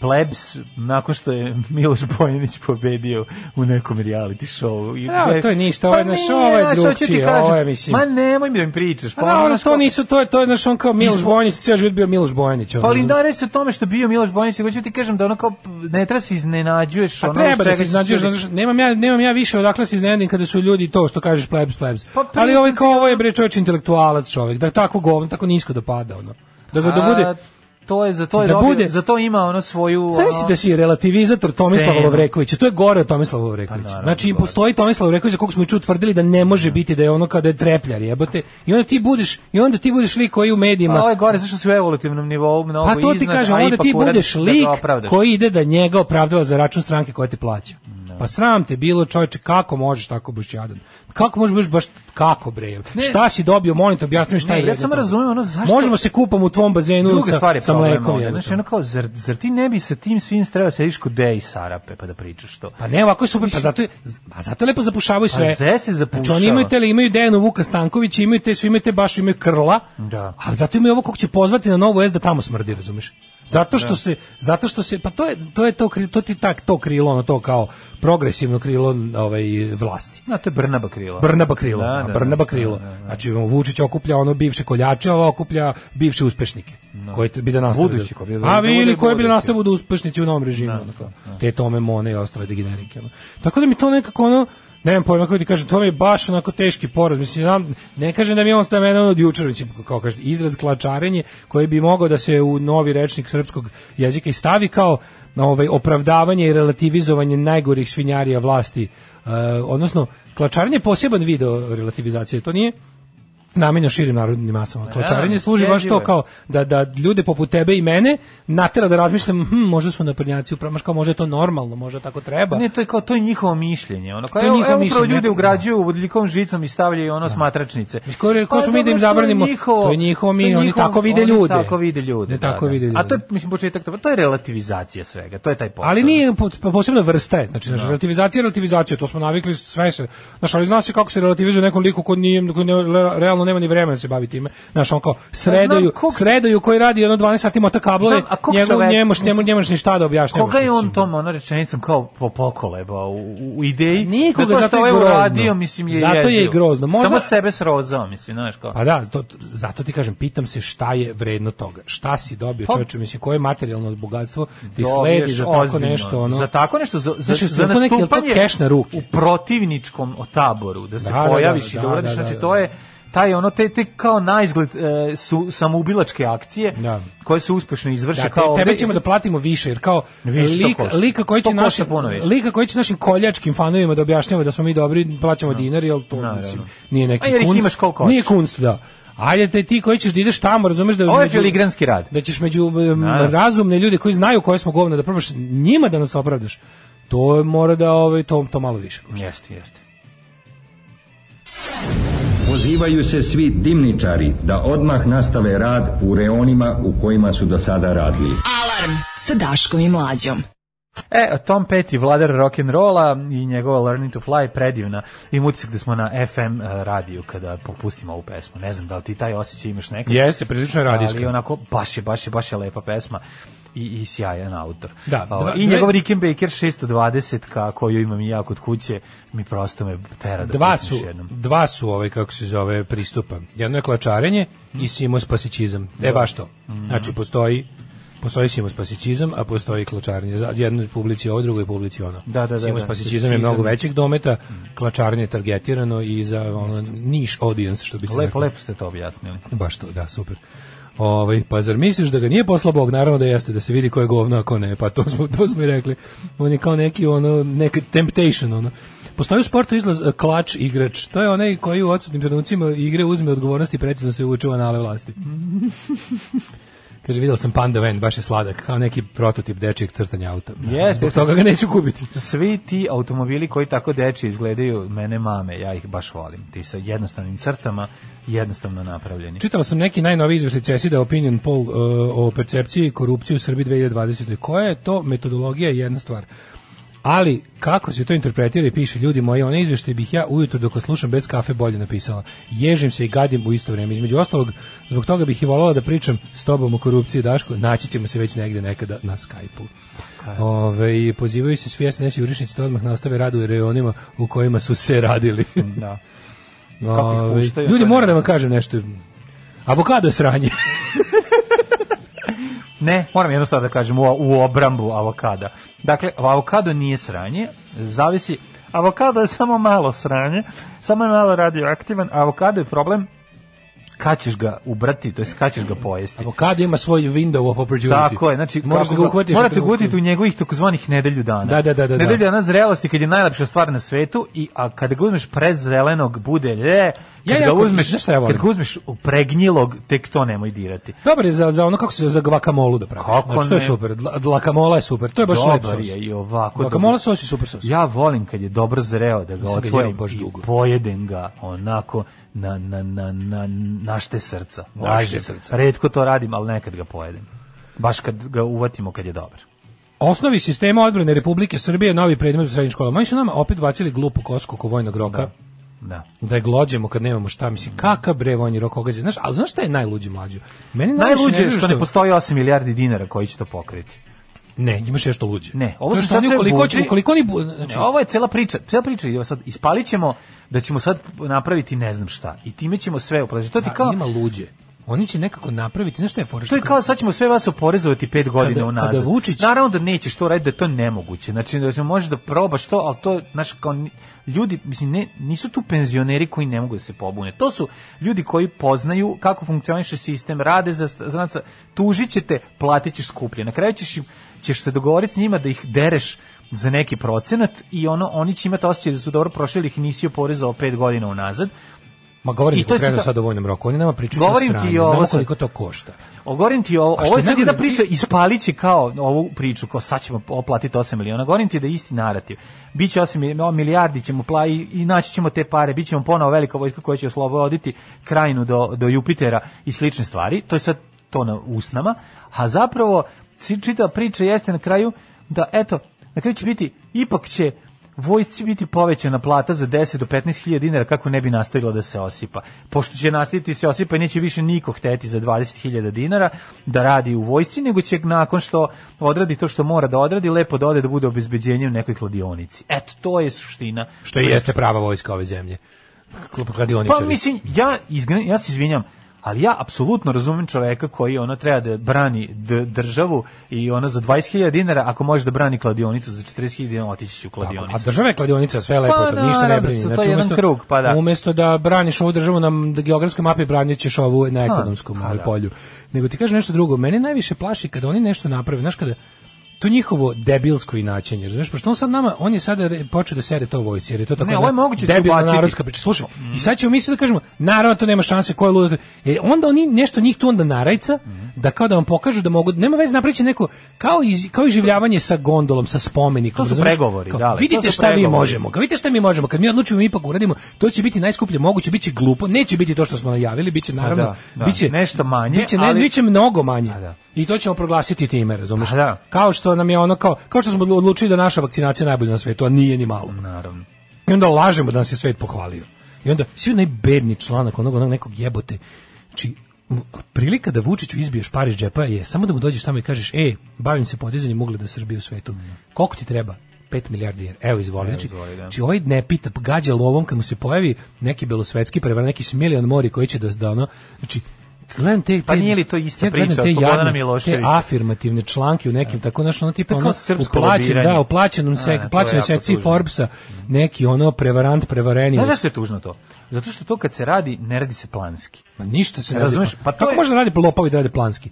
plebs nakon što je Miloš Bojanić pobedio u nekom reality show. I
Ja,
gde-
Pa
Pa
to je ništa, ovo je naš- ovo je
znaš, hoću ti
drugčije,
kažem,
ovo je, mislim.
Ma nemoj mi da mi pričaš.
Pa, ono,
znaš,
to
ko-
nisu, to je, to je, znaš, on kao Miloš Bojanić, cijel život bio Miloš Bojanić. ono,
Pa ali
razumeš?
da se o tome što bio Miloš Bojanić, nego ću ti kažem da ono kao ne treba se iznenađuješ.
Pa
ono,
treba da
čega si
se iznađuješ,
sve-
zato što nemam ja, nemam ja više odakle se iznenadim kada su ljudi to što kažeš plebs, plebs.
Pa
Ali ovaj
pričam
kao
ti,
ovo je bre čovjek intelektualac čovjek, da tako govno, tako nisko da pada ono. Da ga da bude,
A, to je za to je
da
dobio-
bude-
za to ima ono svoju
Sve misli da si relativizator Tomislava
Cenu.
Lovrekovića. To je gore od Tomislava Lovrekovića.
naravno,
znači, im
gore.
postoji Tomislav Lovreković za kog smo juče utvrdili da ne može biti da je ono kada je trepljar, jebote. I onda ti budeš, i onda ti budeš lik koji u
A
medijima
ovo je gore zašto su u evolutivnom nivou mnogo
Pa to ti
iznad,
kažem,
a
onda
ipak
ti
uradiš
budeš
da ga
lik
opravdaš.
koji ide da njega opravdava za račun stranke koja te plaća.
Da.
Pa sram te bilo, čoveče, kako možeš tako baš jadan? Kako možeš baš baš kako bre? Šta si dobio, molim te objasni mi šta
Ne,
je.
ja
vredno
sam
toga.
razumeo ono zašto-
Možemo se kupamo u tvom bazenu
Druga stvar
sa,
je
sa
problem
mlekom.
ovdje,
jebote.
Znači, ono kao, zar, zar ti ne bi sa tim svim trebao sediš kod Deja i Sarape pa da pričaš to?
Pa ne, ovako je super, pa zato, je- a zato lepo zapušavaju sve.
sve se zapušava.
Znači oni imaju tele, imaju Dejanu Vuka Stankovića, imaju te, svi imaju te, baš imaju krla,
Da.
ali zato imaju ovo kog će pozvati na novu S da tamo smrdi, razumeš? Zato
Da.
što se, zato što se, pa to je to, je to, kri- to ti tak, to krilo, ono to kao progresivno krilo ovaj, vlasti.
Na, to je Brnaba krilo.
Brnaba krilo,
Da,
da,
da,
Brnaba
da,
krilo.
da, da.
Znači Vučić okuplja ono bivše koljače, a ovo okuplja bivše uspešnike. Koji te- bi da nastave.
Budući ko bi-
a vi
bude
ili koji bi da
budući. Da,
nastave budu uspešnici u novom režimu, ono kao. Te tome mone i ostale degenerike, ono. Tako da mi to nekako ono Nemam pojma kako ti kažem, to mi je baš onako teški poraz. Mislim, znam, ne kažem da mi je on stavljeno od jučer, mislim, kao kaže, izraz klačarenje koji bi mogao da se u novi rečnik srpskog jezika i stavi kao na ovaj opravdavanje i relativizovanje najgorih svinjarija vlasti. E, odnosno, klačarenje je poseban video relativizacije, to nije namenjeno širim narodnim masama. Klačarenje
da,
služi baš
jezivo
to
je.
kao da, da ljude poput tebe i mene natera da razmišljam, hm, možda su naprnjaci upravo, kao možda je to normalno, možda tako treba.
Ne, to je kao to je njihovo mišljenje. Ono kao
To je
evo,
njihovo
evo upravo
mišljenje. Da.
ljude ugrađuju vodljikom žicom i stavljaju ono smatračnice.
Ko, ko
Pa
smo
dobro,
mi da im
to je
zabranimo?
njihovo-
to je njihovo mi,
to je
oni
njihovo-
tako vide
oni
ljude.
Tako vide ljude.
Ne,
da,
tako
da.
vide ljude.
A to je mislim početak toga, to je relativizacija svega, to Da. je taj posao.
Ali nije po- po- posebna vrsta, je. znači znaš, relativizacija je relativizacija, to smo navikli sve se. Znaš, ali zna se kako se relativizuje nekom liku ko nije ko ne, le- realno nema ni vremena da se bavi time. Znaš, on kao sredaju,
kog-
sredaju koji radi ono 12 sati mota kablove,
Znam, a kog
njegov
čoveka-
njemoš, njemu
mislim,
njemoš ni šta da objašnjavaš.
Koga je on
mislim.
tom ono rečenicom kao po pokoleba u, u ideji?
Nikoga,
da to
Pa
što
zato je
ovaj
grozno.
uradio, mislim, je
Zato je
jezivo.
grozno. Možda-
Samo sebe srozao, mislim, znaš kao.
Pa da, to, zato ti kažem, pitam se šta je vredno toga. Šta si dobio,
Pa-
čoveče, mislim, koje materijalno bogatstvo ti
Dobiješ
sledi za tako
ozbiljno.
nešto, ono.
Za tako nešto, za, za,
Znaš,
za
je to neki- je li to
nastupanje
keš na ruke?
u protivničkom taboru, da se
Da, da,
pojaviš
da,
i da
da,
uradiš,
da, da,
znači
da.
to je taj ono te te kao naizgled e, su samoubilačke akcije
Da.
koje se uspešno izvrše
Da, te,
kao
tebe
ovde-
ćemo da platimo više, jer kao
Više, to
lika,
košta.
lika koji
To
će
košta
našim,
puno više.
lika koji će našim koljačkim fanovima da objašnjava da smo mi dobri, plaćamo dinar, jel to
Naravno.
mislim, nije neki
A jer ih
kunst.
imaš koliko
Nije
hoćeš.
kunst, da. Ajde te ti koji ćeš da ideš tamo, razumeš da...
Ovo je
među-
filigranski rad.
Da ćeš među um,
Naravno.
razumne ljude koji znaju koje smo govna da probaš njima da nas opravdaš. To je mora da ovaj to to malo više. košta.
Jeste, jeste.
Pozivaju se svi dimničari da odmah nastave rad u reonima u kojima su do sada radili.
Alarm sa Daškom i Mlađom.
E, Tom Petty, vladar rock'n'rolla i njegova Learning to Fly predivna. Im utisak da smo na FM e, radiju kada popustimo ovu pesmu. Ne znam da li ti taj osjećaj imaš nekad.
Jeste, prilično je radijska.
Ali onako, baš je, baš je, baš je lepa pesma i, i sjajan autor.
Da,
Ovo,
dva-
I
dve-
njegov Rickenbacker 620 ka, koju imam i ja kod kuće, mi prosto me tera da
dva
pustim
su,
još jednom.
dva su ovaj, kako se zove, pristupa. Jedno je klačarenje i simospasićizam. E, baš to.
Mhm.
Znači, postoji postoji simospasićizam, a postoji klačarenje. Za- Jedno je publici ovo, drugo je publici ono.
Da, da, da, Mhm. da.
Simospasićizam je mnogo većeg dometa, klačarenje je targetirano i za ono, niš audience, što bi se
Lepo,
reklo.
lepo ste to objasnili.
Baš to, da, super. Ovaj, pa zar misliš da ga nije poslao Bog? Naravno da jeste, da se vidi ko je govno, a ko ne. Pa to smo, to smo i rekli. On je kao neki, ono, neki temptation, ono. Postoji u sportu izlaz e, klač igrač. To je onaj koji u odsutnim trenucima igre uzme odgovornost i precizno se uvuče u anale vlasti. Kaže, vidjel sam Panda Van, baš je sladak, kao neki prototip dečijeg crtanja auta.
Jeste,
Da, Zbog
jeste.
toga ga neću kupiti.
Svi ti automobili koji tako deči izgledaju mene mame, ja ih baš volim. Ti sa jednostavnim crtama, jednostavno napravljeni.
Čitala sam neki najnoviji izveštaj CESI da je opinion poll e, o percepciji korupcije u Srbiji 2020. Koja je to metodologija je jedna stvar. Ali, kako se to interpretira i piše, ljudi moji, one izveštaje bih ja ujutro dok slušam bez kafe bolje napisala. Ježim se i gadim u isto vrijeme. Između ostalog, zbog toga bih i voljela da pričam s tobom o korupciji, Daško. Naći ćemo se već negde nekada na Skype-u. Ove, i pozivaju se svi SNS jurišnici da odmah nastave rad u reonima u kojima su se radili.
(laughs)
(laughs)
Da. Kako ih
Ove,
puštaju,
ljudi,
to ne
moram da
znam.
vam kažem nešto. Avokado je
(laughs)
sranje.
Ne, moram jedno sad da kažem u, u obrambu avokada. Dakle, avokado nije sranje, zavisi, avokado je samo malo sranje, samo je malo radioaktivan, avokado je problem kad ćeš ga ubrati, to jest kad ćeš ga pojesti.
Avokado ima svoj window of opportunity.
Tako je, znači
moraš
kako
da ga uhvatiš. u
morate
trenutku.
gutiti u njegovih takozvanih nedelju dana.
Da, da, da, da, da.
Nedelju dana zrelosti kad je najlepša stvar na svetu i a kada ga uzmeš prezelenog bude lje, kad
Ja
ga
jako-
uzmeš,
znaš šta ja volim?
kad ga uzmeš u pregnjilog, tek to nemoj dirati.
Dobar je za, za ono kako se zove, za guacamolu da praviš.
Kako
znači, to je
ne?
super. Dla- Guacamola je super. To je baš lep
Dobar
sos.
je i ovako.
Guacamola
dobar.
sos je super sos.
Ja volim kad je dobro zreo da ga
Nisam ga
otvorim
jeo baš
i
dugo.
pojedem ga onako na, na, na, na, našte srca.
Našte
Ajde,
srca.
Redko to radim, ali nekad ga pojedem. Baš kad ga uvatimo kad je dobar.
Osnovi sistema odbrane Republike Srbije, novi predmet u srednjim školama. Oni su nama opet bacili glupu kosku oko vojnog roka.
Da.
Da. je glođemo kad nemamo šta, mislim, kakav bre vojni rok ogazi. Znaš, ali znaš šta je najluđe mlađo? Meni najviše
Najluđe je
nervira
što ne postoji 8 milijardi dinara koji će to pokriti.
Ne, imaš još što luđe.
Ne, ovo
Znaš
su
šta,
sad
oni
sve
koliko
budri-
će, koliko oni, bu- znači,
Ne, ovo je cela priča, cela priča je sad ispalit ćemo da ćemo sad napraviti ne znam šta i time ćemo sve oporezovati. To ti
a,
kao
Da, ima luđe. Oni će nekako napraviti, znaš šta je fora?
Što je kao sad ćemo sve vas oporezovati 5 godina
da Kada-
unazad.
kada Vučić-
Naravno da nećeš to raditi, da je to nemoguće. Znači da se možeš da probaš to, ali to znaš kao ni- ljudi, mislim ne, nisu tu penzioneri koji ne mogu da se pobune. To su ljudi koji poznaju kako funkcioniše sistem, rade za znači tužićete, platićeš skuplje. Na kraju ćeš im- ćeš se dogovoriti s njima da ih dereš za neki procenat i ono oni će imati osjećaj da su dobro prošli ili ih nisi oporezovao 5 godina unazad.
Ma govorim
I
ti
to je
konkretno
sad-
sad o vojnom roku. Oni nama pričaju
Govorim
o sranju.
ti i ovo
Znamo
sad-
koliko to košta.
Ogorim ti ovo,
A što
ovo je
je
sad
nego
jedna
da ti-
priča, ispalit će kao ovu priču, kao sad ćemo oplatiti 8 miliona, govorim ti da je isti narativ. Biće 8 mil- no, milijardi ćemo pla i, i naći ćemo te pare, bit ćemo ponovo velika vojska koja će osloboditi krajinu do, do Jupitera i slične stvari, to je sad to na usnama, a zapravo ci- čitava priča jeste na kraju da eto, na kraju će biti, ipak će vojsci biti povećana plata za 10 do 15 hiljada dinara kako ne bi nastavila da se osipa. Pošto će nastaviti da se osipa i neće više niko hteti za 20 hiljada dinara da radi u vojsci, nego će nakon što odradi to što mora da odradi, lepo da ode da bude obezbeđenje u nekoj kladionici. Eto, to je suština.
Što i jeste prava vojska ove zemlje. Klub kladioničari.
Pa mislim, ja, izgre- ja se izvinjam, ali ja apsolutno razumem čoveka koji ona treba da brani d- državu i ona za 20.000 dinara, ako može da brani kladionicu za 40.000 dinara, otići će u
Tako,
kladionicu.
A država je kladionica, sve je lepo,
Pa,
je to, ništa ne
naravno,
brini.
to je jedan
umjesto-
krug, pa da.
Umjesto da braniš ovu državu na m- da geografskoj mapi, branit ćeš ovu na ekonomskom
pa
ovaj
da.
polju. Nego ti kažem nešto drugo, mene najviše plaši kada oni nešto naprave, znaš kada to njihovo debilsko inačenje, znaš, pošto on sad nama, on je sada re- počeo da sere to u vojci, jer je to tako
Ne, ovo je moguće da
debilna
ubaciti. Mhm.
narodska priča. Slušaj, i sad ćemo mi sad da kažemo, naravno to nema šanse, ko je ludak. E, onda oni nešto njih tu onda narajca,
Mhm.
da kao da vam pokažu da mogu, nema veze napriči neko, kao, iz, kao iživljavanje sa gondolom, sa spomenikom.
To su
razumeš?
pregovori,
Kao,
dale, to
Vidite
su
šta mi
pregovori.
možemo, Kao, vidite šta mi možemo, kad mi odlučimo i ipak uradimo, to će biti najskuplje moguće, biće glupo, neće biti to što smo najavili, biće naravno,
da, da.
biće
Nešto manje,
biće, ne,
ali-
biće mnogo manje.
A da.
I to ćemo proglasiti time, razumeš?
A da.
Kao što nam je ono kao kao što smo odlučili da je naša vakcinacija najbolja na svetu, a nije ni malo.
Naravno.
I onda lažemo da nas je svet pohvalio. I onda svi onaj bedni članak onog, onog nekog jebote. Znači, m- prilika da Vučiću izbiješ par iz džepa je samo da mu dođeš tamo i kažeš e, bavim se podizanjem ugleda Srbije u svetu. Koliko ti treba? 5 milijardi jer evo izvoli. Znači,
izvoli, da.
znači, ovaj ne pita, gađa lovom kad mu se pojavi neki belosvetski prevar, neki smiljan mori koji će da, da ono, znači, gledam te,
Pa
te-
nije li to ista
ja gledam
priča od
te
Slobodana
jadne,
Miloševića? Da.
Te afirmativne članke u nekim, tako znaš, ono tipa
To je
ono,
kao srpsko
u plaćen-
lobiranje.
da, u plaćenom
A,
sek,
to je
plaćenoj
jako
sekciji
tužno.
Forbesa, neki ono prevarant, prevareni.
Znaš da zašto je tužno to? Zato što to kad se radi, ne radi se planski.
Ma ništa se ne
Razumeš?
radi.
Pa to
Pa Kako
je-
može da radi lopovi da rade planski?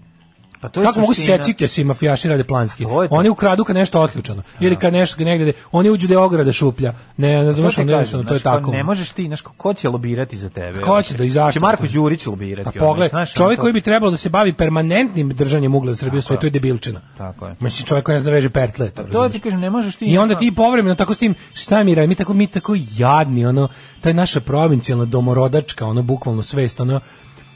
Pa to je
Kako mogu
suština.
secike da se i mafijaši rade planski?
To je to.
Oni ukradu kad nešto otključano. Ili kad nešto negde, oni uđu da je ograda šuplja. Ne, ne
Pa To
znam
ti
što,
kažem,
to je
znaš, kao
tako.
Ne možeš ti, znaš, kao, ko će lobirati za tebe?
Ko će da i zašto?
Će Marko
To je-
Đurić lobirati.
Pa
da ono,
pogled,
znaš,
čovjek
ono,
koji bi trebalo da se bavi permanentnim držanjem ugleda Srbije u svetu je debilčina.
Tako je. Pa
Mislim, čovjek koji ne zna da veže pertle. to
To
razumeš?
ti kažem, ne možeš ti...
I onda ti povremeno tako s tim šta mi radimo, mi tako mi tako jadni ono taj naša provincijalna domorodačka ono bukvalno svest ono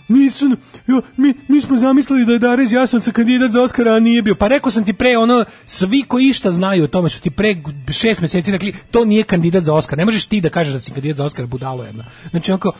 nisu, jo, mi, mi smo zamislili da je Darez Jasonca kandidat za Oscara, a nije bio. Pa rekao sam ti pre, ono, svi koji išta znaju o tome su ti pre šest meseci rekli, to nije kandidat za Oscar. Ne možeš ti da kažeš da si kandidat za Oscar, budalo jedna. Znači, onako,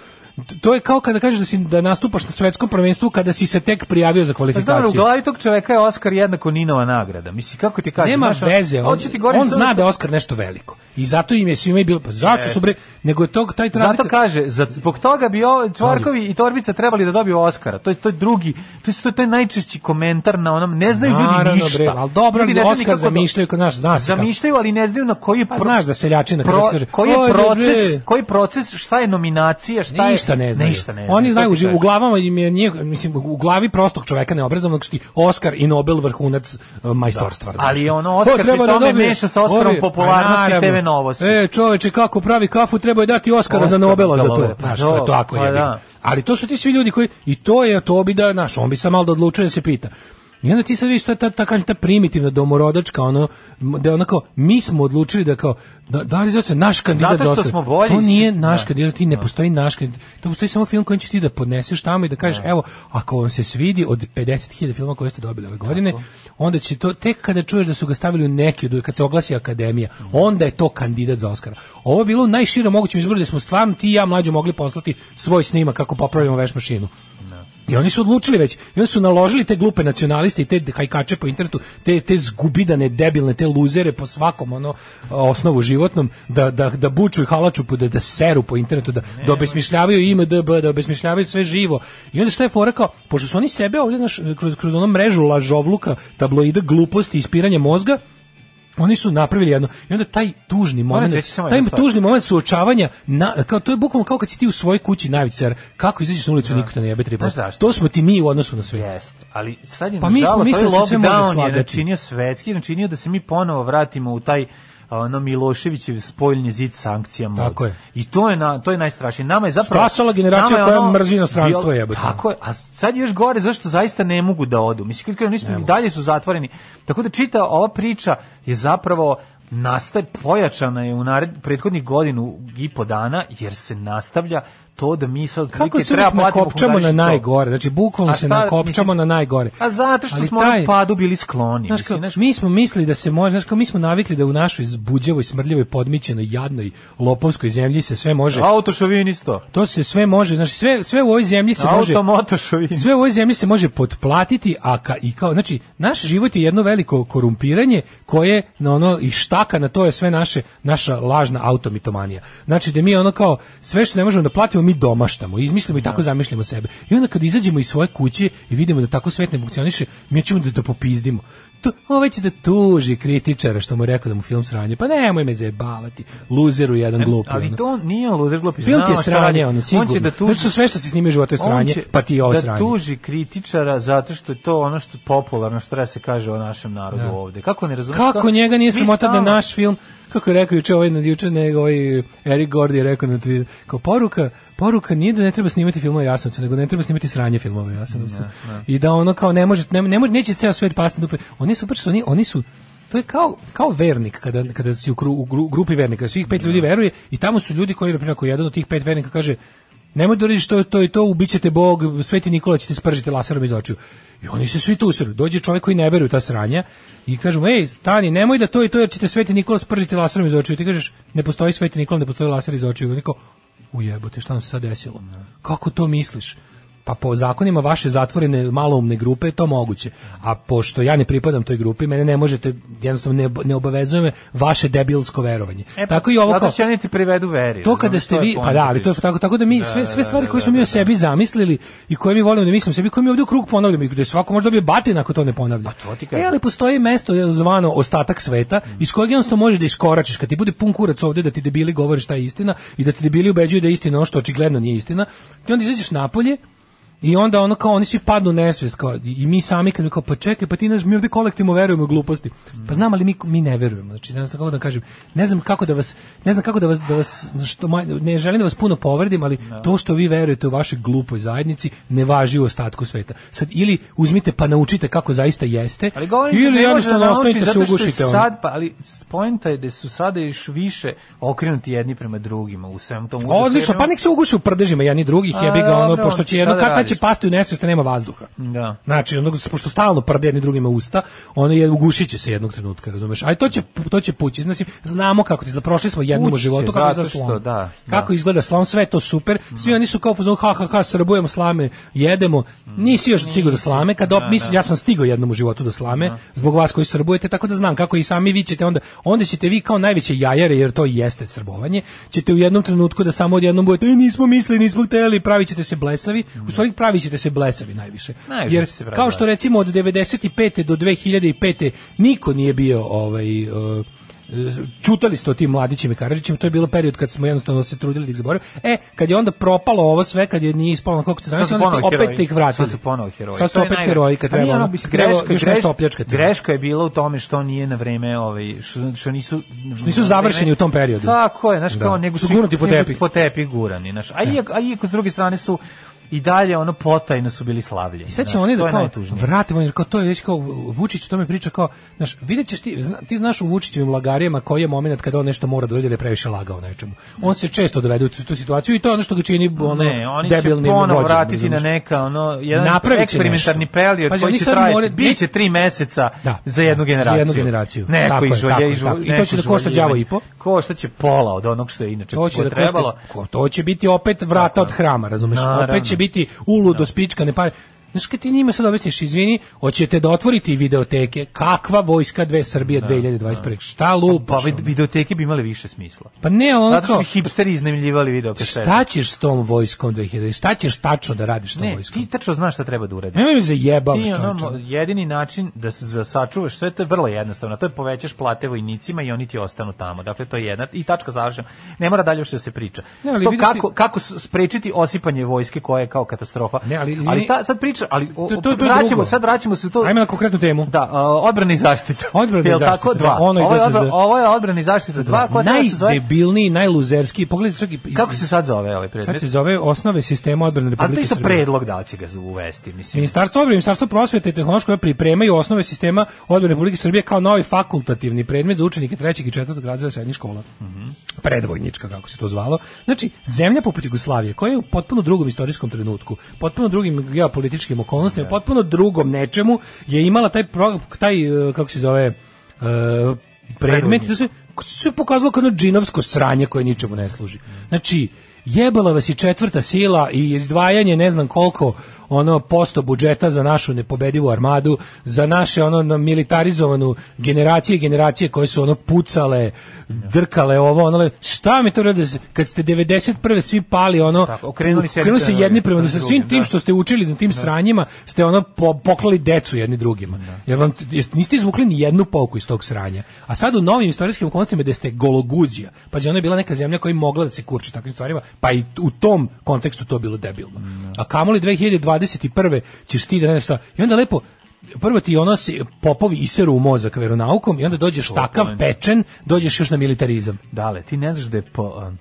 to je kao kada kažeš da si da nastupaš na svetskom prvenstvu kada si se tek prijavio za
Pa Znam, u
kvalifikaciju.
glavi tog čoveka je Oskar jednako Ninova nagrada. Misli, kako ti kažem?
Nema
znaš,
veze, on,
hoću ti govorim
on
samo
zna
što-
da je Oskar nešto veliko. I zato im je svima i bilo, pa zašto su bre, nego je tog, taj
E. Zato
razlika-
kaže, za, zbog toga bi o, Čvarkovi i Torbica trebali da dobiju Oskara. To je to je drugi, to je to, je- to je najčešći komentar na onom, ne znaju
Naravno,
ljudi ništa.
bre, ali dobro,
Ljudi
ali
ne znaju
Oskar
nikako do-
zamišljaju, kao, znaš, zna se kako.
Zamišljaju, ali ne znaju na koji
Pa znaš da seljačina
pro-
kada se kaže,
koji je
"Ajde,
proces,
bre."
koji proces, šta je nominacija, šta je
ništa ne znaju.
Ništa ne
Oni znaju,
to
u
ti
živ- u
kažem.
glavama im je njih, mislim, u glavi prostog čoveka neobrazovanog su ti Oskar i Nobel vrhunac uh, majstorstva. razumeš?
Da. Ali ono,
Ko
Oskar
treba
pri
da
tome
dobije-
meša sa Oskarom
Ovi-
popularnosti
Pa, naravno.
TV Novosti.
E, čoveče, kako pravi kafu, treba je dati Oskara za
Oskar,
Nobela za
da,
to.
dobro.
Znaš, to je
Pa,
tako
da.
je. Ali to su ti svi ljudi koji, i to je, to bi da, znaš, on bi sam malo da odlučuje da se pita. I onda ti sad vidiš ta, ta, ta, kažem, ta primitivna domorodačka, ono, m- da je onako, mi smo odlučili da kao, da, da li zato se naš kandidat
Zato što
za Oskar-
smo bolji,
to nije
si-
naš
da.
kandidat, ti ne postoji naš kandidat. To postoji samo film koji ćeš ti da podneseš tamo i da kažeš, evo, ako vam se svidi od 50.000 filma koje ste dobili ove godine, onda će to, tek kada čuješ da su ga stavili u neki, od- kad se oglasi akademija,
Da.
onda je to kandidat za Oscara. Ovo je bilo u najširom mogućem izboru da smo stvarno ti i ja mlađo mogli poslati svoj snimak kako popravljamo veš mašinu. I oni su odlučili već, i oni su naložili te glupe nacionaliste i te hajkače po internetu, te, te zgubidane, debilne, te luzere po svakom ono osnovu životnom, da, da, da buču i halaču, po- da, da seru po internetu, da, da obesmišljavaju IMDB, da obesmišljavaju sve živo. I onda šta je fora kao, pošto su oni sebe ovdje, znaš, kroz, kroz onu mrežu lažovluka, tabloida, gluposti, ispiranja mozga, oni su napravili jedno i onda taj tužni moment
ti reći samo
taj
jednu stvar.
tužni moment suočavanja na, kao to je bukvalno kao kad si ti u svojoj kući navicar kako izađeš na ulicu niko te ne jebe tri puta.
Znaš Da. Pa zašto?
to smo ti mi u odnosu na svet
Jeste, ali sad je
Pa
pa
mi smo
nažalost,
mislili
taj
da se sve može
lockdown je
svagati.
načinio svetski, načinio da se mi ponovo vratimo u taj ono Miloševićev spoljni zid sankcija mod.
Tako je.
I to je na to je najstrašnije. Nama je zapravo
Stasala generacija
nama je
koja mrzi inostranstvo,
bio-
jebote.
Tako je. A sad je još gore zašto zaista ne mogu da odu. Mislim kad kažem, nismo i dalje su zatvoreni. Tako da čita ova priča je zapravo nastaje pojačana je u nared, prethodnih godinu i po dana jer se nastavlja to da mi sad
kako
otprilike
se
treba
uvijek
platimo
nakopčamo na
fugarišcu.
najgore znači bukvalno
A
se
šta,
nakopčamo
mislim,
na najgore
A zato što
Ali
smo
taj- pa-
onom padu bili skloni.
Znaš,
mislim,
kao,
znaš,
mi smo mislili da se može, znaš, kao, mi smo navikli da u našoj zbuđavoj, smrdljivoj, podmićenoj, jadnoj, lopovskoj zemlji se sve može.
Da. Autošovinisto.
To se sve može, znači sve sve u ovoj zemlji se može.
Automotošovinisto.
sve u ovoj zemlji se može potplatiti, a ka, i kao, znači, naš život je jedno veliko korumpiranje koje na ono i štaka na to je sve naše naša lažna automitomanija. Znači da mi ono kao sve što ne možemo da platimo mi domaštamo, izmislimo i
Da.
tako zamišljamo sebe. I onda kad izađemo iz svoje kuće i vidimo da tako svet ne funkcioniše, mi ćemo da, da popizdimo. To, ovaj će da tuži kritičara što mu je rekao da mu film sranje. Pa nemoj me zajebavati. Luzeru jedan glupi.
Ali
ono.
to nije on luzer glupi.
Film ti je
znao šta
sranje,
radi.
ono, sigurno.
On će da tuži,
Zato što sve što si snimio u životu je sranje,
on će
pa ti je ovo
da
sranje.
tuži kritičara zato što je to ono što je popularno, što treba se kaže o našem narodu ovde. Kako ne razumeš?
Da. Kako njega nije
Mi
smota da
stalno-
naš film, kako je rekao juče ovaj na juče nego ovaj Eric Gordy je rekao na Twitteru, kao poruka, poruka nije da ne treba snimati filmove o Jasenovcu, nego da ne treba snimati sranje filmove o Jasenovcu. I da ono kao ne može, ne, ne može, neće ceo svet pasti dupe. Oni su baš oni, oni su To je kao, kao vernik, kada, kada si u, kru- u gru- grupi vernika, svih
Da.
pet ljudi veruje i tamo su ljudi koji, na primjer, ako jedan od tih pet vernika kaže nemoj da uradiš to, i to i to, ubićete Bog, Sveti Nikola će te spržiti laserom iz očiju. I oni se svi tu sru. Dođe čovjek koji ne veruje u ta sranja i kaže mu, ej, stani, nemoj da to i to, jer će te Sveti Nikola spržiti laserom iz očiju. Ti kažeš, ne postoji Sveti Nikola, ne postoji laser iz očiju. I Oni kao, ujebote, šta nam se sad desilo? Kako to misliš? Pa po zakonima vaše zatvorene maloumne grupe je to moguće. A pošto ja ne pripadam toj grupi, mene ne možete, jednostavno ne, ne obavezuje me vaše debilsko verovanje.
E,
Tako i ovo
zato
kao...
će oni ti privedu veri.
To
razumeš,
kada ste
je
vi, pa
poenta
da, ali to je
priče.
tako, tako da mi sve, sve stvari koje smo mi o sebi zamislili i koje mi volimo da mislimo o sebi, koje mi ovdje u krug ponavljamo i gde svako može dobije batin ako to ne ponavlja.
to ti
e,
kažem.
ali postoji mesto je zvano ostatak sveta iz kojeg jednostavno možeš da iskoračiš. Kad ti bude pun kurac ovdje da ti debili govore šta je istina i da ti debili ubeđuju da je istina ono što očigledno nije istina, ti onda izađeš napolje i onda ono kao oni svi padnu u nesvest kao, i i mi sami kad kao pa čekaj pa ti znaš mi ovdje kolektivno verujemo u gluposti. Pa znam ali mi mi ne verujemo. Znači ne znam kako da kažem. Ne znam kako da vas ne znam kako da vas da vas što manje- ne želim da vas puno povredim, ali to što vi verujete u vašoj glupoj zajednici ne važi u ostatku sveta. Sad ili uzmite pa naučite kako zaista jeste
Ali govorim ti,
ili
ne može da
jednostavno
nauči,
ostanite se
zato što je
ugušite. ono.
Sad, pa, ali poenta je da su sada još više okrenuti jedni prema drugima u svemu tom.
Odlično, pa nek se uguši u prdežima jedni drugih, jebi ga ono,
dobro,
pošto će
šta
jedno,
da
kad tad će pasti u nesvijest, nema vazduha.
Da.
Znači, onda, pošto stalno prde jedni drugima usta, ono je ugušit će se jednog trenutka, razumeš? A to će, to će pući. Znači, znamo kako ti izgleda. Prošli smo jednom u
Pući će,
životu kako izgleda
zato
slon.
što, da,
kako
da.
izgleda slon, sve je to super.
Mhm.
Svi oni su kao fuzon, ha, ha, ha, srbujemo slame, jedemo.
Mhm.
Nisi još stigao do slame. Kad
Da,
op, mislim, ja sam stigao jednom u životu do slame, zbog vas koji srbujete, tako da znam kako i sami vi ćete onda, onda ćete vi kao najveće jajare, jer to i jeste srbovanje, ćete u jednom trenutku da samo odjednom budete, "E, nismo mislili, nismo hteli, pravit ćete se blesavi, u stvari pravit ćete se blesavi najviše.
Mhm. Najviše
jer,
se pravi
kao što
blesavi.
recimo od 95. do 2005. niko nije bio ovaj e, čutali ste o tim mladićima i Karadžićima, to je bilo period kad smo jednostavno se trudili da ih zaboravimo. E, kad je onda propalo ovo sve, kad je nije ispalo na koliko ste
Sad su
zamislili, onda ste,
ponovo
opet
heroji.
ste ih vratili.
Sad su ponovo heroji.
Sad su
To je
opet
najgore.
heroji kad
Pa nije
treba,
ono,
ono,
mislim,
kad treba
greška-
još nešto
greš-
opljačkati.
Greška je bila u tome što nije na vreme, ovaj, što, što nisu... Što
nisu završeni u tom periodu.
Tako je, znaš,
Da.
kao nego
Su gurnuti po
nego
tepih. Da.
Po tepih gurani, znaš. A, iako, a iako s druge strane su i dalje ono potajno su bili slavljeni.
I sad će
znaš,
oni
to
da
je
kao
najtužnije.
vratimo, jer kao to je već kao Vučić o tome priča kao, znaš, vidjet ćeš ti, zna- ti znaš u Vučićevim lagarijama koji je moment kada on nešto mora da uradi da je previše lagao nečemu. On se često dovede u tu tu situaciju i to je ono što ga čini ono,
ne, oni će
debilnim
ponovo
vođom,
vratiti na
razumeš?
neka ono jedan
Napravit će
eksperimentarni
nešto.
period
Pazi,
koji
oni
će
sad
trajati
moraju-
biće tri meseca
Da.
za jednu
Za jednu
generaciju.
generaciju.
Neko
Tako je,
izvolje-
tako je,
izvo-
tako je. I to
neko
će da košta
izvoljivanje.
đavo i po.
Koštaće pola od onog što je inače
To će da košta-
trebalo.
ko- to će biti opet vrata od hrama, razumeš?
Naravno. Da.
Opet će biti uludo spičkane pare. Znaš, kad ti njima sad objasniš, izvini, hoćete da otvorite i videoteke, kakva vojska dve Srbije 2021. Šta
Da, Pa
lupaš?
vid-
ono?
videoteke bi imale više smisla.
Pa ne, ono
Zato što
kao,
bi hipsteri iznemljivali video kasete.
šta ćeš s tom vojskom 2000? Šta ćeš tačno da radiš s tom
Ne,
vojskom?
ti tačno znaš šta treba da uradiš.
Nemoj mi zajebavaš
Ti ono, mo-
čovječe.
jedini način da se za- sačuvaš sve to je vrlo jednostavno. To je povećaš plate vojnicima i oni ti ostanu tamo. Dakle to je jedna i tačka završena. Ne mora dalje što se priča.
Ne, ali
to
vidiš
kako kako s- sprečiti osipanje vojske koja je kao katastrofa.
Ne, ali izvini-
ta sad priča, ali o,
To- to- to je
vraćamo
drugo.
sad vraćamo se to
Ajme na konkretnu temu.
Da, a, odbrana i zaštita.
Odbrana i
Jel tako
zaštita, da,
dva.
ono i
ovo, je
DSZ.
odbra- ovo je odbrana i zaštita dva, koja treba da se zove
Najdebilniji, najluzerski, pogledaj čak i... iz-
Kako se sad zove ovaj
Sad se
predmet?
zove osnove sistema odbrane
Ali to je
Republike
isto
Srbije.
predlog da li će ga uvesti, mislim.
Ministarstvo odbrane, i Ministarstvo prosvete i tehnološkog razvoja pripremaju osnove sistema odbrane Republike Srbije kao novi fakultativni predmet za učenike trećeg i četvrtog razreda srednjih škola. Predvojnička kako se to zvalo. Znači, zemlja poput Jugoslavije koja je u potpuno drugom istorijskom trenutku, potpuno drugim geopolitičkim okolnostima, potpuno drugom nečemu je imala taj pro- taj e, kako se zove e, predmet da se se pokazalo kao jedno džinovsko sranje koje ničemu ne služi. Znači, jebala vas i četvrta sila i izdvajanje ne znam koliko ono posto budžeta za našu nepobedivu armadu, za naše ono na- militarizovanu generacije i generacije koje su ono pucale, drkale ovo, ono le- šta mi to rade kad ste 91. svi pali ono
Tako, okrenuli se jedni
okrenuli
prema
jedni prema
drugim,
sa
prema
svim
drugim,
tim
da.
što ste učili na tim sranjima, ste ono po, poklali decu jedni drugima.
Da.
Jer vam jest, niste izvukli ni jednu pouku iz tog sranja. A sad u novim istorijskim okolnostima gde ste gologuzija, pa je ona je bila neka zemlja koja je mogla da se kurči takvim stvarima, pa i u tom kontekstu to bilo debilno.
Da.
A kamoli 2021. ćeš ti da ne znaš šta. I onda lepo prvo ti ono se popovi iseru u mozak veronaukom i onda dođeš takav
je.
pečen, dođeš još na militarizam.
Dale, ti ne znaš da je po, um,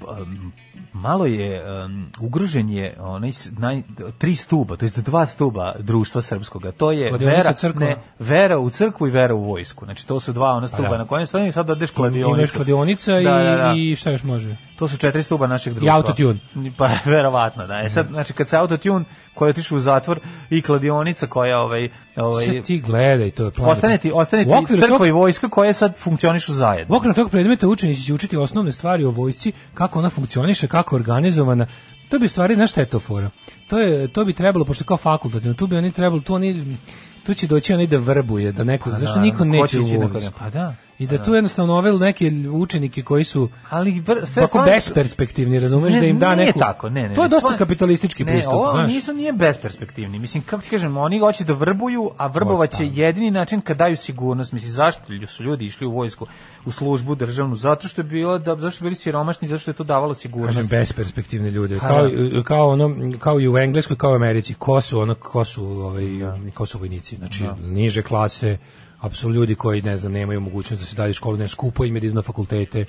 po, um, malo je um, ugrožen je onaj s- naj, tri stuba, to jest dva stuba društva srpskog. a To je
Kladionica
vera,
crkva.
ne, vera u crkvu i vera u vojsku. Znači to su dva ona stuba
da.
na kojem stojim i sad odeš
Imaš
kladionicu.
kladionica i,
Da, da, da.
i šta još može?
To su četiri stuba našeg društva.
autotune. Mhm.
Pa, (laughs) verovatno, da. E sad, znači, kad se autotune koja je otišla u zatvor i kladionica koja, ovaj, ovaj,
Sad ti gledaj, to je plan.
ostane ti, ostane ti
U okviru
crkva
tog-
i vojska koje sad funkcionišu zajedno.
U okviru tog predmeta učenici će učiti osnovne stvari o vojsci, kako ona funkcioniše, kako je organizovana. To bi u stvari, znaš šta je to fora? To, je, to bi trebalo, pošto je kao fakultativno, tu bi oni trebalo, tu oni, tu će doći oni da vrbuje, da neko, zašto
Pa naravno,
niko
ko
neće
će
u
ići na
vojsku?
kod- pa da,
I da tu jednostavno ove neke učenike koji su
Ali vr- sve
Tako
stvari-
besperspektivni, razumeš,
Ne,
da im da
nije
neku-
tako, ne, ne.
To je
ne,
dosta
stvar-
kapitalistički
ne,
pristup,
ovo
znaš.
nisu nije besperspektivni. Mislim kako ti kažem, oni hoće da vrbuju, a vrbovaće jedini način kad daju sigurnost. Mislim zašto su ljudi išli u vojsku, u službu državnu zato što je bilo da zašto su bili siromašni, zašto je to davalo sigurnost.
Kažem besperspektivne ljude.
Pa
Kao kao ono kao i u Engleskoj, kao i u Americi, ko su ono ko su ovaj ko su vojnici, znači niže klase, apsolutno ljudi koji ne znam nemaju mogućnost da se dalje školu, ne skupo im je da idu na da fakultete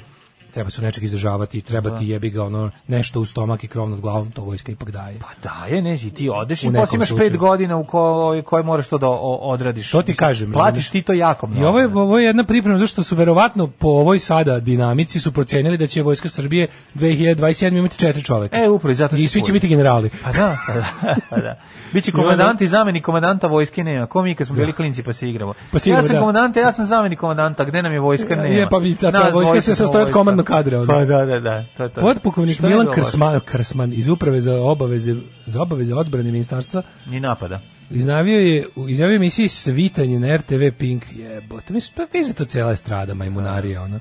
treba se nečeg izdržavati, treba ti jebi ga ono nešto u stomak i krov nad glavom, to vojska ipak daje.
Pa daje, ne, i ti odeš i
U nekom
posle imaš
slučaju.
pet godina u kojoj koje moraš to da o- odradiš.
To ti
Mislim,
kažem,
Platiš
razumeš?
ti to jako
I
mnogo.
ovo je,
ne.
ovo je jedna priprema, zašto su verovatno po ovoj sada dinamici su procenili da će vojska Srbije 2027 imati četiri čoveka.
E, upravo, i zato
I
se
svi će
čuje.
biti generali.
Pa da, pa da, pa da. Biće komandant i zamenik komandanta vojske nema. Ko mi kad smo bili klinci pa se igramo.
Da. Pa se igramo,
ja sam
da.
komandant, ja sam zamenik komandanta, gde nam je vojska nema.
(laughs) Je, pa bi- ta- ta
Nas
vojska
dvojica
se
smo
sastoji od
vojska.
komandnog kadra, ono.
Pa da, da, da. To, to.
Potpukovnik
Šta je
Milan
ovo?
Krsman, Krsman iz uprave za obaveze za obaveze odbrane ministarstva
Ni napada.
Iznavio je, u- izjavio je emisiji Svitanje na RTV Pink. Jebote, mislim, pa viže to cijela estrada,
Da.
majmunarija, ono.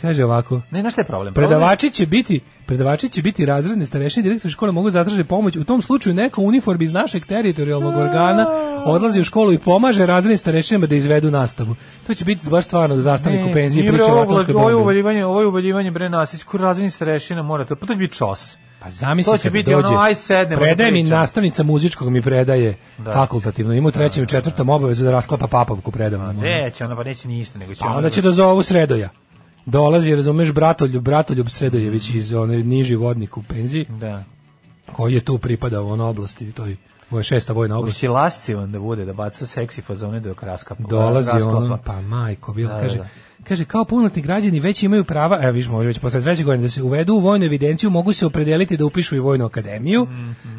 Kaže ovako,
Ne, znaš šta je problem? Problem je-
predavači će biti, predavači će biti razredni starešini direktor škole mogu zatražiti pomoć. U tom slučaju neko u uniformi iz našeg
Da.
teritorijalnog organa odlazi u školu i pomaže razrednim starešinama da izvedu nastavu. To će biti baš stvarno da zastavnik u penziji
nije, bre,
priča o
ovo
atomskoj
vla- Ovo je
bombi.
uvaljivanje, ovo je uvaljivanje bre Nasić, ko razini starešina mora to, pa to će biti čos.
Pa zamisli
To će
kad
biti
dođe.
ono, Da. aj sednemo da
Predaje mi
pričamo.
nastavnica muzičkog mi predaje fakultativno. Ima u trećem i četvrtom obavezu da rasklapa papavku predavno.
Neće, ona pa neće ništa, nego će
A
ona
Mhm. onda
da-
će da zovu Sredoja. Dolazi, razumeš, Bratoljub, Bratoljub Sredojević iz onaj niži vodnik u penziji,
Da.
koji je tu pripadao on oblasti, toj ovo je šesta vojna
U
oblast.
silasci onda bude da baca seksi fazone dok raskapa.
Dolazi
rasklapa.
on, pa majko, bilo,
Da, da,
kaže,
da.
kaže, kao punoletni građani već imaju prava, evo viš može već posle trećeg godine, da se uvedu u vojnu evidenciju, mogu se opredeliti da upišu i vojnu akademiju,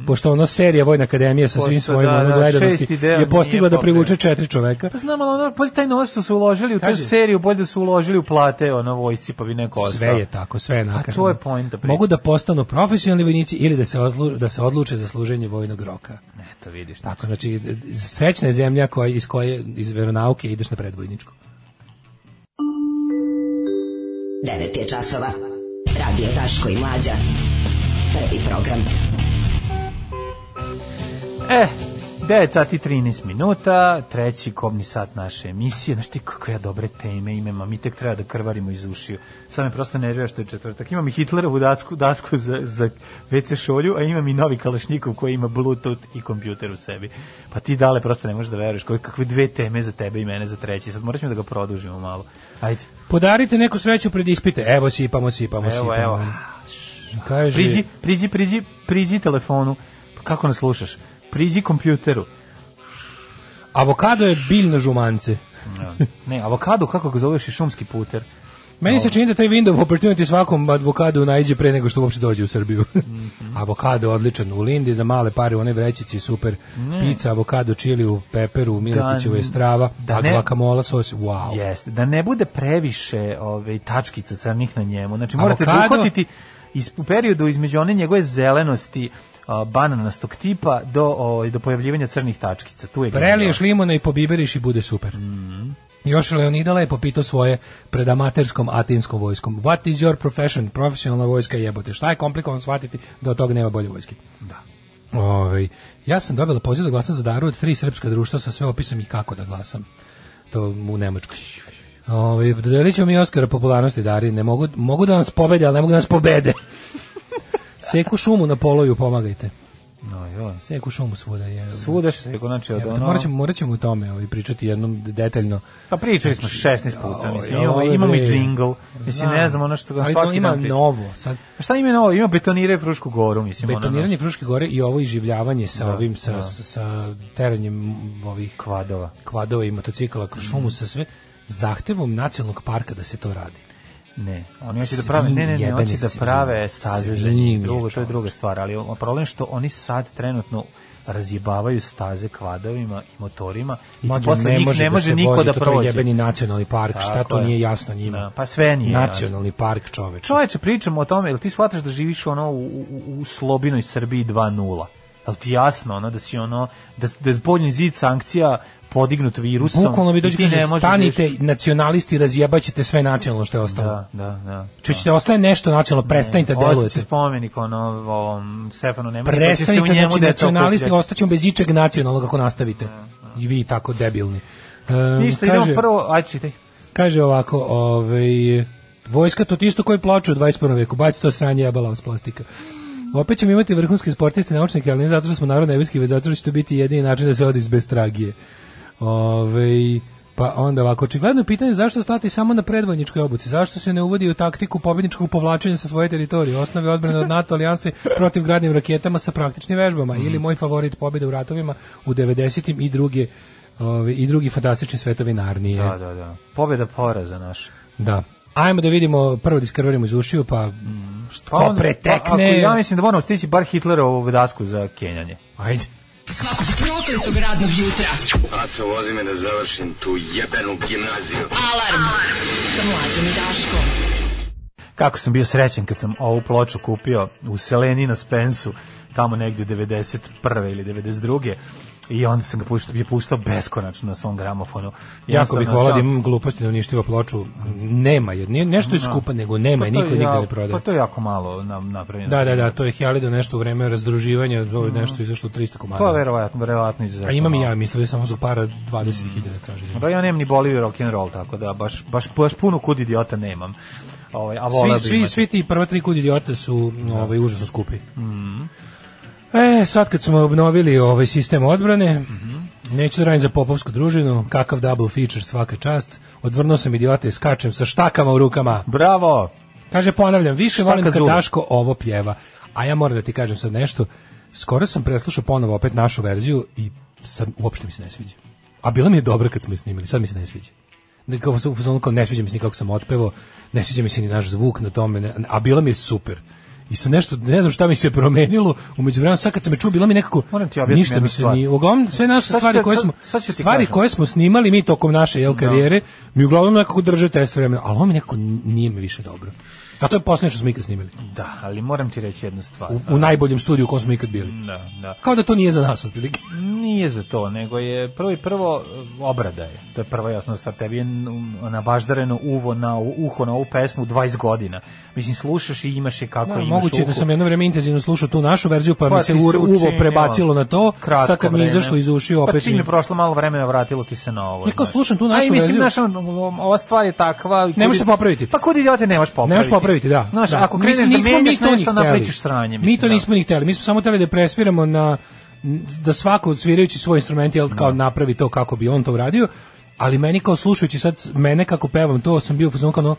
pošto ono serija vojna akademija sa
Mhm. Pošto,
svim svojim
da,
ono,
da,
gledanosti
šesti deo
je postigla
nije
da privuče
pokrenut.
četiri čoveka.
Pa znam, ali ono, bolje taj novac što su uložili u tu
Kaži.
seriju, bolje da su uložili u plate, ono, vojsci, pa bi neko ostao.
Sve je tako, sve je nakaradno.
to je poenta priče.
Mogu da postanu profesionalni vojnici ili da se, odlu- da se odluče za služenje vojnog roka.
Eto, vidiš.
Tako, znači, srećna je zemlja koja, iz koje, iz veronauke ideš na predvojničku.
9 je časova. Radio Daško i Mlađa. Prvi program.
E, 9 sati 13 minuta, treći kobni sat naše emisije. Znaš ti kako ja dobre teme imam, a mi tek treba da krvarimo iz ušiju. Sad me prosto nervira što je četvrtak. Imam i Hitlerovu dasku, dasku za, za WC šolju, a imam i novi kalašnikov koji ima Bluetooth i kompjuter u sebi. Pa ti dale prosto ne možeš da veruješ koje, kakve dve teme za tebe i mene za treći. Sad morat ćemo da ga produžimo malo. Ajde,
Podarite neku sreću pred ispite. Evo sipamo, sipamo,
evo,
sipamo.
evo.
Kaže,
Priđi, priđi, priđi, priđi telefonu. Pa Kako nas slušaš? Priđi kompjuteru.
avokado je biljno žumance.
Ne, avokado, kako ga zoveš, je šumski puter.
Meni se čini da taj window of opportunity svakom advokadu najđe pre nego što uopšte dođe u Srbiju.
Mhm.
(laughs) avokado odličan u Lindi za male pare u onoj vrećici super. Pizza, avokado, čili u peperu, u Miletićevoj je strava,
da
a
ne-
guacamole sos, wow.
Jeste, da ne bude previše ove, tačkica crnih na njemu. Znači morate
Avokado-
da uhvatiti iz, u periodu između one njegove zelenosti a, bananastog tipa do, o, do pojavljivanja crnih tačkica. Tu je
Preliješ limona i pobiberiš i bude super. Još je Leonida lepo pitao svoje pred amaterskom atinskom vojskom. What is your profession? Profesionalna vojska jebote. Šta je komplikovan shvatiti da od toga nema bolje vojske? Da. ja sam dobila poziv da glasam za Daru od tri srpska društva sa sve opisom i kako da glasam. To u Nemačkoj. Ovaj dodelit ćemo mi Oskara popularnosti Dari. Ne mogu, mogu da nas pobede, ali ne mogu da nas (laughs) pobede. Seku šumu na poloju, pomagajte.
No, joj.
Seku šumu svuda je.
Svudaš se, znači od
Evo,
ono...
morat, ćemo, morat ćemo o tome ovaj, pričati jednom detaljno.
Pa pričali smo 16 puta, mislim,
Oj,
imamo,
ove,
imamo i
bre.
džingl. Mislim, ne znam ono što ga
Ali
svaki
ima
dan... pri-
novo. Sad,
A Šta ima novo? Ima betonire Frušku goru, mislim. ono,
betoniranje Fruške gore i ovo iživljavanje sa
Da,
ovim, sa,
da.
sa, sa teranjem ovih
ono, kvadova.
kvadova i motocikala kroz šumu sa sve zahtevom nacionalnog parka da se to radi.
Ne, oni hoće da
Svinje,
prave, ne, ne, ne,
jebene
hoće da
svinje.
prave staze za njih,
Svinje,
drugo, to je
čoveče.
druga stvar, ali o- problem je što oni sad trenutno razjebavaju staze kvadovima i motorima i ti
Mlađe,
posle njih ne može
se
niko
vozi,
da
to- To je
prođe.
jebeni nacionalni park, šta
Tako
to
je.
nije jasno njima?
Da, pa sve nije jasno.
Nacionalni park čoveče.
Čoveče, pričamo o tome, jel ti shvataš da živiš ono u, u, u slobinoj Srbiji 2.0? Jel ti jasno ono da si ono, da, da je boljni zid sankcija podignut virusom
Bukvalno mi dođe
i ti ne
kaže,
možeš...
stanite nacionalisti, razjebaćete sve nacionalno što je ostalo.
Da, da, da.
Čućete, ostaje nešto nacionalno, prestanite da
Ostaće
delujete.
spomenik ono, ovom Stefanu Nemanji, pa će se u
prestanite
njemu
znači
deca
nacionalisti
okupljati. Da,
ostaćemo bez ičeg nacionalnog ako nastavite i vi tako debilni Ehm,
Ništa,
kaže,
idemo prvo, ajde čitaj.
kaže ovako ovaj, vojska to ti isto koji plaču u 21. veku baci to sranje jebala vas plastika Opet ćemo imati vrhunske sportiste, naučnike, ali ne zato što smo narodne vojske, već zato što će to biti jedini način da se ode iz bestragije. Ove, Pa onda ovako, očigledno je pitanje zašto stati samo na predvojničkoj obuci, zašto se ne uvodi u taktiku pobjedničkog povlačenja sa svoje teritorije, osnove odbrane od NATO alijanse protiv gradnim raketama sa praktičnim vežbama ili moj favorit pobjeda u ratovima u 90-im i druge ove, i drugi fantastični svetovi Narnije.
Da, da, da. Pobjeda poraza naša.
Da. Ajmo da vidimo, prvo diskrvarimo iz ušiju, pa što
Pa
ko
onda- pa ako-
pretekne.
ja mislim da moramo stići bar Hitlerovu dasku za kenjanje.
Ajde.
Svakog prokletog radnog jutra.
Aco, vozi me da završim tu jebenu gimnaziju.
Alarm. Sa mlađom i Daškom.
Kako sam bio srećen kad sam ovu ploču kupio u Seleni na Spensu, tamo negde 91. ili 92. I onda sam ga puštao, je puštao beskonačno na svom gramofonu.
Jako bih
Jednostavno,
volao da
tamo-
imam gluposti na uništivo ploču. Nema, jer nije nešto je skupa, nego nema i
to je
niko nigde
ja-
ne prodaje.
Da. Pa to je jako malo na, napravljeno.
Da, da, da, to je Hjalido nešto u vreme razdruživanja, to je nešto izašlo 300
Mhm.
komada.
To je verovatno, verovatno izuzetno.
A imam i
malo.
ja, mislim da samo su para 20.000 tražili.
Da ja nemam ni Boliviju rock and roll tako da baš baš baš puno kud idiota nemam. Ovaj a voleo
Svi,
bih
svi,
imati. Da.
svi ti prva tri kud idiota su ovaj, užasno skupi.
Mm-hmm.
E, sad kad smo obnovili ovaj sistem odbrane,
Mm-hmm.
neću da radim za popovsku družinu, kakav double feature svaka čast, odvrnuo sam idiote i skačem sa štakama u rukama.
Bravo.
Kaže, ponavljam, više
Štaka
volim kad
Zulu.
Daško ovo pjeva. A ja moram da ti kažem sad nešto. Skoro sam preslušao ponovo opet našu verziju i sad uopšte mi se ne sviđa. A bila mi je dobra kad smo je snimili, sad mi se ne sviđa. Ne, kao, sam u fazonu kao, ne sviđa mi se ni kako sam otpevao, ne sviđa mi se ni naš zvuk na tome, ne- a bila mi je super. I sam nešto, ne znam šta mi se promenilo, umeđu vremena, sad kad sam me čuo, bila mi nekako,
Moram ti objasniti
ništa
jednu
mi se
stvar.
ni, uglavnom sve naše
Sad ću
stvari
te-
koje
sad-
smo,
sad ću ti
stvari
kažem. Da.
koje koje smo snimali mi tokom naše jel, karijere, mi uglavnom nekako drže test vremena, ali ovo mi nekako nije mi više dobro. A to je posljednje što smo ikad snimali.
Da, ali moram ti reći jednu stvar.
U, u najboljem studiju u kojem smo ikad bili.
Da, da.
Kao da to nije za nas, otprilike.
Nije za to, nego je prvo i prvo eh, obrada je. To je prva jasna stvar. Tebi je nabaždareno uvo na uho na ovu pesmu 20 godina. Mislim, slušaš i imaš je kako
Da,
imaš
moguće
uhu.
da sam jedno vrijeme intenzivno slušao tu našu verziju, pa,
Pa
mi se
ti
ur- uvo
učinilo.
prebacilo na to,
Kratko
sad kad mi je
vreme.
izašlo iz ušiju,
Pa
opet
čim je
mi...
prošlo malo vremena, vratilo ti se na ovo.
Ja kao
znaš.
slušam tu našu
A i mislim,
verziju.
znaš, on- ova stvar je takva. i
Ne možeš
kud-
se popraviti.
Pa kud idiote nemaš popraviti.
Ne možeš popraviti, da.
Znaš,
da.
ako kreneš
Mi-
da menjaš
to ni
nešto,
hteli.
napraviš sranje.
Mi to
mislim, da.
nismo ni hteli. Mi smo samo hteli da presviramo na da svako svirajući svoj instrument jel, kao napravi to kako bi on to uradio, ali meni kao slušajući sad mene kako pevam to, sam bio u fazonu kao ono,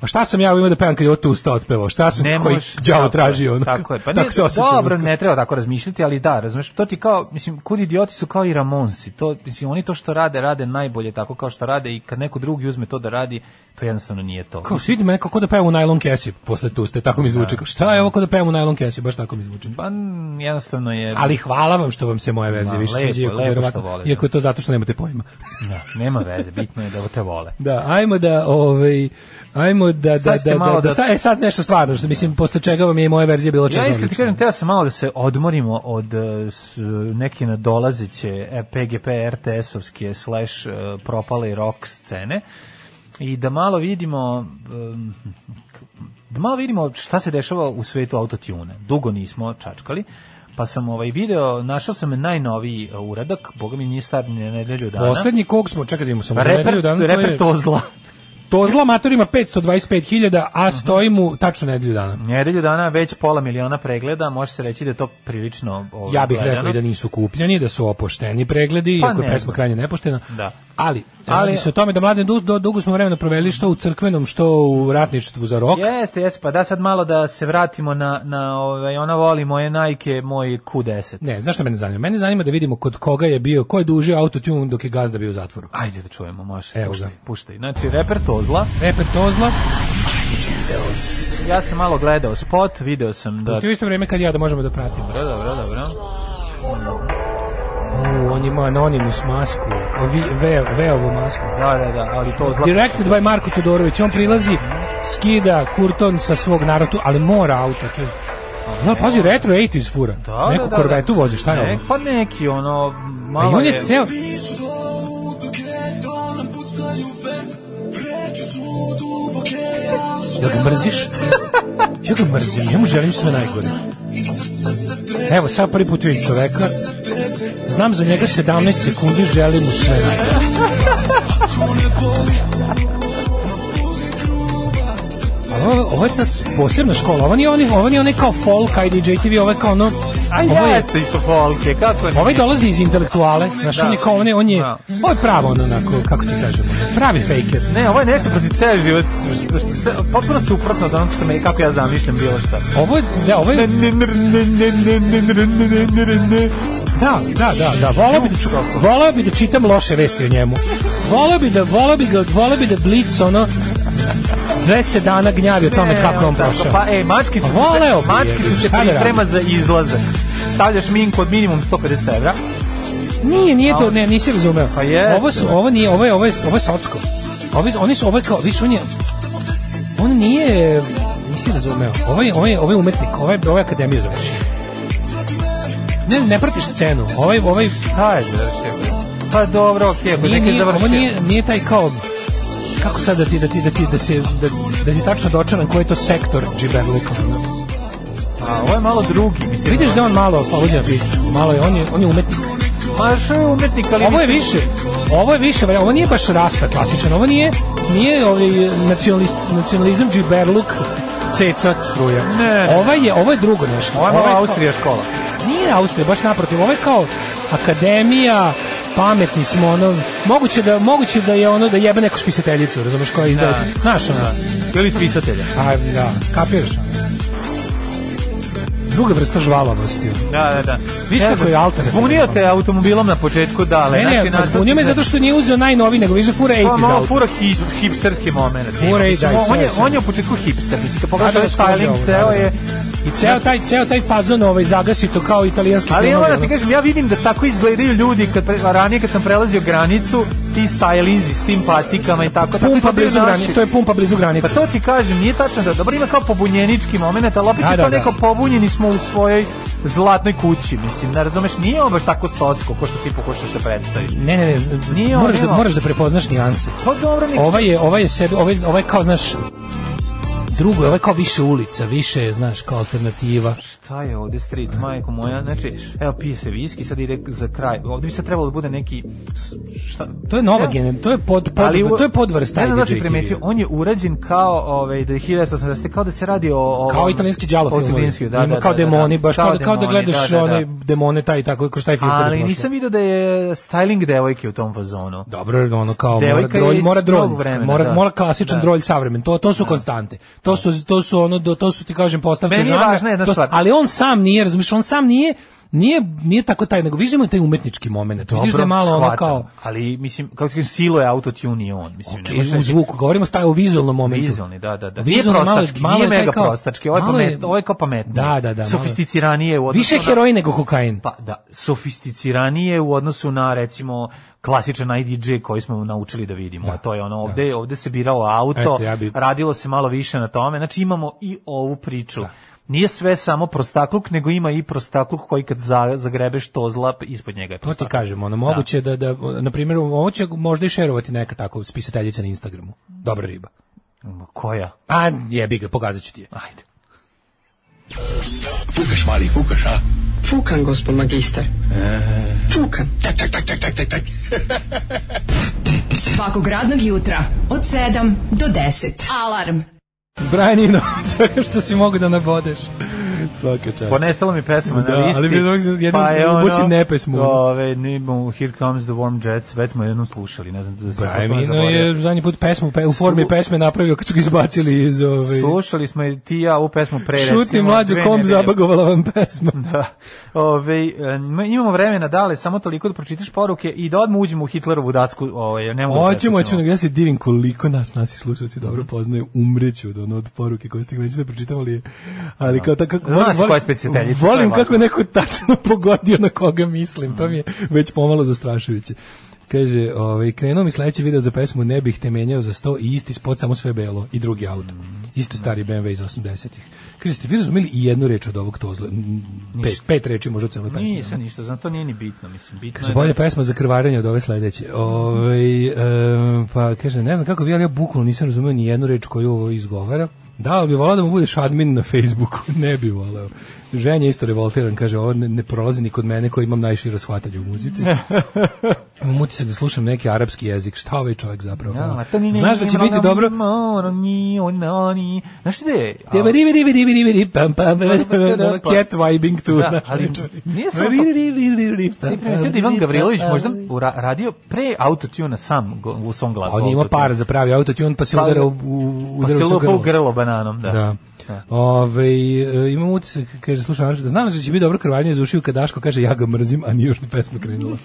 a šta sam ja imao da pevam kad je ovo tu sta otpevao? Šta sam
Ne
koji
možeš,
đavo
tako
tražio?
je,
(laughs) Ono,
Tako je. Pa ne,
se osjećam.
dobro, ne treba tako razmišljati, ali da, razumeš, to ti kao, mislim, kud idioti su kao i Ramonsi. To, mislim, oni to što rade, rade najbolje tako kao što rade i kad neko drugi uzme to da radi, to jednostavno nije to.
Kao svidi mene kako da pevam u najlon kesi posle tu ste, tako mi zvuči. Kao, šta je ovo kao da pevam u najlon kesi, baš tako mi zvuči.
Pa mm, jednostavno je...
Ali hvala vam što vam se moje verzije
Ma,
više
lepo,
sviđa, iako
lepo što da.
verovatno-
volite.
iako je to zato što nemate pojma.
Da, nema veze, bitno je da te vole.
Da, ajmo da, ovaj, ajmo da, da,
Sad ste
da, da,
malo
da,
da-
sad, e, sad nešto stvarno, što mislim, posle čega vam je i moja verzija bila čega
Ja iskreno ti kažem, teo sam malo da se odmorimo od eh, s- neke nadolazeće eh, PGP RTS-ovske slash eh, propale i rock scene i da malo vidimo em, da malo vidimo šta se dešava u svetu autotune. Dugo nismo čačkali, pa sam ovaj video, našao sam najnoviji eh, uradak, boga mi nije star ni nedelju dana.
Poslednji kog smo, čekaj da imamo samo
da. Reper,
nedelju dana, to
reper
je
to zla.
Tozla amatorima 525.000, a
Mhm.
stoji mu tačno nedelju dana.
Nedelju dana već pola miliona pregleda, može se reći da je to prilično ovaj,
Ja bih rekao
gledano.
i da nisu kupljeni, da su opošteni pregledi,
Pa
iako je
ne
pesma
znam.
krajnje nepoštena.
Da.
Ali, ali,
Ali-
se o tome da mlade du- do- dugo smo vremena proveli što u crkvenom, što u ratništvu za rok.
Jeste, jeste, pa da sad malo da se vratimo na, na ovaj, ona voli moje Nike, moj Q10.
Ne, znaš šta mene zanima? Mene zanima da vidimo kod koga je bio, ko je dužio autotune dok je gazda bio u zatvoru.
Ajde da čujemo, može.
Evo
puštaj,
ga.
puštaj. Znači, reper Tozla,
Reper Tozla,
ja sam malo gledao spot, video sam da...
Pusti u isto vrijeme kad ja da možemo da pratimo.
Dobro, dobro, dobro.
O, on ima anonimus masku, kao vi, ve, veovu masku.
Da, da, da, ali Tozla...
Directed by Marko Todorović, on prilazi, skida kurton sa svog narutu, ali mora auto. Čez... Da, pazi, retro 80s fura.
Da,
Neku
da, da,
korvetu
da.
vozi, šta je
Ne,
ovo?
Pa neki, ono,
A i
malo
on je ceo... Jel ga mrziš? Ja ga mrzim, ja mu želim sve najgore. Evo, sad prvi put vidim čoveka. Znam za njega 17 sekundi, želim mu sve najgore. Ali ovo, ovo je ta s- posebna škola. Ovo nije, oni, ovo nije onaj kao folk, ajde JTV, ovo je kao ono...
A
ovo je,
jeste isto folke, kako ne?
Ovaj dolazi iz intelektuale, znaš,
Da.
on je kao, on je, on je,
Da.
ovo je pravo ono, onako, kako ti kažem, pravi fejker.
Ne, ovo je nešto protiv ceo život, što- što- što- potpuno suprotno od onog što me, kako ja zamišljam bilo šta.
Ovo je, da, ovo je, da, da, da, da, volao bi da, ču- volao bi da čitam loše vesti o njemu. Volao bi da, volao bi ga, volao bi da Blitz, ono, 10 dana gnjavi o tome kako je on
Tako,
prošao.
Pa, e, mačkicu
Pa voleo bi,
se, mačkicu
jebi,
se
šta da
priprema za izlazak. Stavljaš minku od minimum 150 evra.
Nije, nije to, ne, nisi razumeo.
Pa jeste.
Ovo su, ovo nije, ovo je, ovo je, ovo je socko. Ovi, oni su, ovo je kao, viš, on je, on nije, nisi razumeo. Ovo je, ovo je, ovo je umetnik, ovo je, ovo je akademiju završio. Ne, ne pratiš scenu. Ovaj, ovaj,
Šta je završio? Pa dobro, okej, ako
nije,
neki
nije, ovo
završio.
nije, nije taj kao, kako sad da ti, da ti, da ti, da se, da, da ti tačno dočaram koji je to sektor džiberluka.
A, ovo je malo drugi, mislim.
Vidiš da je on malo oslobođen priča, malo je, on je, on je umetnik.
Ma što je umetnik, ali...
Ovo je
mislim-
više, ovo je više, bre, ovo nije baš rasta klasičan, ovo nije, nije ovaj nacionalist, nacionalizam džiberluk ceca struja.
Ne.
Ovo je, ovo je drugo nešto.
Ovo je malo
kao-
Austrija škola.
Nije Austrija, baš naprotiv, ovo je kao akademija, pametni smo, ono, moguće da, moguće da je ono da jebe neku spisateljicu, razumeš, koja izdaje,
Da.
znaš, ono,
Ili iz pisatelja.
a, da, kapiraš, ono. Druga vrsta žvalavosti. ono.
Da, da, da.
Viš
Ne
kako
znam,
je alternativno.
Zbunio te automobilom na početku, da, ali...
Ne, ne, pa zbunio me zato što nije uzeo najnoviji, nego više fura 80s
Pa malo
auto.
fura hi, hipsterski moment.
Fura i
Mislim,
daj,
on, je,
sve, sve.
on je u početku hipster. Mislim, kad
A, da,
pogledaš ovaj
skozi
styling,
ovo, da,
ceo
da.
je... Znači-
I ceo taj, ceo taj fazon ovaj zagasito kao italijanski
Ali ja
filmovi,
moram ti
ono.
kažem, ja vidim da tako izgledaju ljudi kad pre, ranije kad sam prelazio granicu, ti stylinzi s tim patikama i tako. tako
Pumpa
izgledaju
blizu
naši.
granice, to je pumpa blizu granice.
Pa to ti kažem, nije tačno da dobro ima kao pobunjenički moment, ali opet
Da,
je
da,
to
da.
neko pobunjeni smo u svojoj zlatnoj kući, mislim, ne razumeš, nije on baš tako socko ko što ti pokušaš da predstaviš.
Ne, ne, ne, z-
Nije on,
moraš, da,
nije on.
moraš da prepoznaš nijanse.
Pa dobro, nek-
Ovaj je, ovaj je sebi, ovaj, ovaj kao, znaš, drugo je, ovaj kao više ulica, više, je, znaš, kao alternativa.
Šta je ovde street, majko moja? Znači, evo, pije se viski, sad ide za kraj. Ovde bi sad trebalo da bude neki... s- Šta?
To je nova
Evo.
generacija, to je pod, pod,
Ali u-
to je podvrsta.
Ne znam da
IDJ
si primetio,
TV.
on je urađen kao ovaj da je 1980 kao da se radi o, o
kao italijanski đavo
o
filmovi.
italijanski, da,
Ima
da,
kao
da, da,
demoni,
da.
baš kao, da, kao da
demoni,
gledaš
da, da, da.
one demone taj tako kroz taj filter.
Ali
prošlo.
nisam video da je styling devojke u tom fazonu.
Dobro, ono kao mora
Devojka je
drolj,
iz
mora drolj,
tog vremena,
mora,
da.
mora klasičan
Da.
drolj savremen. To to su konstante. To su to su ono do- to su ti kažem postavke
Meni je
žanra,
važna jedna
to-
stvar.
Ali on sam nije, razumiješ, on sam nije nije nije tako taj, nego vidimo taj umetnički momenat. Vidiš da je malo ono
shvatam,
kao
ali mislim kako ti kažem silo je autotune i on, mislim ne
okay,
može
u
neki-
zvuku, govorimo staj o vizualnom momentu.
Vizualni, da, da, da. Nije
Vizualno malo-
prostački,
malo
nije
je taj
mega
kao-
prostački, ovo je,
malo
pamet, ovo je kao pametnije.
Da, da, da. malo-
Sofisticiranije u odnosu
Više
na...
heroji nego kokain.
Pa da, sofisticiranije u odnosu na recimo klasičan IDJ koji smo naučili da vidimo. a to je ono ovde, ovde se biralo auto,
Eto, ja bi-
radilo se malo više na tome. Znači imamo i ovu priču.
Da.
Nije sve samo prostakluk, nego ima i prostakluk koji kad za, zagrebeš to zlap, ispod njega je
To ti
prostakluk.
kažem, ono moguće da, da, na primjer, ovo će možda i šerovati neka tako spisateljica na Instagramu. Dobra riba.
Ma, Koja?
A Pa, jebi ga, pokazat ću ti je.
Ajde.
Fukaš, mali, fukaš, a?
Fukan, gospod magister. Fukan.
Tak, tak, tak, tak, tak, tak, tak.
Svakog radnog jutra od 7 do 10. Alarm.
Brian (laughs) Eno, svega što si mogu da nabodeš. Svaka čast.
Ponestalo mi pesama
Da,
na listi. Pa
ali mi je dok- jednom ubosim nepesmu.
Ove, nimo, Here Comes the Warm Jets, već smo jednom slušali, ne znam da se
Brian
kako sam
Eno
zaboravio.
je zadnji put pesmu, pe, u formi
Slu-
pesme napravio kad su ga izbacili iz ove...
Slušali smo i ti i ja ovu pesmu pre
Šutni
recimo,
mlađo
dve
kom
nedelje.
zabagovala vam pesma.
Da. Ove, em, imamo vremena dale, samo toliko da pročitaš poruke i da odmah uđemo u Hitlerovu dasku. Ove, ne mogu da Mhm.
Hoćemo, hoćemo,
preskočimo.
ja se divim koliko nas naši slušalci dobro poznaju, umreću od ono od poruke koje ste neću da pročitam, ali, ali kao tako,
Da. Zna se koja je specijaliteljica, to je
volim
važno.
kako neko tačno (laughs) pogodio na koga mislim, to mi je
Mhm.
već pomalo zastrašujuće. Kaže, ovaj, krenuo mi sledeći video za pesmu Ne bih te menjao za 100 i isti spot, samo sve belo i drugi auto.
Mhm.
Isto stari BMW iz 80-ih. Kaže, ste vi razumeli i jednu reč od ovog tozle? Mm, Pet, pet reči možda u celoj pesmi.
Nisam ništa, znam, to nije ni bitno, mislim, bitno
da Kaže,
je
bolje
da-
pesma za krvarenje od ove sledeće. Ove, pa kaže, ne znam kako vi, ali ja bukvalno nisam razumeo ni jednu reč koju ovo izgovara. Da, ali bi volao da mu budeš admin na Facebooku. (laughs) Ne bi volao. Ženja je isto revoltiran, kaže, ovo ne, ne prolazi ni kod mene koji imam najširo shvatanje u
(laughs)
muzici. imam utisak da slušam neki arapski jezik. Šta ovaj čovjek zapravo?
Ja, to ni ne-
Znaš da će
ni-
biti
ni-
dobro?
ni- ni- ni- Znaš ti da je?
Te bari, bari, bari, bari, bari, pam, pam, ono, Cat vibing tu.
Da,
znaš,
ali nije samo
Bari,
to.
bari, bari, bari,
Ti
pam,
primetio da Ivan Gavrilović možda ura- radio pre autotuna sam go- u svom glasu.
On ima
autotune.
par za pravi autotune, pa se
Pa-
udara u, u,
Pa
udara
se
u svoj
lupa u
grlo.
grlo bananom, da.
Da. Ove, e, imam utisak, kaže, slušam, Anđelko, znam da će biti dobro krvarnje iz ušiju kad Daško kaže, ja ga mrzim, a nije još ni pesma
(laughs)
krenula.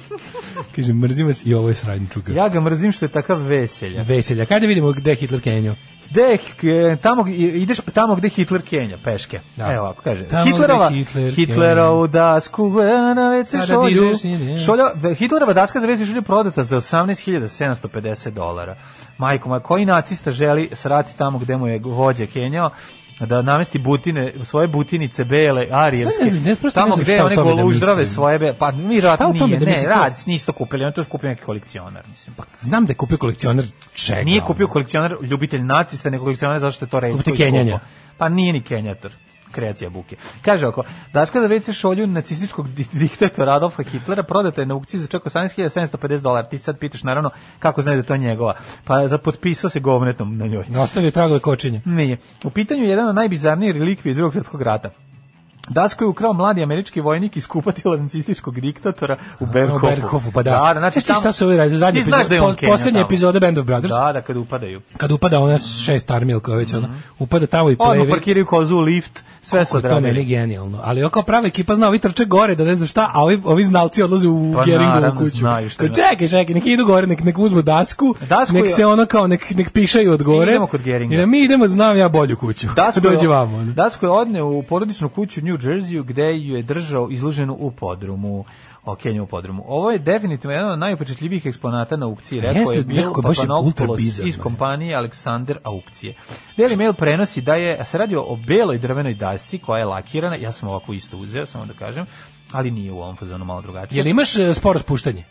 kaže, mrzim vas i ovo je sranje čuka.
Ja ga mrzim što je takav veselja.
Veselja. Kada vidimo gde je Hitler Kenjo?
Gde, je- e, tamo, ideš tamo gde Hitler Kenja, peške.
Da.
Evo ovako kaže.
Tamo gde
Hitlerova,
Hitler
Hitlerovu dasku, e, na već se
Sada
šolju.
dižeš, nije, nije.
Šolja, Hitlerova daska za već se šolju prodata za 18.750 dolara. Majko, ma koji nacista želi srati tamo gde mu je vođa Kenjao? da namesti butine, svoje butinice bele, arijevske,
Sve ne znam, ne, prosto ne
tamo
znam
gde
šta o
one
tome da
goluždrave
mislim.
svoje, be, pa mi rat
Šta o tome
nije,
da
ne,
mislim?
rad nisu kupili, on to skupio neki kolekcionar, mislim. Pa
Znam da je kupio kolekcionar čega.
nije kupio kolekcionar ljubitelj nacista, nego kolekcionar zašto je to redko
Kupite
i skupo.
Kenjanja.
Pa nije ni kenjator kreacija buke. Kaže ako, daska za WC šolju nacističkog di- diktatora Adolfa Hitlera prodata je na aukciji za čak 18.750 dolara. Ti sad pitaš naravno kako znaju da je to njegova. Pa za potpisao se govnetom na njoj. (laughs)
Ostavio tragove kočenje.
Nije. U pitanju je jedan od najbizarnijih relikvija iz drugog svjetskog rata. Dasku je ukrao mladi američki vojnik iz kupatila nacističkog diktatora u Berkofu.
Berkofu, pa da.
znači,
Znaš ti šta su ovi radili? Zadnji
Ti znaš
epizod-
da je on
pos-
Kenja
poslednja
tamo.
epizoda Band of Brothers.
Da, da, kada upadaju.
Kad upada ona šest armija, ili koja već ona, upada tamo i
Odmah
plevi.
parkiraju kozu u lift, sve su
Kako je to meni
odradili.
genijalno. Ali ovo kao prava ekipa zna, ovi trče gore da ne znam šta, a ovi, ovi znalci odlaze u
Pa
Geringovu
naravno,
kuću.
znaju šta
Kao,
ima.
čekaj, čekaj, nek idu gore, nek, nek uzmu dasku,
Dasku
nek
je-
se ono kao, nek, nek pišaju od gore.
idemo kod Geringa.
I da mi idemo, znam ja bolju kuću.
(laughs) Dasku
(laughs)
da-
Dođi
je,
vamo. ono.
Dasku je odneo u porodičnu kuću u New Jerseyu gde ju je držao izloženu u podrumu. O Kenju u podrumu. Ovo je definitivno jedan od najupečetljivijih eksponata na aukciji, rekao
Jeste,
je Bill
nekako baš je ultra
Papanopoulos
bizarno,
iz
je.
kompanije Aleksander Aukcije. Daily Mail prenosi da je, se radi o beloj drvenoj dasci koja je lakirana, ja sam ovako isto uzeo, samo da kažem, ali nije u ovom fazonu malo drugačije.
Jel imaš e, sporo spuštanje?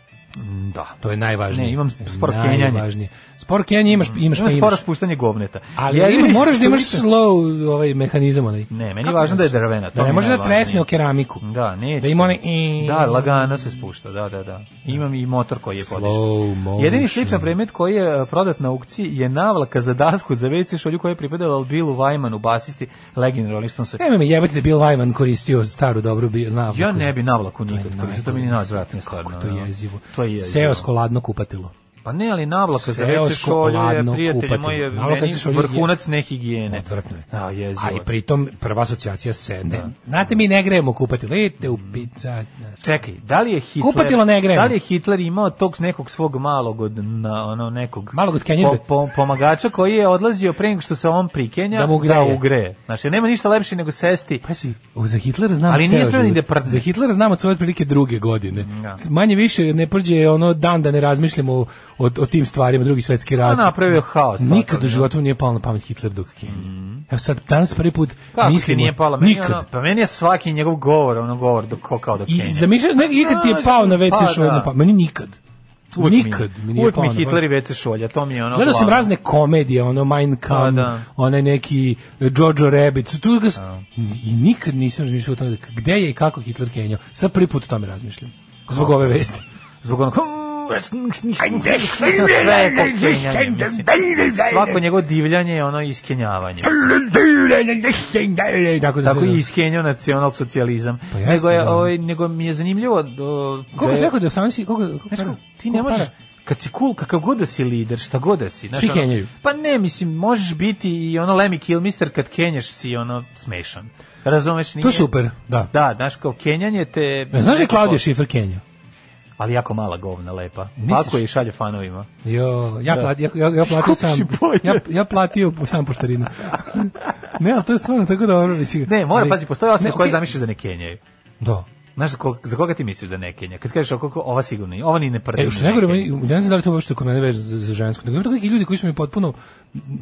Da.
To je najvažnije.
Ne, imam sporo
Najvažnije. Sporo kenjanje imaš, imaš
Ima
pa
sporo
imaš.
spuštanje govneta.
Ali
Jedini
ima, moraš da imaš
što-
slow ovaj mehanizam onaj.
Ne, meni
Kako
je važno da je
znaš?
drvena. to
Da
mi
ne
je
može da
najvažnije.
tresne o keramiku.
Da, neće.
Da ima onaj i-
Da, lagano se spušta, da, da, da. Imam i motor koji je
Slow
podišao.
motion.
Jedini sličan predmet koji je e, prodat na aukciji je navlaka za dasku za WC šolju koja je pripadala Billu Weimanu, basisti Legend Rolling Stonesa.
Nemoj me jebati da je Bill Wyman koristio staru dobru bi- navlaku.
Ja ne bi navlaku nikad
To je
koristio, to mi je
najbolje.
najodvratnije
E, pa Kako
stvarno,
to
da.
je jezivo.
To je jezivo.
Seosko ladno kupatilo.
Pa ne, ali navlaka za WC
Seosko
šolju je,
ladno
prijatelji
kupatilo.
moji, je
Navlaka
meni
za šolju je-
vrhunac nehigijene.
Odvratno je.
Da, jezivo.
A i
je.
pritom prva asocijacija se ne. Znate, mi ne grejemo u kupatilo. Idite u pizza.
Čekaj, da li je Hitler
Kupatilo ne grejemo.
Da li je Hitler imao tog nekog svog malog od na ono nekog
Malog od Kenjidbe?
pomagača koji je odlazio pre nego što se on prikenja
Da mu ugreje.
ugreje. Znači nema ništa lepše nego sesti.
Pa si, o, za Hitlera znam
Ali
ceo
nije smeo ni
život.
da prdne.
Za Hitlera znam od svoje otprilike druge godine.
Da.
Manje više ne prđe ono dan da ne razmišljamo o, o, o tim stvarima, drugi svetski
Pa
rat.
napravio je haos.
Nikad
totalni.
u životu mi nije palo na pamet Hitler dok Kenja. Evo sad, danas prvi put
Kako ti
mislimo...
nije pala meni
Nikad.
ono, pa meni je svaki njegov govor, ono govor do ko kao do Kenja.
I zamišljaš, ne, ikad ti je pao na
Pa,
WC šolja
da.
na pamet. Meni nikad.
Uvek
nikad mi, nije
uvek
pao
mi
na
Hitler
pamet.
i WC šolja, to mi je ono.
Gledao sam
glavno.
razne komedije, ono Mein Kampf,
A, da.
onaj neki e, Jojo Rabbit, tu ga s- i nikad nisam razmišljao o tome da- gde je i kako Hitler kenjao. Sad prvi put o tome razmišljam. Zbog ove vesti.
zbog onog sve je kao kenjanje, mislim. Svako njegovo divljanje je ono iskenjavanje.
Tako,
Tako
i
i iskenjao nacionalsocijalizam.
Pa jeste,
nego, je,
da.
ovaj, nego mi je zanimljivo... o, da
Koliko si
je-
rekao da sam si... Koliko, koliko,
Znaš,
para?
kako, ti ne
Koliko
možeš...
para?
Kad si cool, kakav god da si lider, šta god da si. znaš,
Svi
ono,
kenjaju.
Pa ne, mislim, možeš biti i ono Lemmy Kilmister kad kenjaš si ono smešan. Razumeš? Nije...
To je super, da.
Da, znaš, kao kenjanje te...
E, Znaš da je Klaudija Schiffer kenjao?
Ali jako mala govna, lepa.
Misliš?
Pako je i šalje fanovima.
Jo, ja, plati, ja, ja, ja platio
Skupiš
sam.
i Da. bolje.
Ja, ja platio sam poštarinu. ne, ali to je stvarno tako dobro. mislim.
Ne, mora,
Ali-
pazi, postoje osobe
Ne,
koje
okej.
zamišljaš da ne kenjaju.
Da.
Znaš, za koga, za koga ti misliš da ne kenja? Kad kažeš, oko, ko- ova sigurno, nije, ova ni ne prde.
E, što ne govorim, ja ne znam da li to uopšte kod mene veže za za žensko, nego ima tako neki ljudi koji su mi potpuno,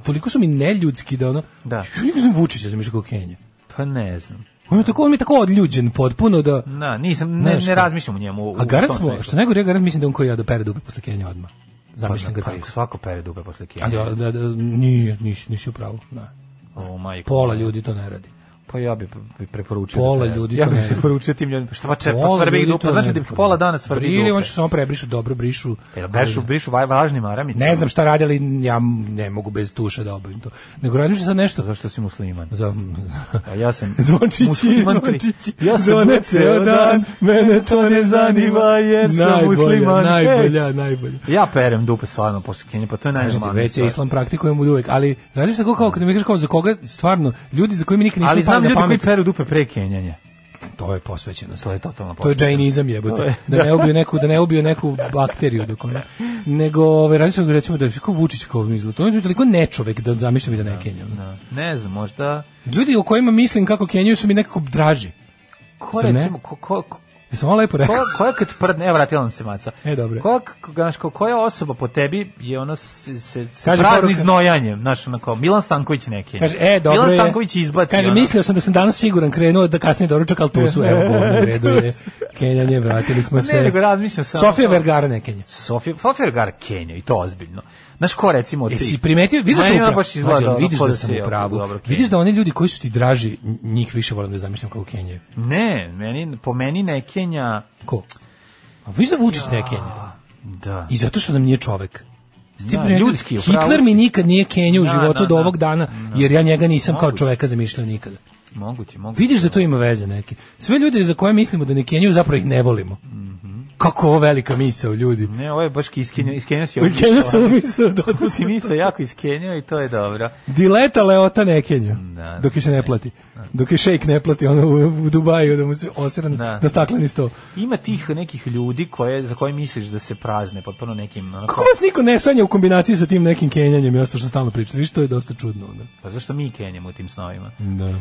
toliko su mi neljudski da ono,
Da.
Ja nikad sam Vučića zamišljao kao Kenja.
Pa ne znam.
On mi je tako, on mi je tako odljuđen potpuno da,
Na, nisam, ne,
Znaš
ne
šta?
razmišljam o njemu. u-
a
u
garant
tom
smo,
smislu.
što ne govorim, ja garant mislim da on koji ja da pere dupe posle Kenja odmah.
Pa,
Zamišljam ga
pa,
tako.
svako pere dupe posle kenja.
Ali, ja- da, da, nije, nisi, nisi upravo, da.
O, majko.
Pola ljudi to ne radi.
Pa ja bih bi preporučio.
Pola
da treba.
ljudi
ja
to
bih
ne-
preporučio tim ljudima. Šta pa čepa,
Pola
svrbi ih
ljudi
dupe.
to
Znači
ne-
da ih pola dana svrbi dupe.
Ili oni što samo prebrišu, dobro brišu.
Jel bešu,
ali-
brišu vaj, važnim aramicama.
Ne znam šta radi, ali ja ne mogu bez tuša da obavim to. Nego radim sad nešto.
Zašto si musliman?
Za,
A ja
(laughs)
sam
zvončići,
musliman tri-
zvončići,
Ja sam
zvone
musliman
ceo dan, mene to ne zanima, jer sam
Najbolja,
musliman. Ej.
najbolja,
najbolja.
Ja perem dupe stvarno posle kenja, pa to je
Kažete,
najnormalnije.
već je islam praktikujem od uvek, ali znaš šta kao, kao kad mi kažeš kao za koga, stvarno, ljudi za koje mi nikad nisam
Ali znam
pali
ljudi
na
koji
pamet.
peru dupe pre kenjanja.
To je posvećenost.
To je totalno
To je
posvećenost.
džainizam
To
jebote.
je-
Da ne ubio neku, da ne ubio neku bakteriju dok ona. Nego, ovaj radi se o- recimo da je kao Vučić kao mi izgleda. To je toliko nečovek da zamišljam i da ne kenjam.
Da. Ne znam, možda...
Ljudi o kojima mislim kako kenjaju su mi nekako draži.
Ko
Zar ne?
recimo, ko, ko, ko,
Jesam ovo lepo rekao?
Koja, koja kad prdne, evo vratila nam se maca.
E, dobro.
Koja, k- znaš, ko- koja osoba po tebi je ono se, se, se
Kaže
prazni
poruka-
znojanjem, znaš, ono kao Milan Stanković neki.
Kaže, e, dobro je.
Milan Stanković izbaci.
Kaže,
ono.
mislio sam da sam danas siguran krenuo da kasnije doručak, ali tu su, evo,
(laughs)
govno, u redu je. Kenjanje, vratili smo
Ma
se.
Ne, nego razmišljam samo.
Sofija Vergara ne kenja.
Sofija, Sofija Vergara Kenja i to ozbiljno. Znaš ko recimo od
Jesi
tih?
primetio, vidiš da sam
Meni ona
upravo.
baš izgleda
Mlađo,
ono
vidiš
ko
da
da
sam
se je
u pravu.
dobro kenja.
Vidiš da oni ljudi koji su ti draži, njih više volim da zamišljam kao Kenjaju.
Ne, meni, po meni ne Kenja...
Ko? A vi za Vučić ne Kenja.
Da.
I zato što nam nije čovek. Jesi ti
Da,
primetio?
ljudski, u pravu
Hitler
si.
mi nikad nije Kenja u
Da,
životu
da,
do
da.
ovog dana, jer ja njega nisam kao
Moguće.
čoveka zamišljao nikada.
Moguće, moguće.
Vidiš da to ima veze neke. Sve ljude za koje mislimo da ne kenjaju, zapravo ih ne volimo. Kako ovo velika misao, ljudi.
Mhm. Ne, ovo je baš iskenio, iskenio si ovo.
Kenjao
(laughs)
sam da misao da
Tu si misao jako iskenio i to je dobro.
Dileta Leota ne kenja,
da,
dok je se ne plati. Dok je šejk ne plati, ono u, u Dubaju, da mu se osran
Da.
na stakleni sto.
Ima tih nekih ljudi koje, za koje misliš da se prazne potpuno nekim... Ono,
Kako vas niko ne sanja u kombinaciji sa tim nekim kenjanjem, ja što stalno pričam, viš, to je dosta čudno. Onda.
Pa zašto mi kenjamo u tim snovima?
Da.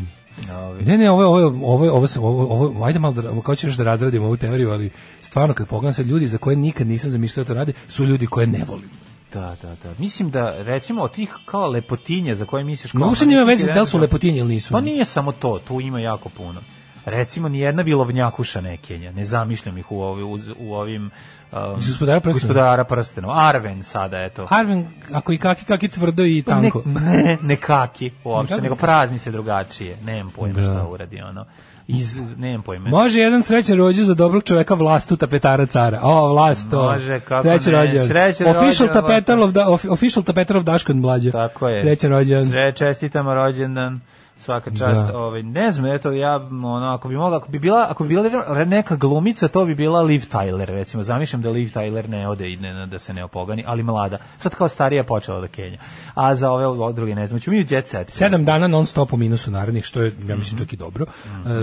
Ovi.
Ne, ne, ovo je- ovo je- ovo je- ovo se ovo ovo ajde malo da kao ćeš da razradimo ovu teoriju, ali stvarno kad pogledam se ljudi za koje nikad nisam zamišljao da to rade, su ljudi koje ne volim.
Da, da, da. Mislim da, recimo, od tih kao lepotinje za koje misliš... kao-
Mogu se njima veze da li su
Da.
lepotinje ili nisu.
Pa nije samo to, tu ima jako puno. Recimo, nijedna bilovnjakuša ne Kenja, ne zamišljam ih u, ovi, u, u ovim... Um,
Iz Gospodara prstenova?
Gospodara prstenova. Arven sada, eto.
Arven, ako i kaki, kaki tvrdo i
Pa
tanko.
Ne, ne, ne kaki uopšte,
Kako?
nego prazni se drugačije. Nemam pojma
Da.
šta uradi ono. Iz, nemam pojma.
Može jedan srećan rođen za dobrog čoveka vlastu tapetara cara. O, vlast, to.
Može, kako
srećan
ne.
rođen.
Srećan
official
rođendan,
tapetar
vlast.
of, da, of- official tapetar of Daškan mlađe.
Tako je.
Srećan rođen.
Sre, čestitamo rođendan. Svaka čast.
Da.
Ovaj ne znam, eto ja m, ono ako bi mogla, ako bi bila, ako bi bila re- neka glumica, to bi bila Liv Tyler, recimo. Zamišljam da Liv Tyler ne ode i ne, da se ne opogani, ali mlada. Sad kao starija je počela da kenja. A za ove o- druge ne znam, ćemo mi u Jet Set.
Sedam dana non stop u minusu narednih, što je, ja
Mhm.
mislim, čak i dobro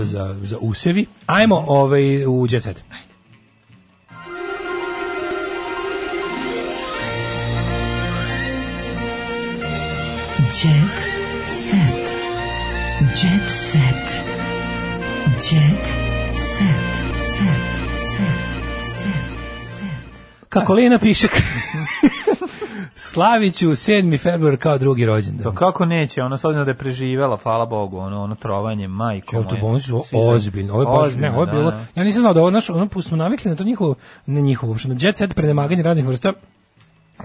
e, za, za usevi. Ajmo ovaj, u jet set.
Jet set. Jet set. Jet set. Set. Set. Set.
Kakolina (laughs) Pišak. Slaviću 7. februar kao drugi rođendan.
Pa kako neće, ona s obzirom da je preživela, hvala Bogu, ono, ono trovanje, majko moja.
Autobonci su
Svi za-
ozbiljno. Ovo je baš, ne,
Ozbiljno,
ovo je
da,
bilo.
da.
Ja nisam znao da ovo naš, ono pu- smo navikli na to njihovo, ne njihovo uopšte, na jet set prenemaganje raznih vrsta.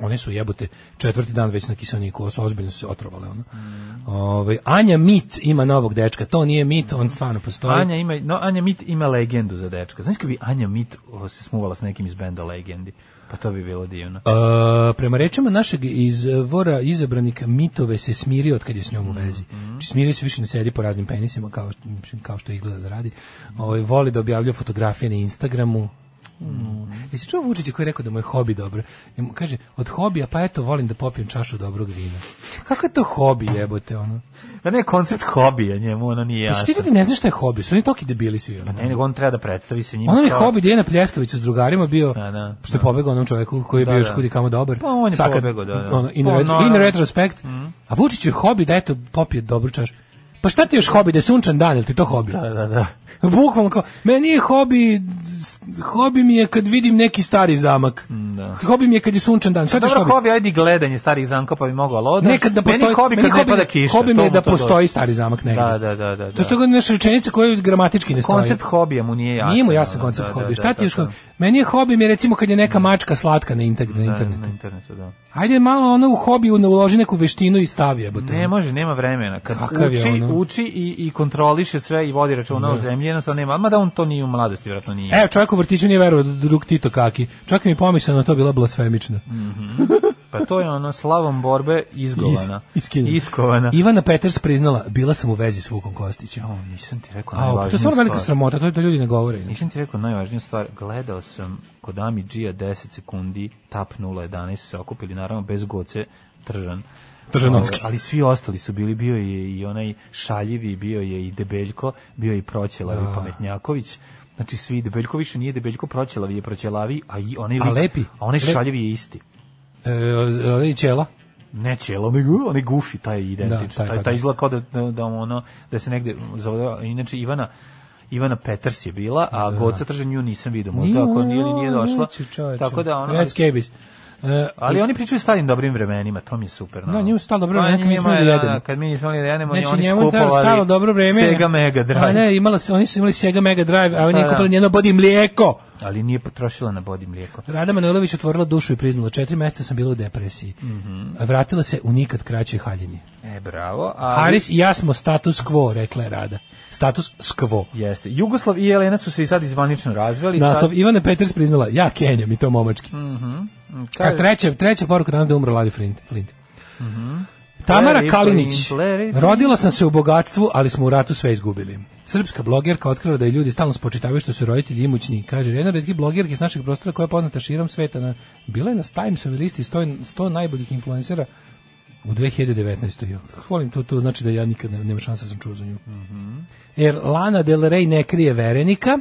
One su jebote četvrti dan već na kiselniku, ovo su ozbiljno su se otrovale. Ono.
Mhm.
Ovaj, Anja Mit ima novog dečka, to nije Mit, on stvarno postoji.
Anja ima, no, Anja Mit ima legendu za dečka. Znaš kad bi Anja Mit o, se smuvala s nekim iz benda Legendi? Pa to bi bilo divno.
E, prema rečima našeg izvora izabranika mitove se smirio od kad je s njom u vezi. Znači smirio se više ne sedi po raznim penisima kao što, mislim, kao što izgleda da radi. Ovaj, voli da objavlja fotografije na Instagramu. Mm. Jesi čuo Vučića koji je rekao da mu je hobi dobro? Njemu kaže, od hobija pa eto volim da popijem čašu dobrog vina. Kako je to hobi jebote ono?
Da ne, koncept hobija njemu, ono nije
Jesi ti
jasno.
ljudi ne znaš šta je hobi? Su oni toki debili svi ono?
Ne, nego on treba da predstavi se njima.
Ono je
kao-
hobi Dejana Pljeskavića s drugarima bio,
Da, da,
što je
da.
pobegao onom čovjeku koji je
Da,
bio
da.
još kudi kamo dobar.
Pa on je
Sad kad,
pobegao, da, da.
ono, in,
Pa,
ret-
naravno. Mhm.
in retrospect. A Vučić je hobi da eto popije dobru čašu. Pa šta ti još hobi, da je sunčan dan, jel ti to hobi?
Da, da, da.
Bukvalno kao, meni je hobi, hobi mi je kad vidim neki stari zamak.
da.
Hobi mi je kad je sunčan dan. Šta ti još
Dobro,
hobi?
hobi, ajde i gledanje starih zankopa bi mogao, ali odnos.
Nekad da postoji,
meni hobi kad ne pada kiša.
hobi mi
to
je
mu
da
to
postoji stari zamak
dođe.
negde.
Da, da, da, da.
To
da.
su tako naša rečenica koja gramatički ne stoji.
Koncept hobija mu nije jasan.
Nije mu jasan
ono,
koncept
da, da,
hobija.
da,
Šta ti
da,
još
da. Mm.
hobi? Meni je hobi mi je recimo kad je neka mačka slatka na, integ- na
Da,
internetu.
Na internetu, da.
Ajde malo ono u hobiju ne uloži neku veštinu i stavi jebote.
Ne može, nema vremena. Kad
Kakav je
uči,
ono? Da.
uči i, i kontroliše sve i vodi računa o zemlji, jednostavno nema, mada on to nije u mladosti, vjerojatno nije.
Evo, čovjek u vrtiću nije verovao da drug Tito kaki. Čak i mi pomisla na to bila blasfemična.
Pa to je ono, slavom borbe izgovana.
Is- iskinula.
iskovana.
Ivana Peters priznala, bila sam u vezi s Vukom Kostićem.
O, nisam ti rekao
A,
najvažniju
to je stvarno velika
stvar.
sramota, to je da ljudi ne govore. inače.
Nisam ti rekao najvažniju stvar, gledao sam kod Ami G-a 10 sekundi, tap 011 se okupili, naravno bez goce, tržan.
Tržanovski.
Ovaj, Ali svi ostali su bili, bio je i onaj šaljivi, bio je i Debeljko, bio je i Proćelavi
Da.
Pametnjaković. Znači svi, Debeljko više nije Debeljko, Proćelavi je Proćelavi, a i onaj
A
lik-
lepi?
A onaj
Lep-
šaljivi je isti.
E, ali Ćela?
Ne ćelo, nego onaj gufi, taj je identičan.
Da, taj,
taj,
pa
taj,
da.
izgleda kao da, da, da ono, da se negde zove, inače Ivana, Ivana Peters je bila,
Da.
a Goca Tržan nju nisam vidio, možda ako nije, ili nije došla.
Neću, čoveče.
Tako da ono,
Red Scabies. E,
ali oni pričaju o starim dobrim vremenima, to mi je super.
Da, njemu stalno dobro
Pa
vreme, kad mi
njima
smo
je,
da
da,
jedemo.
Kad mi nismo imali da jedemo,
Znači,
oni
njemu je tada
skupovali
stalo dobro vreme.
Sega Mega Drive.
A ne, imala se, oni su imali Sega Mega Drive, a on je
Pa da.
kupila njeno bodi mlijeko.
Ali nije potrošila na bodi mlijeko.
Rada Manojlović otvorila dušu i priznala, četiri mjeseca sam bila u depresiji.
Mhm.
Vratila se u nikad kraćoj haljini.
E, bravo.
Ali...
Ali...
Haris i ja smo status quo, rekla je Rada. Status quo.
Jeste. Jugoslav i Jelena su se i sad izvanično razveli.
Naslov Ivana Peters priznala, ja Kenjam i to momački.
sad,
A treća, treća poruka danas da je umrla Lali Flint. Flint. Tamara
Larry
Kalinić.
Flint, Larry
Rodila sam se u bogatstvu, ali smo u ratu sve izgubili. Srpska blogerka otkrila da je ljudi stalno spočitavaju što su roditelji imućni. Kaže, jedna redki blogerka iz našeg prostora koja je poznata širom sveta. Na, bila je na Timesovi listi 100, 100 najboljih influencera u 2019. Jo, Volim to, to znači da ja nikad ne, nema šansa da sam čuo za nju. Jer Lana Del Rey ne krije verenika,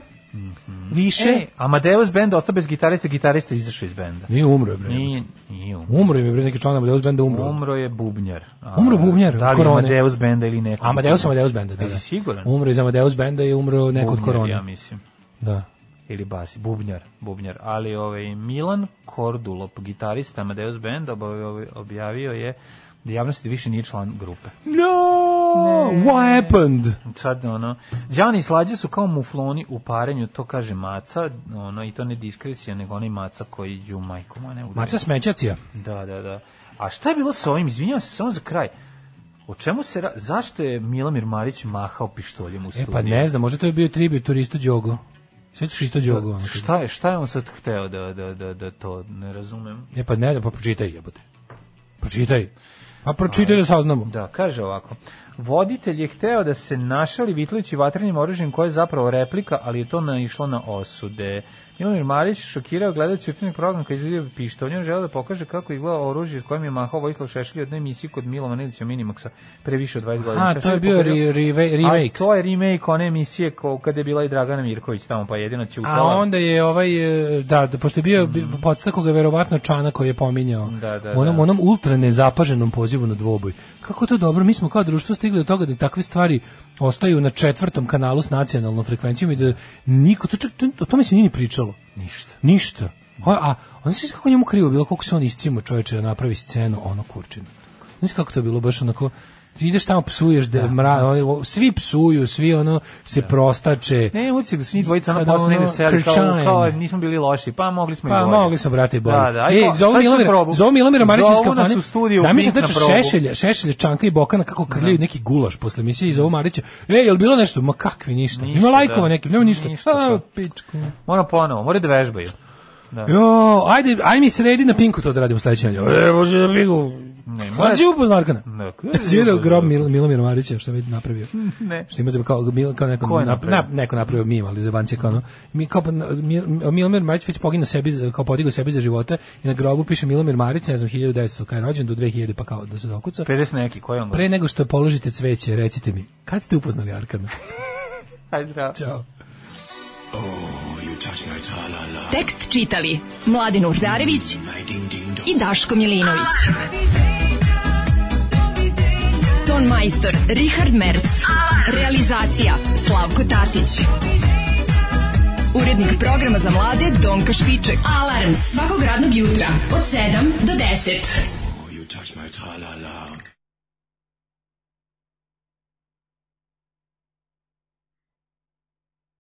više...
E, Amadeus band ostao bez gitariste, gitarista izašao iz benda.
Nije umro, je, bre.
Nije, nije umro.
Umro im je bre neki član Amadeus benda umro.
Umro je bubnjar. A,
Umro bubnjar
Da
od
li
korone.
Amadeus benda ili neko?
Amadeus Amadeus benda, da. da.
Jesi siguran?
Umro iz Amadeus benda i umro neko od
Bubnjar,
korone.
Ja mislim.
Da.
Ili basi, bubnjar, bubnjar. Ali ovaj Milan Kordulop, gitarista Amadeus benda, obav- objavio je da javnosti više nije član grupe.
No, what happened?
Sad, ono, Đani i Slađe su kao mufloni u parenju, to kaže Maca, ono, i to ne diskrecija, nego onaj Maca koji ju majko, ma ne udari.
Maca Smećacija.
Da, da, da. A šta je bilo sa ovim? Izvinjavam se samo za kraj. O čemu se ra- zašto je Milomir Marić mahao pištoljem u
E
studiju?
pa ne znam, možda to je bio tribut turistu Đogo. Svećaš isto Đogo? ono kad-
Šta je, šta je on sad hteo da, da, da, da to ne razumem?
E pa ne, znam, pa pročitaj jebote. Pročitaj. Pa pročitaj da saznamo.
Da, kaže ovako. Voditelj je hteo da se našali vitlajući vatrenim oružjem koje je zapravo replika, ali je to naišlo na osude. Milomir Marić šokirao gledajući utrni program koji je izvidio pištolj. On želeo da pokaže kako izgleda oružje s kojim je mahao Vojislav Šešelj od emisije kod Milovana Ilića Minimaxa pre više od 20 godina.
A, to je
Šešelj
bio
pokazao-
re- re-
A
remake.
to je remake one emisije ko, kada je bila i Dragana Mirković tamo, pa jedino
A
ćutala.
onda je ovaj, e, da, da pošto je bio, mm. podstakao ga je verovatno Čana koji je pominjao
Da, da,
u onom,
da.
onom ultra nezapaženom pozivu na dvoboj. Kako je to dobro, mi smo kao društvo stigli do toga da takve stvari ostaju na četvrtom kanalu s nacionalnom frekvencijom i da niko, to čak, to, o tome se nije ni pričalo. Ništa. Ništa. A, a on se kako njemu krivo bilo, koliko se on iscimo čoveče da napravi scenu, ono kurčino. Znaš kako to je bilo, baš onako, ti ideš tamo psuješ, da, mra, o, svi psuju, svi ono se prostače.
Da. Ne, utisak da su njih dvojica ono
Kada
posle negde
ono
seli, kao,
krčane.
kao nismo bili loši, pa mogli smo i
Pa
bolje.
mogli smo brate i bolje.
Da, da. aj,
Ej,
kao,
zovu
sad smo
Milomira,
probu.
zovu Milomira Marića iz
Zovu nas
kafane.
u studiju u
Zamislite
Pink na
tačno
probu. Da.
Šešelja, Šešelja, znači, Čanka i Bokana kako krljaju neki gulaš posle emisije i zovu Marića. Ej, jel bilo nešto? Ma kakvi ništa.
Ništa,
Ima
da.
lajkova nekim, nema ništa.
Ništa,
A,
pa.
pičku.
Mora ponovo, mora da
(laughs)
vežbaju.
Jo, ajde, ajde mi sredi na Pinku to da radimo sledeće nedelje. E, može na Pinku.
Ne,
Hvala
mora-
ti upod Markana.
Da, ko je
Jesi video
upoznan?
grob Mil, Milomira Marića što je već napravio?
(laughs) Ne.
Što ima za- kao, Mil- kao neko,
Ko je
nap,
napravio?
nap- neko napravio mim, ali za banci kao ono. Mi, kao, pa- Mil, Milomir Marić već poginuo sebi, za- kao podigao sebi za života i na grobu piše Milomir Marić, ne znam, 1900 kada je rođen, do 2000 pa kao da se dokuca.
50 neki, koji je on?
Pre nego što položite cveće, recite mi, kad ste upoznali Arkana? (laughs)
Ajde, bravo.
Ćao.
Tekst čitali Mladin Urdarević i Daško Milinović. Ton majstor Richard Merc. Realizacija Slavko Tatić. Urednik programa za mlade Donka Špiček. Alarms svakog radnog jutra od 7 do 10.